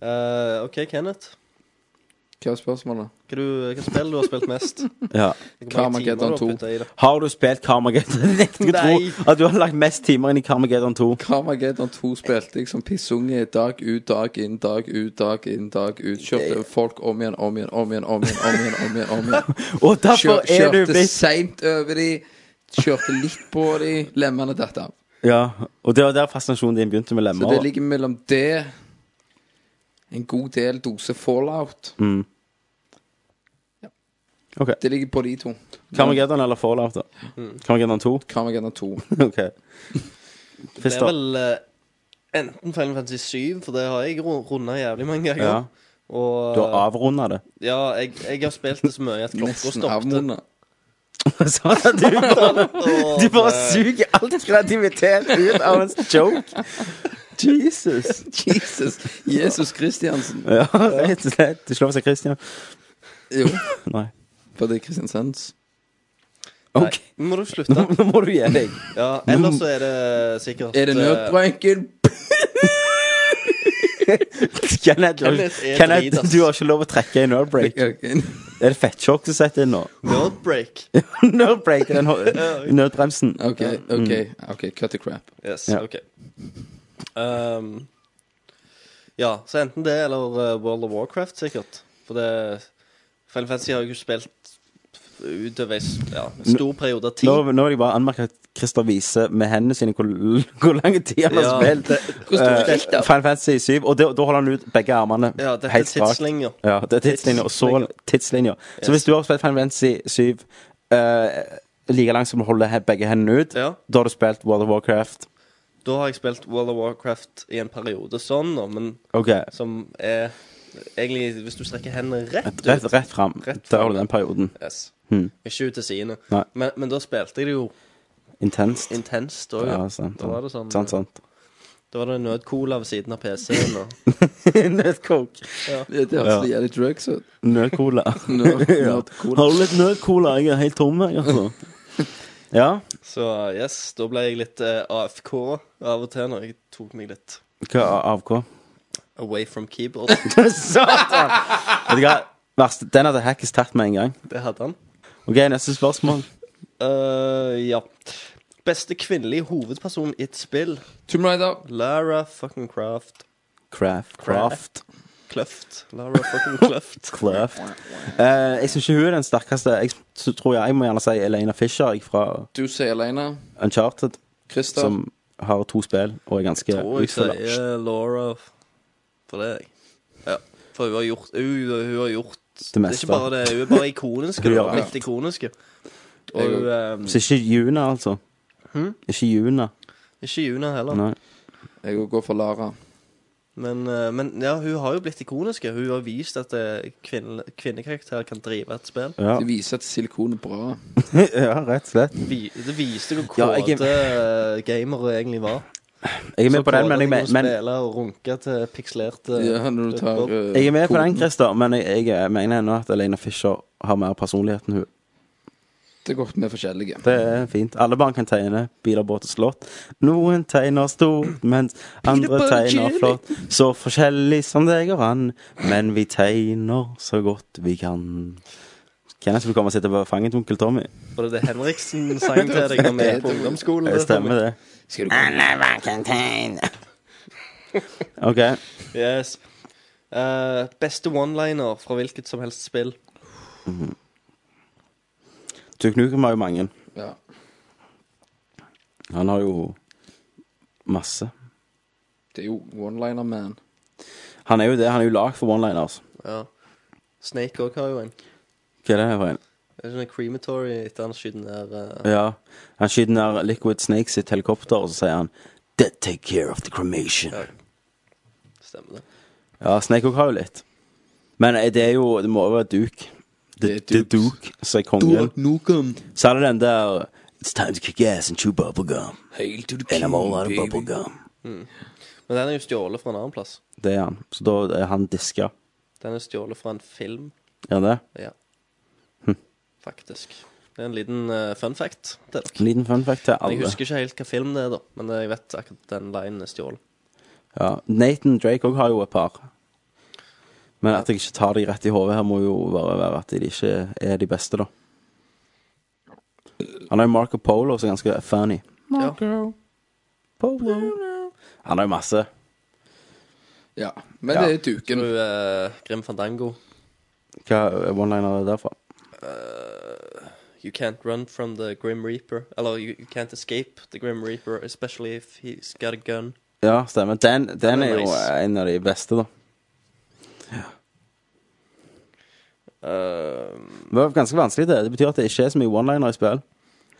Speaker 3: Eh, OK, Kenneth.
Speaker 2: Hva er spørsmålet?
Speaker 3: Hva, du, hva spill du har spilt mest?
Speaker 4: Ja.
Speaker 2: Carmageddon 2.
Speaker 4: Har du spilt Carmageddon? Jeg nekter å tro at du har lagt mest timer inn i Carmageddon 2.
Speaker 2: Carmageddon 2 spilte jeg som pissunge dag ut, dag inn, dag ut, dag inn, dag ut. Kjørte folk om igjen, om igjen, om igjen, om igjen, om igjen. om igjen, om igjen.
Speaker 4: Og
Speaker 2: Kjør,
Speaker 4: derfor er du
Speaker 2: kjørte
Speaker 4: blitt
Speaker 2: seint over de, kjørte litt på de, lemmene datt av.
Speaker 4: Ja, og det var der fascinasjonen din begynte med
Speaker 2: Så
Speaker 4: lemmer.
Speaker 2: det ligger mellom det En god del dose fallout.
Speaker 4: Mm.
Speaker 2: Ja.
Speaker 4: Ok.
Speaker 2: Det ligger på de to.
Speaker 4: Carmageddon eller Fallout, da? Carmageddon 2?
Speaker 2: Carmageddon 2.
Speaker 4: ok.
Speaker 3: Det er
Speaker 4: Fister.
Speaker 3: vel eh, enten Final Fantasy 7, for det har jeg runda jævlig mange ganger.
Speaker 4: Ja.
Speaker 3: Og
Speaker 4: Du har
Speaker 3: eh,
Speaker 4: avrunda det.
Speaker 3: ja, jeg, jeg har spilt det så mye at klokka
Speaker 2: Nesten
Speaker 3: stoppet.
Speaker 2: avmunnet.
Speaker 4: Sånn at du bare, du bare suger all kreativitet ut av en joke. Jesus.
Speaker 2: Jesus! Jesus Christiansen.
Speaker 4: Ja, rett og slett. Du slår seg Christian.
Speaker 2: Jo,
Speaker 4: Nei.
Speaker 2: for det er Kristiansands.
Speaker 3: Nei,
Speaker 4: Ok.
Speaker 3: nå må du slutte.
Speaker 4: Nå, nå må du gi deg.
Speaker 3: Ja, ellers så er det sikkert
Speaker 2: Er det
Speaker 3: eh,
Speaker 2: nødbranken?
Speaker 4: Kenneth,
Speaker 3: Kenneth er drit,
Speaker 4: Kenneth
Speaker 3: ass.
Speaker 4: du har ikke lov å trekke i Nerdbreak. Er det fettsjokk du setter inn nå?
Speaker 3: Nerdbreak.
Speaker 4: Nerdbreak, den ho- nødbremsen.
Speaker 2: OK, OK, ok, cut the crap.
Speaker 3: Yes,
Speaker 4: Ja.
Speaker 3: ok Ehm, Ja, så enten det eller eh, World of Warcraft sikkert For det Final Fantasy har jeg jo spilt Utover en s- ja, en stor periode av tid
Speaker 4: Nå, nå vil jeg bare anmerke at Christer viser med hendene sine hvor, hvor lang tid han har
Speaker 3: Ja,
Speaker 4: spilt
Speaker 3: det-
Speaker 4: eh, Final Fantasy 7. Og da da holder han ut begge armene
Speaker 3: Ja, dette er
Speaker 4: helt strakt.
Speaker 3: tidslinjer
Speaker 4: Ja, det er tidslinjer, og så tidslinjer. Så hvis du har spilt Final Fantasy 7 eh, like langt som du holder he- begge hendene ut,
Speaker 3: Ja.
Speaker 4: da har du spilt World of Warcraft.
Speaker 3: Da har jeg spilt World of Warcraft i en periode sånn nå, Men
Speaker 4: Ok,
Speaker 3: som er Egentlig, hvis du strekker hendene rett ut
Speaker 4: Rett, rett fram.
Speaker 3: Rett
Speaker 4: Der
Speaker 3: fram.
Speaker 4: holder den perioden.
Speaker 3: Yes.
Speaker 4: Hmm.
Speaker 3: Ikke ut til sidene
Speaker 4: Nei.
Speaker 3: men, men da spilte jeg det jo
Speaker 4: Intenst.
Speaker 3: intenst også,
Speaker 4: Ja, altså. sant.
Speaker 3: Da var det sånn
Speaker 4: sant, sant.
Speaker 3: Da var det nødcola ved siden av PC-en og
Speaker 4: Nødcoke.
Speaker 2: Det det høres så jævlig drugs ut.
Speaker 4: Nødcola.
Speaker 2: Nerd-
Speaker 4: Ja.
Speaker 2: nerdcola.
Speaker 4: Har du litt nødcola? Jeg er helt tom, jeg, altså. Ja.
Speaker 3: Så yes, da ble jeg litt eh, AFK av og til når jeg tok meg litt
Speaker 4: Hva AFK?
Speaker 3: away from keyboard.
Speaker 4: Satan! Vet du hva? Verst, den hadde Hackis tatt med en gang.
Speaker 3: Det hadde han.
Speaker 4: OK, neste spørsmål.
Speaker 3: Eh, ja. Beste kvinnelige hovedperson i et spill.
Speaker 2: Tomb Raider.
Speaker 3: Lara fucking Craft.
Speaker 4: Craft. Craft.
Speaker 3: Kløft. Lara fucking Kløft.
Speaker 4: Craft. Eh, jeg syns ikke hun er den sterkeste. Jeg s- tror jeg, jeg må gjerne si Elena Fisher jeg, fra
Speaker 2: Du sier alene.
Speaker 4: Uncharted,
Speaker 2: Christer.
Speaker 4: som har to spill og er ganske
Speaker 3: Tror jeg
Speaker 4: utfylla.
Speaker 3: sier Laura for det, jeg. Ja. For hun har gjort Hun, hun har gjort
Speaker 4: Det
Speaker 3: Det er
Speaker 4: meste.
Speaker 3: ikke bare det, hun er bare ikonisk. Hun
Speaker 4: Ja.
Speaker 3: er Litt ikonisk. Og
Speaker 2: Jeg
Speaker 3: hun eh,
Speaker 4: Så ikke Juna, altså. Ikke Juna.
Speaker 3: Ikke Juna heller.
Speaker 4: Nei.
Speaker 2: Jeg går for Lara.
Speaker 3: Men, eh, men ja, hun har jo blitt ikonisk. Hun har vist at eh, kvinne, kvinnekarakterer kan drive et spill.
Speaker 4: Ja.
Speaker 2: Det viser at silikon er bra.
Speaker 4: ja, rett og slett.
Speaker 3: Vi, det viste hvor
Speaker 4: Ja,
Speaker 3: kåte
Speaker 4: jeg-
Speaker 3: eh, gamere egentlig var.
Speaker 4: Jeg er med
Speaker 3: Så
Speaker 4: på den, men
Speaker 3: kåte
Speaker 4: jeg,
Speaker 3: de kunne
Speaker 4: men,
Speaker 3: spille og runke til pikslerte
Speaker 2: Ja, når du tar eh,
Speaker 4: jeg er med på den,
Speaker 2: koden.
Speaker 4: Christer, men jeg, jeg mener ennå at Elena Fisher har mer personlighet enn hun.
Speaker 2: Det er godt med forskjellige.
Speaker 4: Det er fint. Alle barn kan tegne biler, båt og slott. Noen tegner stort, mens andre
Speaker 2: Båt og
Speaker 4: tegner
Speaker 2: Julie.
Speaker 4: flott. Så forskjellig som deg og han, men vi tegner så godt vi kan. Kenneth vil komme og sitte på fanget til onkel Tommy.
Speaker 3: Var det det Henriksen sang til deg når vi gikk på ungdomsskolen?
Speaker 4: Det stemmer, det.
Speaker 2: Skal du
Speaker 6: Anna Valentine.
Speaker 4: OK.
Speaker 3: Yes. Eh, beste one-liner fra hvilket som helst spill.
Speaker 4: Tuknukum har jo mange.
Speaker 2: Ja.
Speaker 4: Han har jo masse.
Speaker 2: Det er jo one-liner, man.
Speaker 4: Han er jo det. Han er jo lagd for one-liners.
Speaker 3: Ja. Snake òg har jo en.
Speaker 4: Hva er det for en?
Speaker 3: Er det sånn en crematory etter han skyter ned eh,
Speaker 4: Ja. Han skyter ned Liquid Snake sitt helikopter, og så sier han That take care of the cremation.
Speaker 3: Ja. Stemmer det.
Speaker 4: Ja, Snake Hawk har jo litt. Men eh, det er jo Det må jo være Duke. Det
Speaker 2: Det er
Speaker 4: er Duke som er kongen. Så er det den der It's time to kick ass and chew bubblegum.
Speaker 2: Hail to the
Speaker 4: And
Speaker 2: king,
Speaker 4: I'm all out of
Speaker 2: baby.
Speaker 4: bubblegum.
Speaker 3: Men Men den er jo stjålet fra en annen plass.
Speaker 4: Det er han. Så da er han diska.
Speaker 3: Den er stjålet fra en film,
Speaker 4: Er det?
Speaker 3: ja.
Speaker 4: Hm.
Speaker 3: Faktisk. Det er en liten eh, fun fact til dere.
Speaker 4: En liten fun fact til
Speaker 3: Men Jeg
Speaker 4: alle.
Speaker 3: husker ikke helt hva film det er, da, men jeg vet akkurat den linen er stjålet.
Speaker 4: Ja. Nathan Drake òg har jo et par. Men at jeg ikke tar de rett i hodet her, må jo bare være at de ikke er de beste, da. Han er jo Marco Polo, som er ganske funny.
Speaker 2: Marco.
Speaker 4: Polo. Han har jo masse.
Speaker 2: Ja. Men
Speaker 4: Ja.
Speaker 2: det er
Speaker 4: Hm.
Speaker 3: Du,
Speaker 2: duken.
Speaker 3: eh, Grim Fandango,
Speaker 4: Hva one-liner er det derfra?
Speaker 3: You can't run from the Grim Reaper. Eller you, you can't escape the Grim Reaper, especially if he's got a gun.
Speaker 4: Ja, stemmer. Den, den,
Speaker 3: Den er
Speaker 4: er jo
Speaker 3: nice.
Speaker 4: en av de beste, da.
Speaker 3: Eh,
Speaker 4: Det var ganske vanskelig, det. Det betyr at det ikke er så mye one-liner i spill.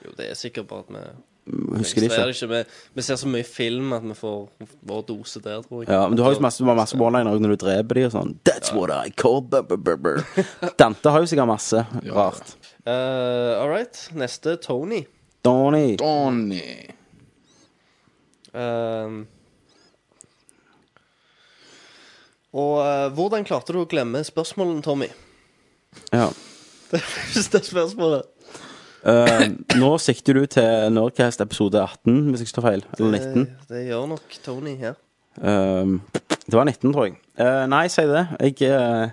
Speaker 3: jo, det er sikkert bare at vi
Speaker 4: Husker de ikke.
Speaker 3: registrerer ikke. Vi, vi ser så mye film at vi får vår dose der, tror jeg.
Speaker 4: Ja, men du har jo masse, du har masse one-liner også når du dreper de og sånn. That's what I call bu- bu- bu- bu. Dante har jo sikkert masse rart.
Speaker 3: Eh, all right. Neste, Tony.
Speaker 4: Donny.
Speaker 2: Donny.
Speaker 3: Ehm. og eh, hvordan klarte du å glemme spørsmålene, Tommy?
Speaker 4: Ja.
Speaker 3: Det er første spørsmålet.
Speaker 4: Eh, nå sikter du til Nordcast episode 18, hvis jeg ikke tar feil. Eller 19.
Speaker 3: Det, det gjør nok Tony her.
Speaker 4: Um, det var 19, tror jeg. Eh, nei, si det. Jeg eh,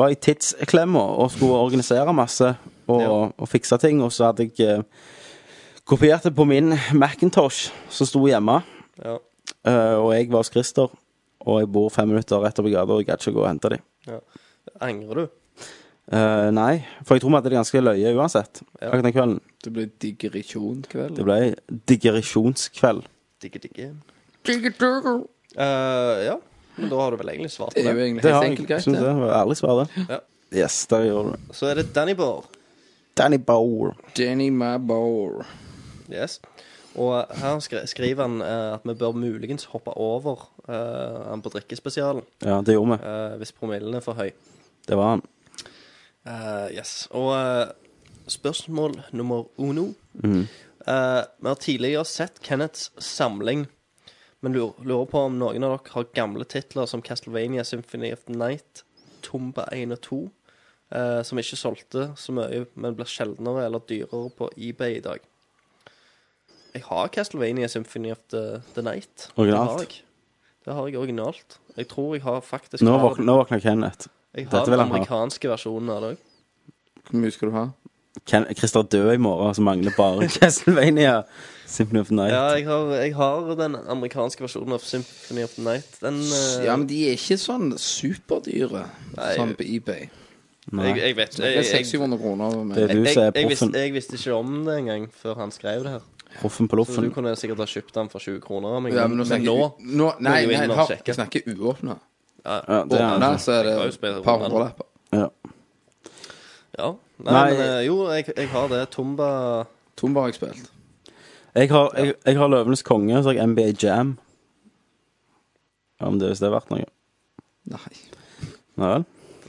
Speaker 4: var i tidsklemma og skulle organisere masse og,
Speaker 3: Ja.
Speaker 4: og fikse ting. Og så hadde jeg eh, kopiert det på min Macintosh som sto hjemme.
Speaker 3: Ja.
Speaker 4: Eh, og jeg var hos Christer, og jeg bor fem minutter rett oppi gata, og jeg gadd ikke gå og hente dem.
Speaker 3: ja. Angrer du?
Speaker 4: nei, for jeg tror vi hadde det ganske løye uansett.
Speaker 3: Ja.
Speaker 4: Akkurat den kvelden.
Speaker 2: Det blir digresjonkveld.
Speaker 4: Det ble digresjonskveld.
Speaker 3: Digge, digge.
Speaker 2: Digger-digger.
Speaker 3: Eh, ja, men da har du vel egentlig svart
Speaker 2: Det
Speaker 3: på
Speaker 2: er jo
Speaker 3: det.
Speaker 2: egentlig
Speaker 4: Det har
Speaker 2: helt
Speaker 4: jeg
Speaker 2: enkelt greit,
Speaker 4: synes
Speaker 2: det.
Speaker 4: det var ærlig svar, det.
Speaker 3: Ja.
Speaker 4: Yes, der gjør du det.
Speaker 3: Så er det Danny Bohr.
Speaker 4: Danny Bower.
Speaker 2: Danny Mabor.
Speaker 3: Yes. Og eh, her skri- skriver han eh, at vi bør muligens hoppe over eh, han på drikkespesialen
Speaker 4: Ja, det gjorde vi.
Speaker 3: eh, hvis promillen er for høy.
Speaker 4: Det var han.
Speaker 3: Eh, yes. Og eh, spørsmål nummer uno.
Speaker 4: Mm.
Speaker 3: Eh, vi har tidligere sett Kenneths samling, men lurer, lurer på om noen av dere har gamle titler som Castlevania Symphony of the Night, Tomba 1 og 2, eh, som ikke solgte så mye, men blir sjeldnere eller dyrere på eBay i dag. Jeg har Castlevania Symphony of the, the Night.
Speaker 4: Originalt.
Speaker 3: Det har jeg. Det har jeg originalt. Jeg tror jeg har faktisk
Speaker 4: Nå
Speaker 3: har,
Speaker 4: våkner, nå våkner Kenneth.
Speaker 3: Jeg har
Speaker 4: dette vil
Speaker 3: den
Speaker 4: han ha.
Speaker 3: amerikanske versjonen av det òg.
Speaker 2: Hvor mye skal du ha?
Speaker 4: Ken, Christer dør i morgen, så mangler bare Castlevania. Symphony of the Night.
Speaker 3: Ja, jeg har, jeg har den amerikanske versjonen av Symphony of the Night. Den eh,
Speaker 2: Ja, men de er ikke sånn superdyre
Speaker 3: Nei.
Speaker 2: sånn på eBay.
Speaker 4: Nei.
Speaker 3: jeg, jeg vet
Speaker 2: Det
Speaker 3: jeg,
Speaker 2: er
Speaker 3: jeg, jeg,
Speaker 2: 600 kroner.
Speaker 4: Det
Speaker 2: Men
Speaker 4: er du som er
Speaker 3: jeg,
Speaker 4: proffen,
Speaker 3: visste, jeg visste ikke om det engang før han skrev det her.
Speaker 4: proffen på
Speaker 3: Så du
Speaker 4: loffen.
Speaker 3: kunne sikkert ha kjøpt den for 20 kroner av meg.
Speaker 2: ja, men nå snakker jeg nå, Nei,
Speaker 3: vil
Speaker 2: nei,
Speaker 3: jeg
Speaker 2: jeg,
Speaker 3: bare
Speaker 2: har,
Speaker 3: sjekke.
Speaker 2: jeg snakker uåpna.
Speaker 4: Ja, det er han.
Speaker 2: Åpna, så er det
Speaker 3: Jeg har jo spilt
Speaker 2: et par
Speaker 3: rundt.
Speaker 2: hundrelapper.
Speaker 4: Ja.
Speaker 3: Ja. Nei,
Speaker 4: Nei.
Speaker 3: men eh, jo, jeg, jeg har det. Tomba
Speaker 2: Tomba har jeg spilt.
Speaker 4: Jeg har, jeg, jeg har Løvenes konge, og så har jeg NBA Jam. Ja, men det er hvis det er verdt noe.
Speaker 2: Nei.
Speaker 4: Nei vel?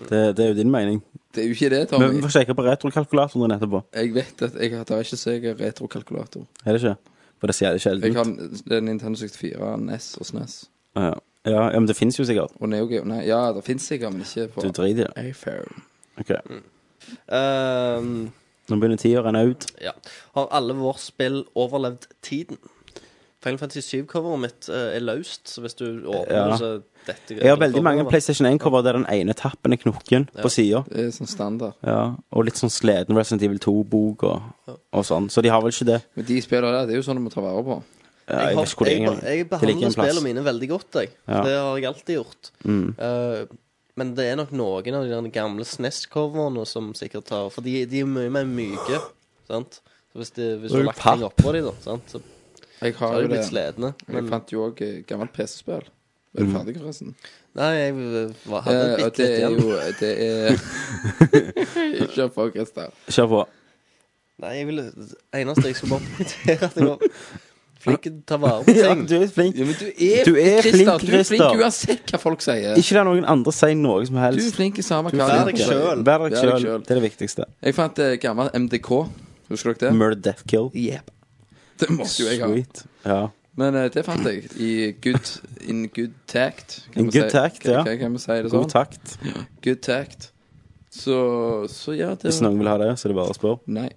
Speaker 4: Det, det er jo din mening.
Speaker 2: Det er jo ikke det,
Speaker 4: Men vi
Speaker 2: Tommy.
Speaker 4: får sjekke på retrokalkulatoren din etterpå.
Speaker 2: Jeg vet at jeg har det er ikke så jeg har retrokalkulator.
Speaker 4: Er det ikke? For det sier det
Speaker 2: Jeg
Speaker 4: sjelden.
Speaker 2: har den Nintendo 64, NES E og SNES.
Speaker 4: Ja, ja, ja, men det fins jo sikkert.
Speaker 2: Og Neo Geo. Nei, ja, det fins sikkert, men ikke på
Speaker 4: Du driter i det.
Speaker 2: iPhone.
Speaker 4: Ok.
Speaker 3: ehm,
Speaker 4: Nå begynner tida å renne ut.
Speaker 3: Ja. Har alle våre spill overlevd tiden? Final Fantasy 7-coveret mitt eh, er løst, så hvis du åpner
Speaker 4: Ja.
Speaker 3: det, så detter
Speaker 4: Jeg har veldig mange
Speaker 3: coveret.
Speaker 4: PlayStation 1-cover der den ene tappen er knokken på sida.
Speaker 2: Det er sånn standard.
Speaker 4: Ja, og litt sånn sleden Resident Evil 2-bok og, og sånn. Så de har vel ikke det.
Speaker 2: Men de spillene der, det er jo sånn du må ta vare på.
Speaker 4: Ja, jeg
Speaker 3: Jeg, har,
Speaker 4: vet ikke hvor det er
Speaker 3: jeg,
Speaker 4: engang.
Speaker 3: jeg
Speaker 4: Det ligger
Speaker 3: behandler
Speaker 4: en plass.
Speaker 3: spillene mine veldig godt, jeg.
Speaker 4: Ja. Mm.
Speaker 3: Det har jeg alltid gjort. Eh, men det er nok noen av de der gamle SNES-coverne som sikkert tar For de, de er mye mer myke, sant? Så hvis, de, hvis du
Speaker 4: er
Speaker 3: har
Speaker 4: jo
Speaker 3: lagt ting
Speaker 4: papp.
Speaker 3: oppå de, da, sant? så
Speaker 2: Jeg
Speaker 3: så
Speaker 2: har
Speaker 3: har
Speaker 2: jo
Speaker 3: de
Speaker 2: det.
Speaker 3: blitt sledne.
Speaker 2: Jeg
Speaker 3: Men
Speaker 2: fant jo òg gammelt PC-spill. Er du ferdig, forresten?
Speaker 3: nei, jeg eh, var- hadde
Speaker 2: Eh, og
Speaker 3: bitte
Speaker 2: det
Speaker 3: litt
Speaker 2: er
Speaker 3: igjen.
Speaker 2: jo Det er Ikke på, Christer.
Speaker 4: Kjør på.
Speaker 3: Nei, jeg ville Det eneste jeg skulle bare poengtere, at jeg var flink til å ta vare på
Speaker 4: Ja,
Speaker 3: ting.
Speaker 4: du er flink.
Speaker 2: Ja, men du er,
Speaker 4: Du er
Speaker 2: Christer,
Speaker 4: flink,
Speaker 2: Du er
Speaker 4: Christer.
Speaker 2: flink uansett hva folk sier.
Speaker 4: Ikke la noen andre si noe som
Speaker 2: Du er
Speaker 4: helst.
Speaker 2: flink i samme hva
Speaker 3: Vær
Speaker 2: de
Speaker 3: deg
Speaker 2: sier.
Speaker 3: sjøl.
Speaker 4: Vær deg
Speaker 2: Vær deg
Speaker 4: sjøl.
Speaker 2: selv.
Speaker 4: Det er det viktigste.
Speaker 2: Jeg fant eh, gammel MDK. Husker dere det?
Speaker 4: Murder, death, kill.
Speaker 2: Yep. Det måtte jo jeg ha.
Speaker 4: Sweet. Ja.
Speaker 2: Men eh, det fant jeg. I good, in good tact. kan
Speaker 4: In
Speaker 2: vi
Speaker 4: good
Speaker 2: si-
Speaker 4: tact,
Speaker 2: kan-
Speaker 4: ja.
Speaker 2: Kan, kan vi si det sånn?
Speaker 4: God takt.
Speaker 2: Good tact. Så, så ja, det
Speaker 4: Hvis noen vil ha det, så er det bare å spørre.
Speaker 2: Nei.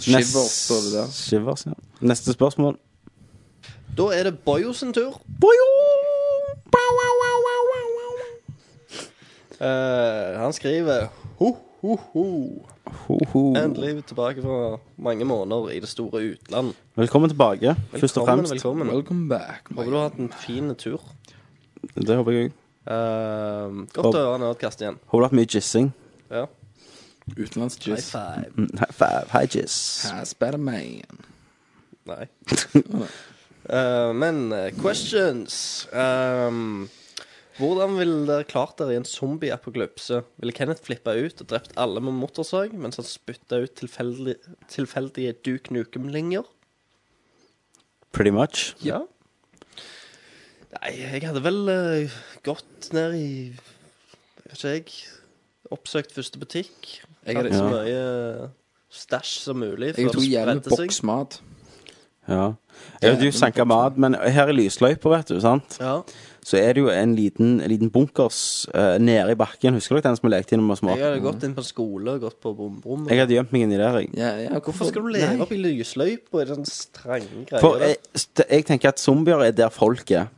Speaker 4: Nest-
Speaker 2: Shiver står det der.
Speaker 4: Shivers, ja. Neste spørsmål.
Speaker 3: Da er det Boyo sin tur. Eh, han skriver ho, ho, ho.
Speaker 4: Ho, ho.
Speaker 3: Endelig tilbake fra mange måneder i det store utland.
Speaker 4: Velkommen tilbake, først og
Speaker 3: Velkommen,
Speaker 4: fremst.
Speaker 3: velkommen.
Speaker 2: Welcome back.
Speaker 3: Håper du har hatt en fin tur.
Speaker 4: Det håper jeg òg.
Speaker 3: Eh,
Speaker 4: Håper-
Speaker 3: godt å høre Nerdkast igjen.
Speaker 4: Håper du har hatt mye jissing.
Speaker 3: Ja. High
Speaker 2: Utenlandsjuice.
Speaker 3: five.
Speaker 4: Mm, High five. High jizz.
Speaker 2: Spiderman.
Speaker 3: Nei. Eh, men eh, questions Ehm, Hvordan ville dere klart dere i en zombie-apokalypse? Ville Kenneth flippa ut og drept alle med motorsag, mens han spytta ut tilfeldig, tilfeldige Duke Nukem-linjer?
Speaker 4: Pretty much.
Speaker 3: Ja. Nei, jeg hadde vel eh, gått ned i Jeg vet ikke, jeg. Oppsøkt første butikk.
Speaker 2: Jeg
Speaker 3: Jeg hadde
Speaker 2: hadde-
Speaker 3: så mye eh, stæsj som mulig.
Speaker 2: Jeg
Speaker 3: før
Speaker 2: tok
Speaker 3: det
Speaker 2: gjerne
Speaker 3: spredte seg.
Speaker 2: boksmat.
Speaker 4: Ja. Jeg vet jo sanka mat, men her i lysløypa, vet du, sant,
Speaker 3: Ja.
Speaker 4: så er det jo en liten, liten bunkers eh, nede i bakken. Husker dere den som vi lekte i når vi var små?
Speaker 3: Jeg hadde gått inn på en skole og gått på bom-bom.
Speaker 4: Jeg hadde gjemt meg inni der, jeg.
Speaker 2: Ja, ja,
Speaker 3: Hvorfor skal du leve opp i lysløypa i den strenge greia?
Speaker 4: For
Speaker 3: der?
Speaker 4: jeg, st- jeg tenker at zombier er der folk er.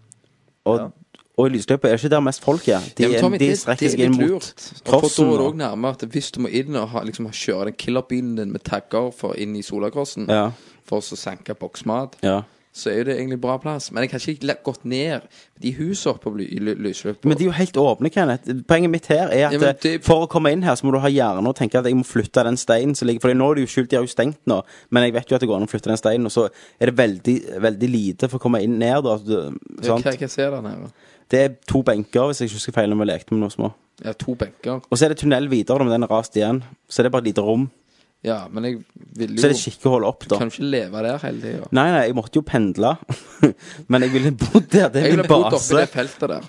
Speaker 4: Og, og lysløypa er ikke der mest folk er. De,
Speaker 2: Ja, men
Speaker 4: er-
Speaker 2: Tommy,
Speaker 4: de
Speaker 2: det-
Speaker 4: strekker
Speaker 2: det er
Speaker 4: seg inn
Speaker 2: litt
Speaker 4: mot
Speaker 2: lurt. Og for
Speaker 4: crossen.
Speaker 2: da er det også
Speaker 4: og-
Speaker 2: nærmere at hvis du må inn og ha, liksom, ha kjøre den killerbilen din med tagger for inn i solakrossen
Speaker 4: Ja.
Speaker 2: for å så senke boksmat,
Speaker 4: Ja.
Speaker 2: så er jo det egentlig bra plass. Men jeg har ikke le- gått ned de husene oppe på ly- i ly- lysløypa.
Speaker 4: Men de er jo helt åpne, Kenneth. Poenget mitt her er at
Speaker 2: Ja, men
Speaker 4: eh,
Speaker 2: det-
Speaker 4: for å komme inn her, så må du ha hjerne og tenke at jeg må flytte den steinen som ligger Fordi nå er det jo skjult, de har jo stengt nå, men jeg vet jo at det går an å flytte den steinen, og så er det veldig, veldig lite for å komme inn ned, da. Du,
Speaker 2: Ja,
Speaker 4: sant?
Speaker 2: Hva, hva ser der nede?
Speaker 4: Det er to benker, hvis jeg ikke husker feil, når vi lekte med noen små.
Speaker 2: Ja, to benker.
Speaker 4: Og så er det tunnel videre, da, men den er rast igjen. Så er det bare et lite rom.
Speaker 2: Ja, men jeg ville
Speaker 4: Så er det
Speaker 2: jo
Speaker 4: kikkehull opp, da.
Speaker 2: Kan jo ikke leve der hele tida.
Speaker 4: Nei, nei, jeg måtte jo pendle. Men jeg ville bodd der. Det
Speaker 2: Jeg
Speaker 4: er min
Speaker 2: ville bodd oppi
Speaker 4: base.
Speaker 2: det feltet der.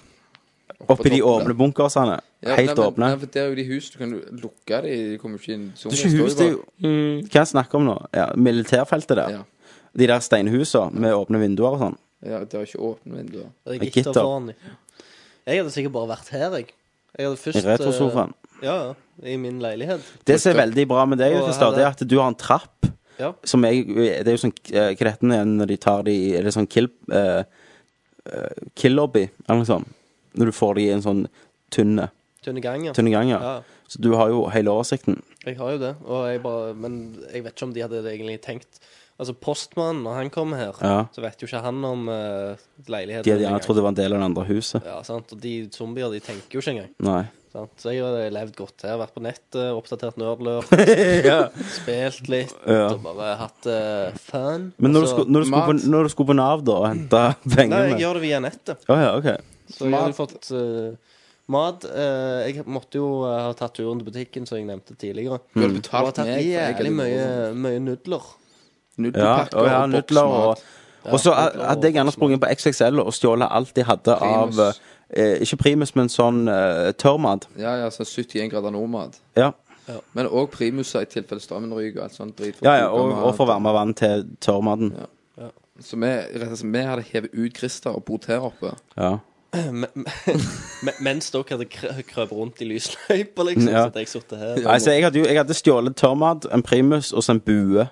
Speaker 4: Oppi de
Speaker 2: toppen
Speaker 4: åpne
Speaker 2: der.
Speaker 4: bunkersene.
Speaker 2: Ja, nei,
Speaker 4: Helt
Speaker 2: men-
Speaker 4: åpne.
Speaker 2: Nei, for det er jo de hus du kan jo lukke de, de kommer jo ikke inn. Sånn
Speaker 4: Det er ikke hus, det er jo
Speaker 3: Mm.
Speaker 4: Hva jeg snakker om nå? Ja, militærfeltet der.
Speaker 2: Ja.
Speaker 4: De der steinhusene med åpne vinduer og sånn.
Speaker 2: Ja, det er ikke åpne vinduer.
Speaker 3: Det er
Speaker 4: Med
Speaker 3: gitter
Speaker 4: gitter.
Speaker 3: foran dem. Jeg hadde sikkert bare vært her, jeg. Jeg hadde først
Speaker 4: I retrosofaen.
Speaker 3: eh, Ja, ja, i min leilighet.
Speaker 4: Det som er veldig bra med deg,
Speaker 3: Og
Speaker 4: Kristian, det er
Speaker 3: her
Speaker 4: at du har en trapp
Speaker 3: Ja.
Speaker 4: som jeg Det er jo sånn eh, Hva heter den igjen når de tar de Er det sånn kill... eh, eh, kill-lobby, eller noe sånt? Når du får de i en sånn tynne,
Speaker 3: Tynne ganger.
Speaker 4: tynne gang, ja.
Speaker 3: Ja,
Speaker 4: Så du har jo hele oversikten.
Speaker 3: jeg har jo det. Og jeg bare, men jeg vet ikke om de hadde det egentlig tenkt. Altså, postmannen, når han kommer her,
Speaker 4: Ja.
Speaker 3: så vet jo ikke han om eh, leiligheten.
Speaker 4: De hadde
Speaker 3: engang.
Speaker 4: gjerne trodd det var en del av det andre huset.
Speaker 3: Ja, sant? Og de zombier, de tenker jo ikke engang.
Speaker 4: Nei.
Speaker 3: Sant? Så jeg har levd godt her. Vært på nettet, oppdatert nerdlør,
Speaker 4: ja.
Speaker 3: spilt litt
Speaker 4: Ja.
Speaker 3: og bare hatt eh, fun.
Speaker 4: Men når,
Speaker 3: Og
Speaker 4: du
Speaker 3: så-
Speaker 4: skulle, når, du skulle
Speaker 2: mat.
Speaker 4: på, når du skulle på Nav, da, og hente
Speaker 3: Nei,
Speaker 4: pengene
Speaker 3: jeg gjør det via nettet.
Speaker 4: Å ja, OK.
Speaker 3: Så jeg hadde fått eh, mat. Eh, jeg måtte jo eh, ha tatt turen til butikken, som jeg nevnte tidligere.
Speaker 4: Mm.
Speaker 2: Du hadde
Speaker 3: Og har
Speaker 2: betalt
Speaker 3: tatt
Speaker 2: meg. for jeg
Speaker 3: jævlig
Speaker 2: hadde
Speaker 3: mye,
Speaker 2: vært
Speaker 3: mye nudler.
Speaker 4: Ja,
Speaker 2: Nudelpakker
Speaker 4: og ja,
Speaker 2: og
Speaker 4: nudler og
Speaker 2: boksmat.
Speaker 4: Og så
Speaker 3: nudler og
Speaker 4: hadde jeg gjerne sprunget på XXL og stjålet alt de hadde
Speaker 2: Primus.
Speaker 4: av eh, Ikke primus, men sånn eh, tørrmat.
Speaker 2: Ja, ja, så 71 grader nordmat.
Speaker 4: Ja.
Speaker 2: Men òg primuser i tilfelle strømmen ryker og alt sånt drit. for
Speaker 4: ja, ja,
Speaker 2: å
Speaker 4: og,
Speaker 2: koke mat.
Speaker 4: og for varme vann til tørrmaten.
Speaker 2: Ja. Så vi, rett og slett, vi hadde hevet ut Christer og bodd her oppe.
Speaker 4: Ja.
Speaker 3: Men- men- Mens dere hadde krø- krøpet rundt i lysløypa, liksom.
Speaker 4: Ja.
Speaker 3: Så hadde jeg sittet her.
Speaker 4: Nei, så jeg hadde, jo, jeg hadde stjålet tørrmat, en primus og så en bue.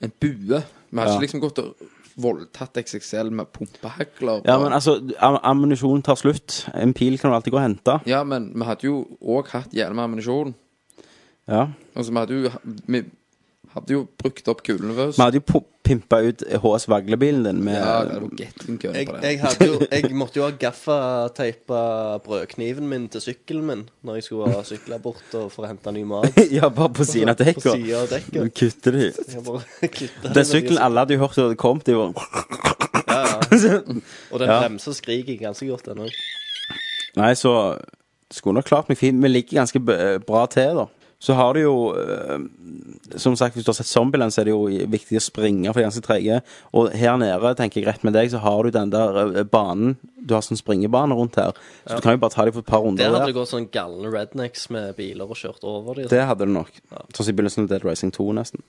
Speaker 2: En bue. Vi hadde
Speaker 4: Ja.
Speaker 2: ikke liksom gått og voldtatt XXL med pumpehagler.
Speaker 4: Ja,
Speaker 2: og-
Speaker 4: men altså, am ammunisjon tar slutt. En pil kan du alltid gå og hente.
Speaker 2: ja, men vi hadde jo òg hatt jævlig med ammunisjon.
Speaker 4: Ja.
Speaker 2: Altså, vi hadde jo Vi hadde jo brukt opp kulene først.
Speaker 4: Vi hadde jo pu- pimpa ut HS Vagle-bilen din med
Speaker 2: Ja, det var gettingkøen
Speaker 3: Jeg,
Speaker 2: på det.
Speaker 3: jeg, hadde jo, jeg måtte jo ha gaffateipa brødkniven min til sykkelen min når jeg skulle ha sykla bort og for å hente ny mat.
Speaker 4: Ja, bare på siden av
Speaker 3: På
Speaker 4: dekka.
Speaker 3: sida av
Speaker 4: Du
Speaker 3: dekket.
Speaker 4: kutter de.
Speaker 3: Jeg bare kutta
Speaker 4: Den sykkelen alle hadde jo hørt hadde kommet, de var
Speaker 3: Ja, ja. Og den
Speaker 4: Ja.
Speaker 3: bremser og skriker ganske godt ennå.
Speaker 4: Nei, så skulle nok klart meg fint. Vi ligger ganske b- eh, bra til, da. Så har du jo eh, Som sagt, hvis du har sett Zombieland, så er det jo viktig å springe, for de er ganske trege. Og her nede, tenker jeg rett med deg, så har du den der eh, banen Du har sånn springebane rundt her. Så du kan jo bare ta dem for et par runder
Speaker 3: Der hadde
Speaker 4: der.
Speaker 3: det gått sånn galne rednecks med biler og kjørt over dem.
Speaker 4: Det hadde du nok. Sånn som i begynnelsen av Dead Rising 2, nesten.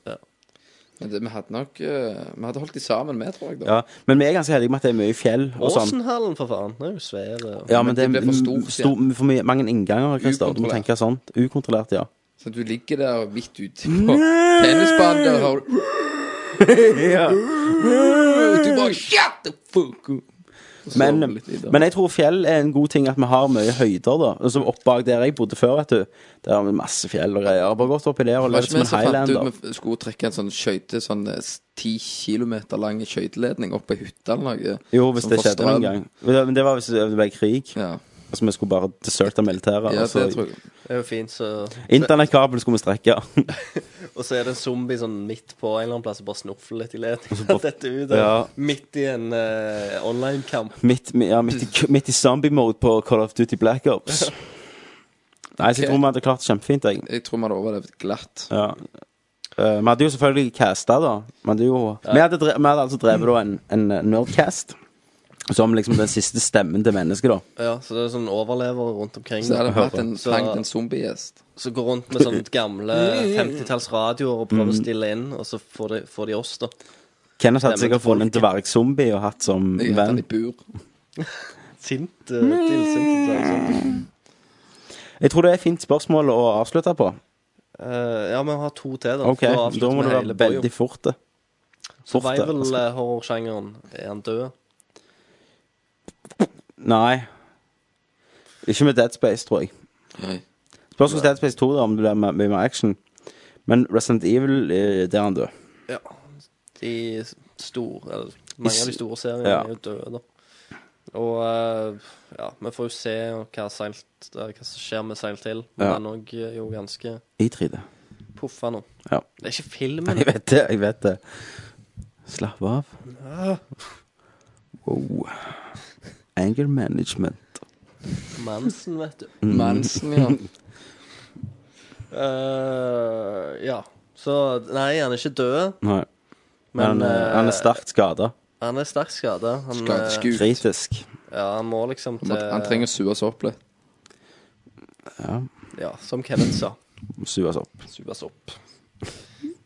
Speaker 2: Men det, vi hadde nok eh, Vi hadde holdt de sammen med, tror jeg. da
Speaker 4: Ja, men vi er ganske heldige med at det er mye fjell og sånn.
Speaker 3: Åsenhallen, for faen. Den er jo svær. og-
Speaker 4: Ja,
Speaker 2: Men
Speaker 4: men det
Speaker 2: det
Speaker 4: er
Speaker 2: blir for stort,
Speaker 4: stor, for mye, mange innganger, Christer. Du må
Speaker 2: Ukontrollert.
Speaker 4: tenke sånn. Ukontrollert, ja.
Speaker 2: Så du ligger der vidt ute på tennisbanen der har du Du bare Shut the fuck up! Og så
Speaker 4: Men,
Speaker 2: sover du litt videre.
Speaker 4: men jeg tror fjell er en god ting at vi har mye høyder, da. Altså, opp bak der jeg bodde før, vet du. Der har vi masse fjell og greier. Bare gått oppi der og
Speaker 2: Var
Speaker 4: levd
Speaker 2: ikke
Speaker 4: som
Speaker 2: vi
Speaker 4: en
Speaker 2: som fant
Speaker 4: highlander.
Speaker 2: ut vi skulle trekke en sånn skøyte, sånn eh, s- 10 kilometer lang skøyteledning opp ei hytte eller noe?
Speaker 4: Jo, hvis
Speaker 2: som
Speaker 4: det
Speaker 2: får
Speaker 4: skjedde
Speaker 2: strøm?
Speaker 4: noen gang. Men det var hvis det ble krig.
Speaker 2: Ja,
Speaker 4: Altså, vi skulle bare deserte militæret.
Speaker 2: ja det
Speaker 4: altså,
Speaker 2: tror jeg.
Speaker 3: Det er jo fint, så
Speaker 4: Internettkabel skulle vi strekke.
Speaker 3: Og så er det en zombie sånn midt på en eller annen plass og bare snuffer litt i ledningen. Dette ut, og
Speaker 4: Ja.
Speaker 3: Midt i en eh, online-kamp.
Speaker 4: midt, ja, midt, i, midt i zombie-mode på Call of Duty Black Ops. Nei, så jeg
Speaker 2: Ok.
Speaker 4: tror vi hadde klart det kjempefint, jeg.
Speaker 2: Jeg tror vi hadde overlevd glatt.
Speaker 4: Ja. Eh, vi hadde jo selvfølgelig casta, da. Vi hadde, jo, vi hadde, dre- vi hadde altså drevet da en, en eh, nerdcast. Som liksom den siste stemmen til mennesket, da.
Speaker 3: Ja, så det er sånn overlevere rundt omkring.
Speaker 2: Så hadde vi hatt en,
Speaker 3: Så-
Speaker 2: fangt en zombiegjest.
Speaker 3: Så går rundt med sånne gamle 50-talls radioer og prøver å stille inn, og så får de, får de oss, da.
Speaker 4: Kenneth hadde
Speaker 3: Stemmen til
Speaker 4: sikkert funnet en
Speaker 3: folket.
Speaker 4: dvergzombie og hatt som
Speaker 2: Jeg hadde
Speaker 4: venn.
Speaker 2: han i bur.
Speaker 3: Sint, eh, tilsint. altså.
Speaker 4: Jeg tror det er et fint spørsmål å avslutte på.
Speaker 3: Eh, ja, men vi har to til, da.
Speaker 4: Ok,
Speaker 3: for
Speaker 4: Da
Speaker 3: avslutter
Speaker 4: må
Speaker 3: vi
Speaker 4: du
Speaker 3: hele
Speaker 4: være
Speaker 3: boya.
Speaker 4: veldig fort. det. fort,
Speaker 3: altså.
Speaker 4: da.
Speaker 3: eh, Survival-horrorsjangeren, er han død?
Speaker 4: Nei. Ikke med Dead Space, tror jeg.
Speaker 2: Nei.
Speaker 4: Spørs hvordan Dead Space 2 da, om det blir mer- mye mer action. Men Resident Evil, eh, der er han død.
Speaker 3: Ja. De store eller, Mange av de store seriene
Speaker 4: Ja.
Speaker 3: er jo døde, da. Og eh, ja, vi får jo se hva, seilt, eh, hva som skjer med Seil til. Men
Speaker 4: Ja.
Speaker 3: den òg er eh, jo ganske
Speaker 4: I 3D.
Speaker 3: puffa nå.
Speaker 4: Ja.
Speaker 3: Det er ikke filmen.
Speaker 4: Jeg vet det, jeg vet det. Slapp av. Wow. Anger management.
Speaker 3: Mansen, vet du.
Speaker 4: Mm.
Speaker 2: Mansen, ja.
Speaker 3: Eh, ja. Så Nei, han er ikke død,
Speaker 4: Nei. Men
Speaker 3: men
Speaker 4: han, eh, han er sterkt skada.
Speaker 3: han er sterkt skada. Han, eh,
Speaker 2: Skadeskutt.
Speaker 4: Kritisk.
Speaker 3: ja, han må liksom til
Speaker 2: Han trenger å sues opp litt.
Speaker 3: Ja, som Kenneth sa.
Speaker 4: Sues opp.
Speaker 3: Supes opp.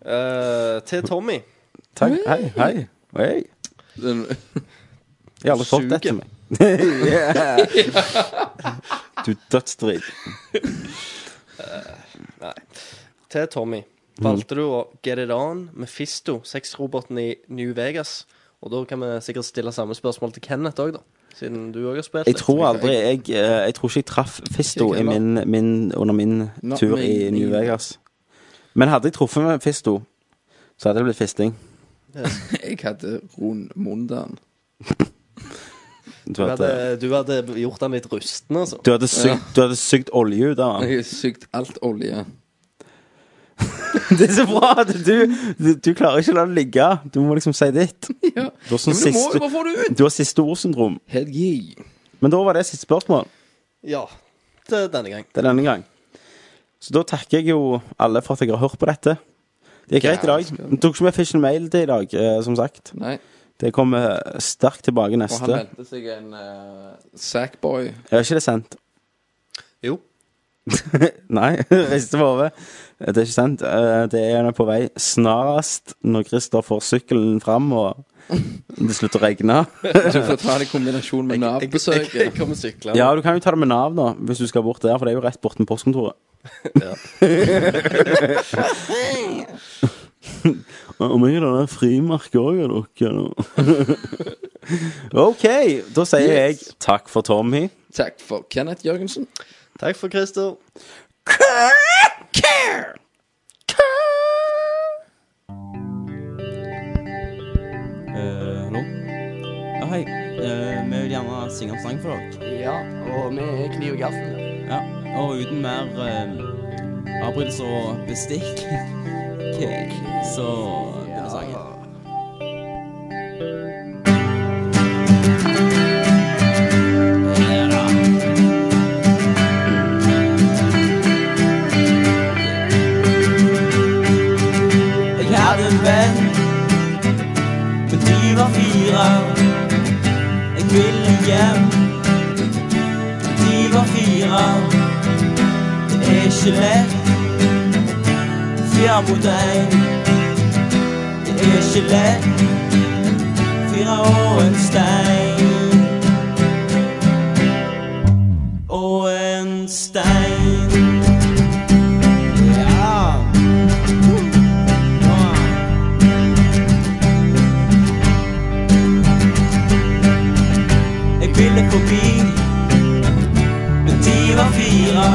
Speaker 3: Eh, til Tommy.
Speaker 4: Takk. Hei, hei. Hei.
Speaker 2: Den-
Speaker 4: Jeg har aldri fått
Speaker 2: Suge.
Speaker 4: det til meg. yeah. Du dødsdrit.
Speaker 3: Til Tommy
Speaker 4: Mm.
Speaker 3: valgte du å get it on med Fisto, sexroboten i New Vegas. Og da kan vi sikkert stille samme spørsmål til Kenneth òg, da. Siden du òg har spilt
Speaker 4: Jeg
Speaker 3: litt.
Speaker 4: tror aldri jeg, eh, jeg tror ikke jeg traff Fisto
Speaker 2: Ikke
Speaker 4: i
Speaker 2: heller.
Speaker 4: min, min, under min
Speaker 2: Not
Speaker 4: tur
Speaker 2: me
Speaker 4: i New
Speaker 2: neither.
Speaker 4: Vegas. Men hadde jeg truffet med Fisto, så hadde det blitt fisting.
Speaker 2: Jeg hadde Ron Mondan.
Speaker 4: Du
Speaker 3: Du hadde,
Speaker 4: hadde,
Speaker 3: du hadde gjort han litt rusten, altså.
Speaker 4: du hadde, sugd, du hadde sugd olje ut av den.
Speaker 2: Jeg har sugd alt olje.
Speaker 4: Det er så bra at du, du, du klarer ikke å la det ligge. Du må liksom si ditt.
Speaker 2: Ja.
Speaker 4: Du har, sånn
Speaker 2: Men du må jo
Speaker 4: siste,
Speaker 2: bare få det ut!
Speaker 4: du har siste ordsyndrom.
Speaker 2: Head ye.
Speaker 4: Men da var det siste spørsmål.
Speaker 3: Ja. Til denne gang.
Speaker 4: Det er denne gang. Så da takker jeg jo alle for at jeg har hørt på dette. Det gikk greit i dag. Vi tok ikke med Fish and Mail til i dag, eh, som sagt.
Speaker 2: Nei.
Speaker 4: Det kommer sterkt tilbake
Speaker 2: Og han
Speaker 4: neste.
Speaker 2: meldte seg en eh, Sackboy.
Speaker 4: Jeg har ikke det sendt.
Speaker 3: Jo.
Speaker 4: Nei, rister på hodet. Det er ikke sant. Eh, Det er på vei snarest når Christer får sykkelen fram og det slutter å regne.
Speaker 2: Så du får ta det i kombinasjon med
Speaker 3: Jeg, jeg
Speaker 2: Nav-besøket.
Speaker 3: kommer syklende.
Speaker 4: Ja, du kan jo ta det med Nav, da, hvis du skal bort der, for det er jo rett borten postkontoret. Om jeg har det frimerket òg, er dere OK, da sier jeg takk for Tommy.
Speaker 2: Takk for Kenneth Jørgensen.
Speaker 3: Takk for Christer.
Speaker 4: Hallo? Ja, hei. vi vil gjerne synge en sang for dere.
Speaker 9: Ja, og vi er kniv og gaffel.
Speaker 4: Ja, Og uten mer avbrytelser og bestikk, så begynner sangen.
Speaker 9: Jeg hadde en venn, men de var fire. Jeg ville hjem, men de var fire. Det er ikke lett, fire mot én. Det
Speaker 4: er ikke lett. Fire og en stein. Og en stein. Ja. Ah. Jeg ville forbi, men de var fire.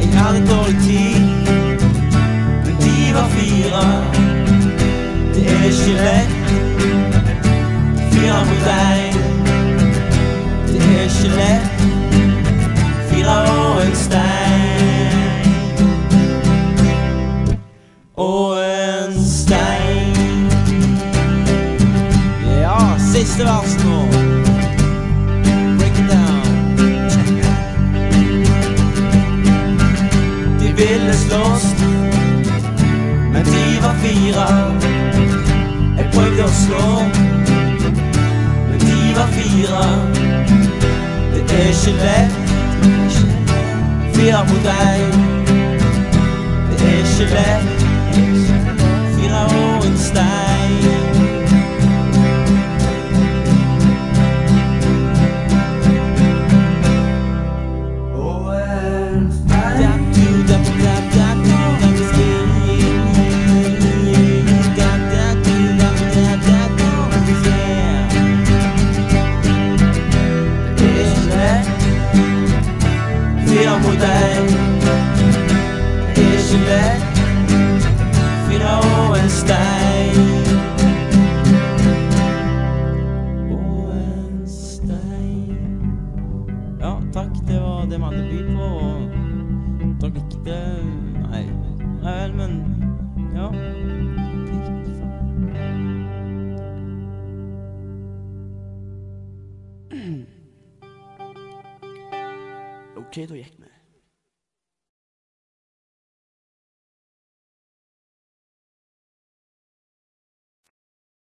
Speaker 4: Jeg hadde dårlig tid, men de var fire. Det er ikke lett, fire mot deg. Det er ikke lett, fire og en stein. Og en stein. Ja, siste vers nå. Break it down. De ville slåss, men de var fire. Jeg prøvde å slå, men de var fire. Det er ikke lett. Fire mot deg. Det er ikke lett. Fire og en stein. Yeah. Ja, takk. Det var det vi hadde å by på. Og dere likte Nei, nei vel, men Ja. OK, da gikk vi.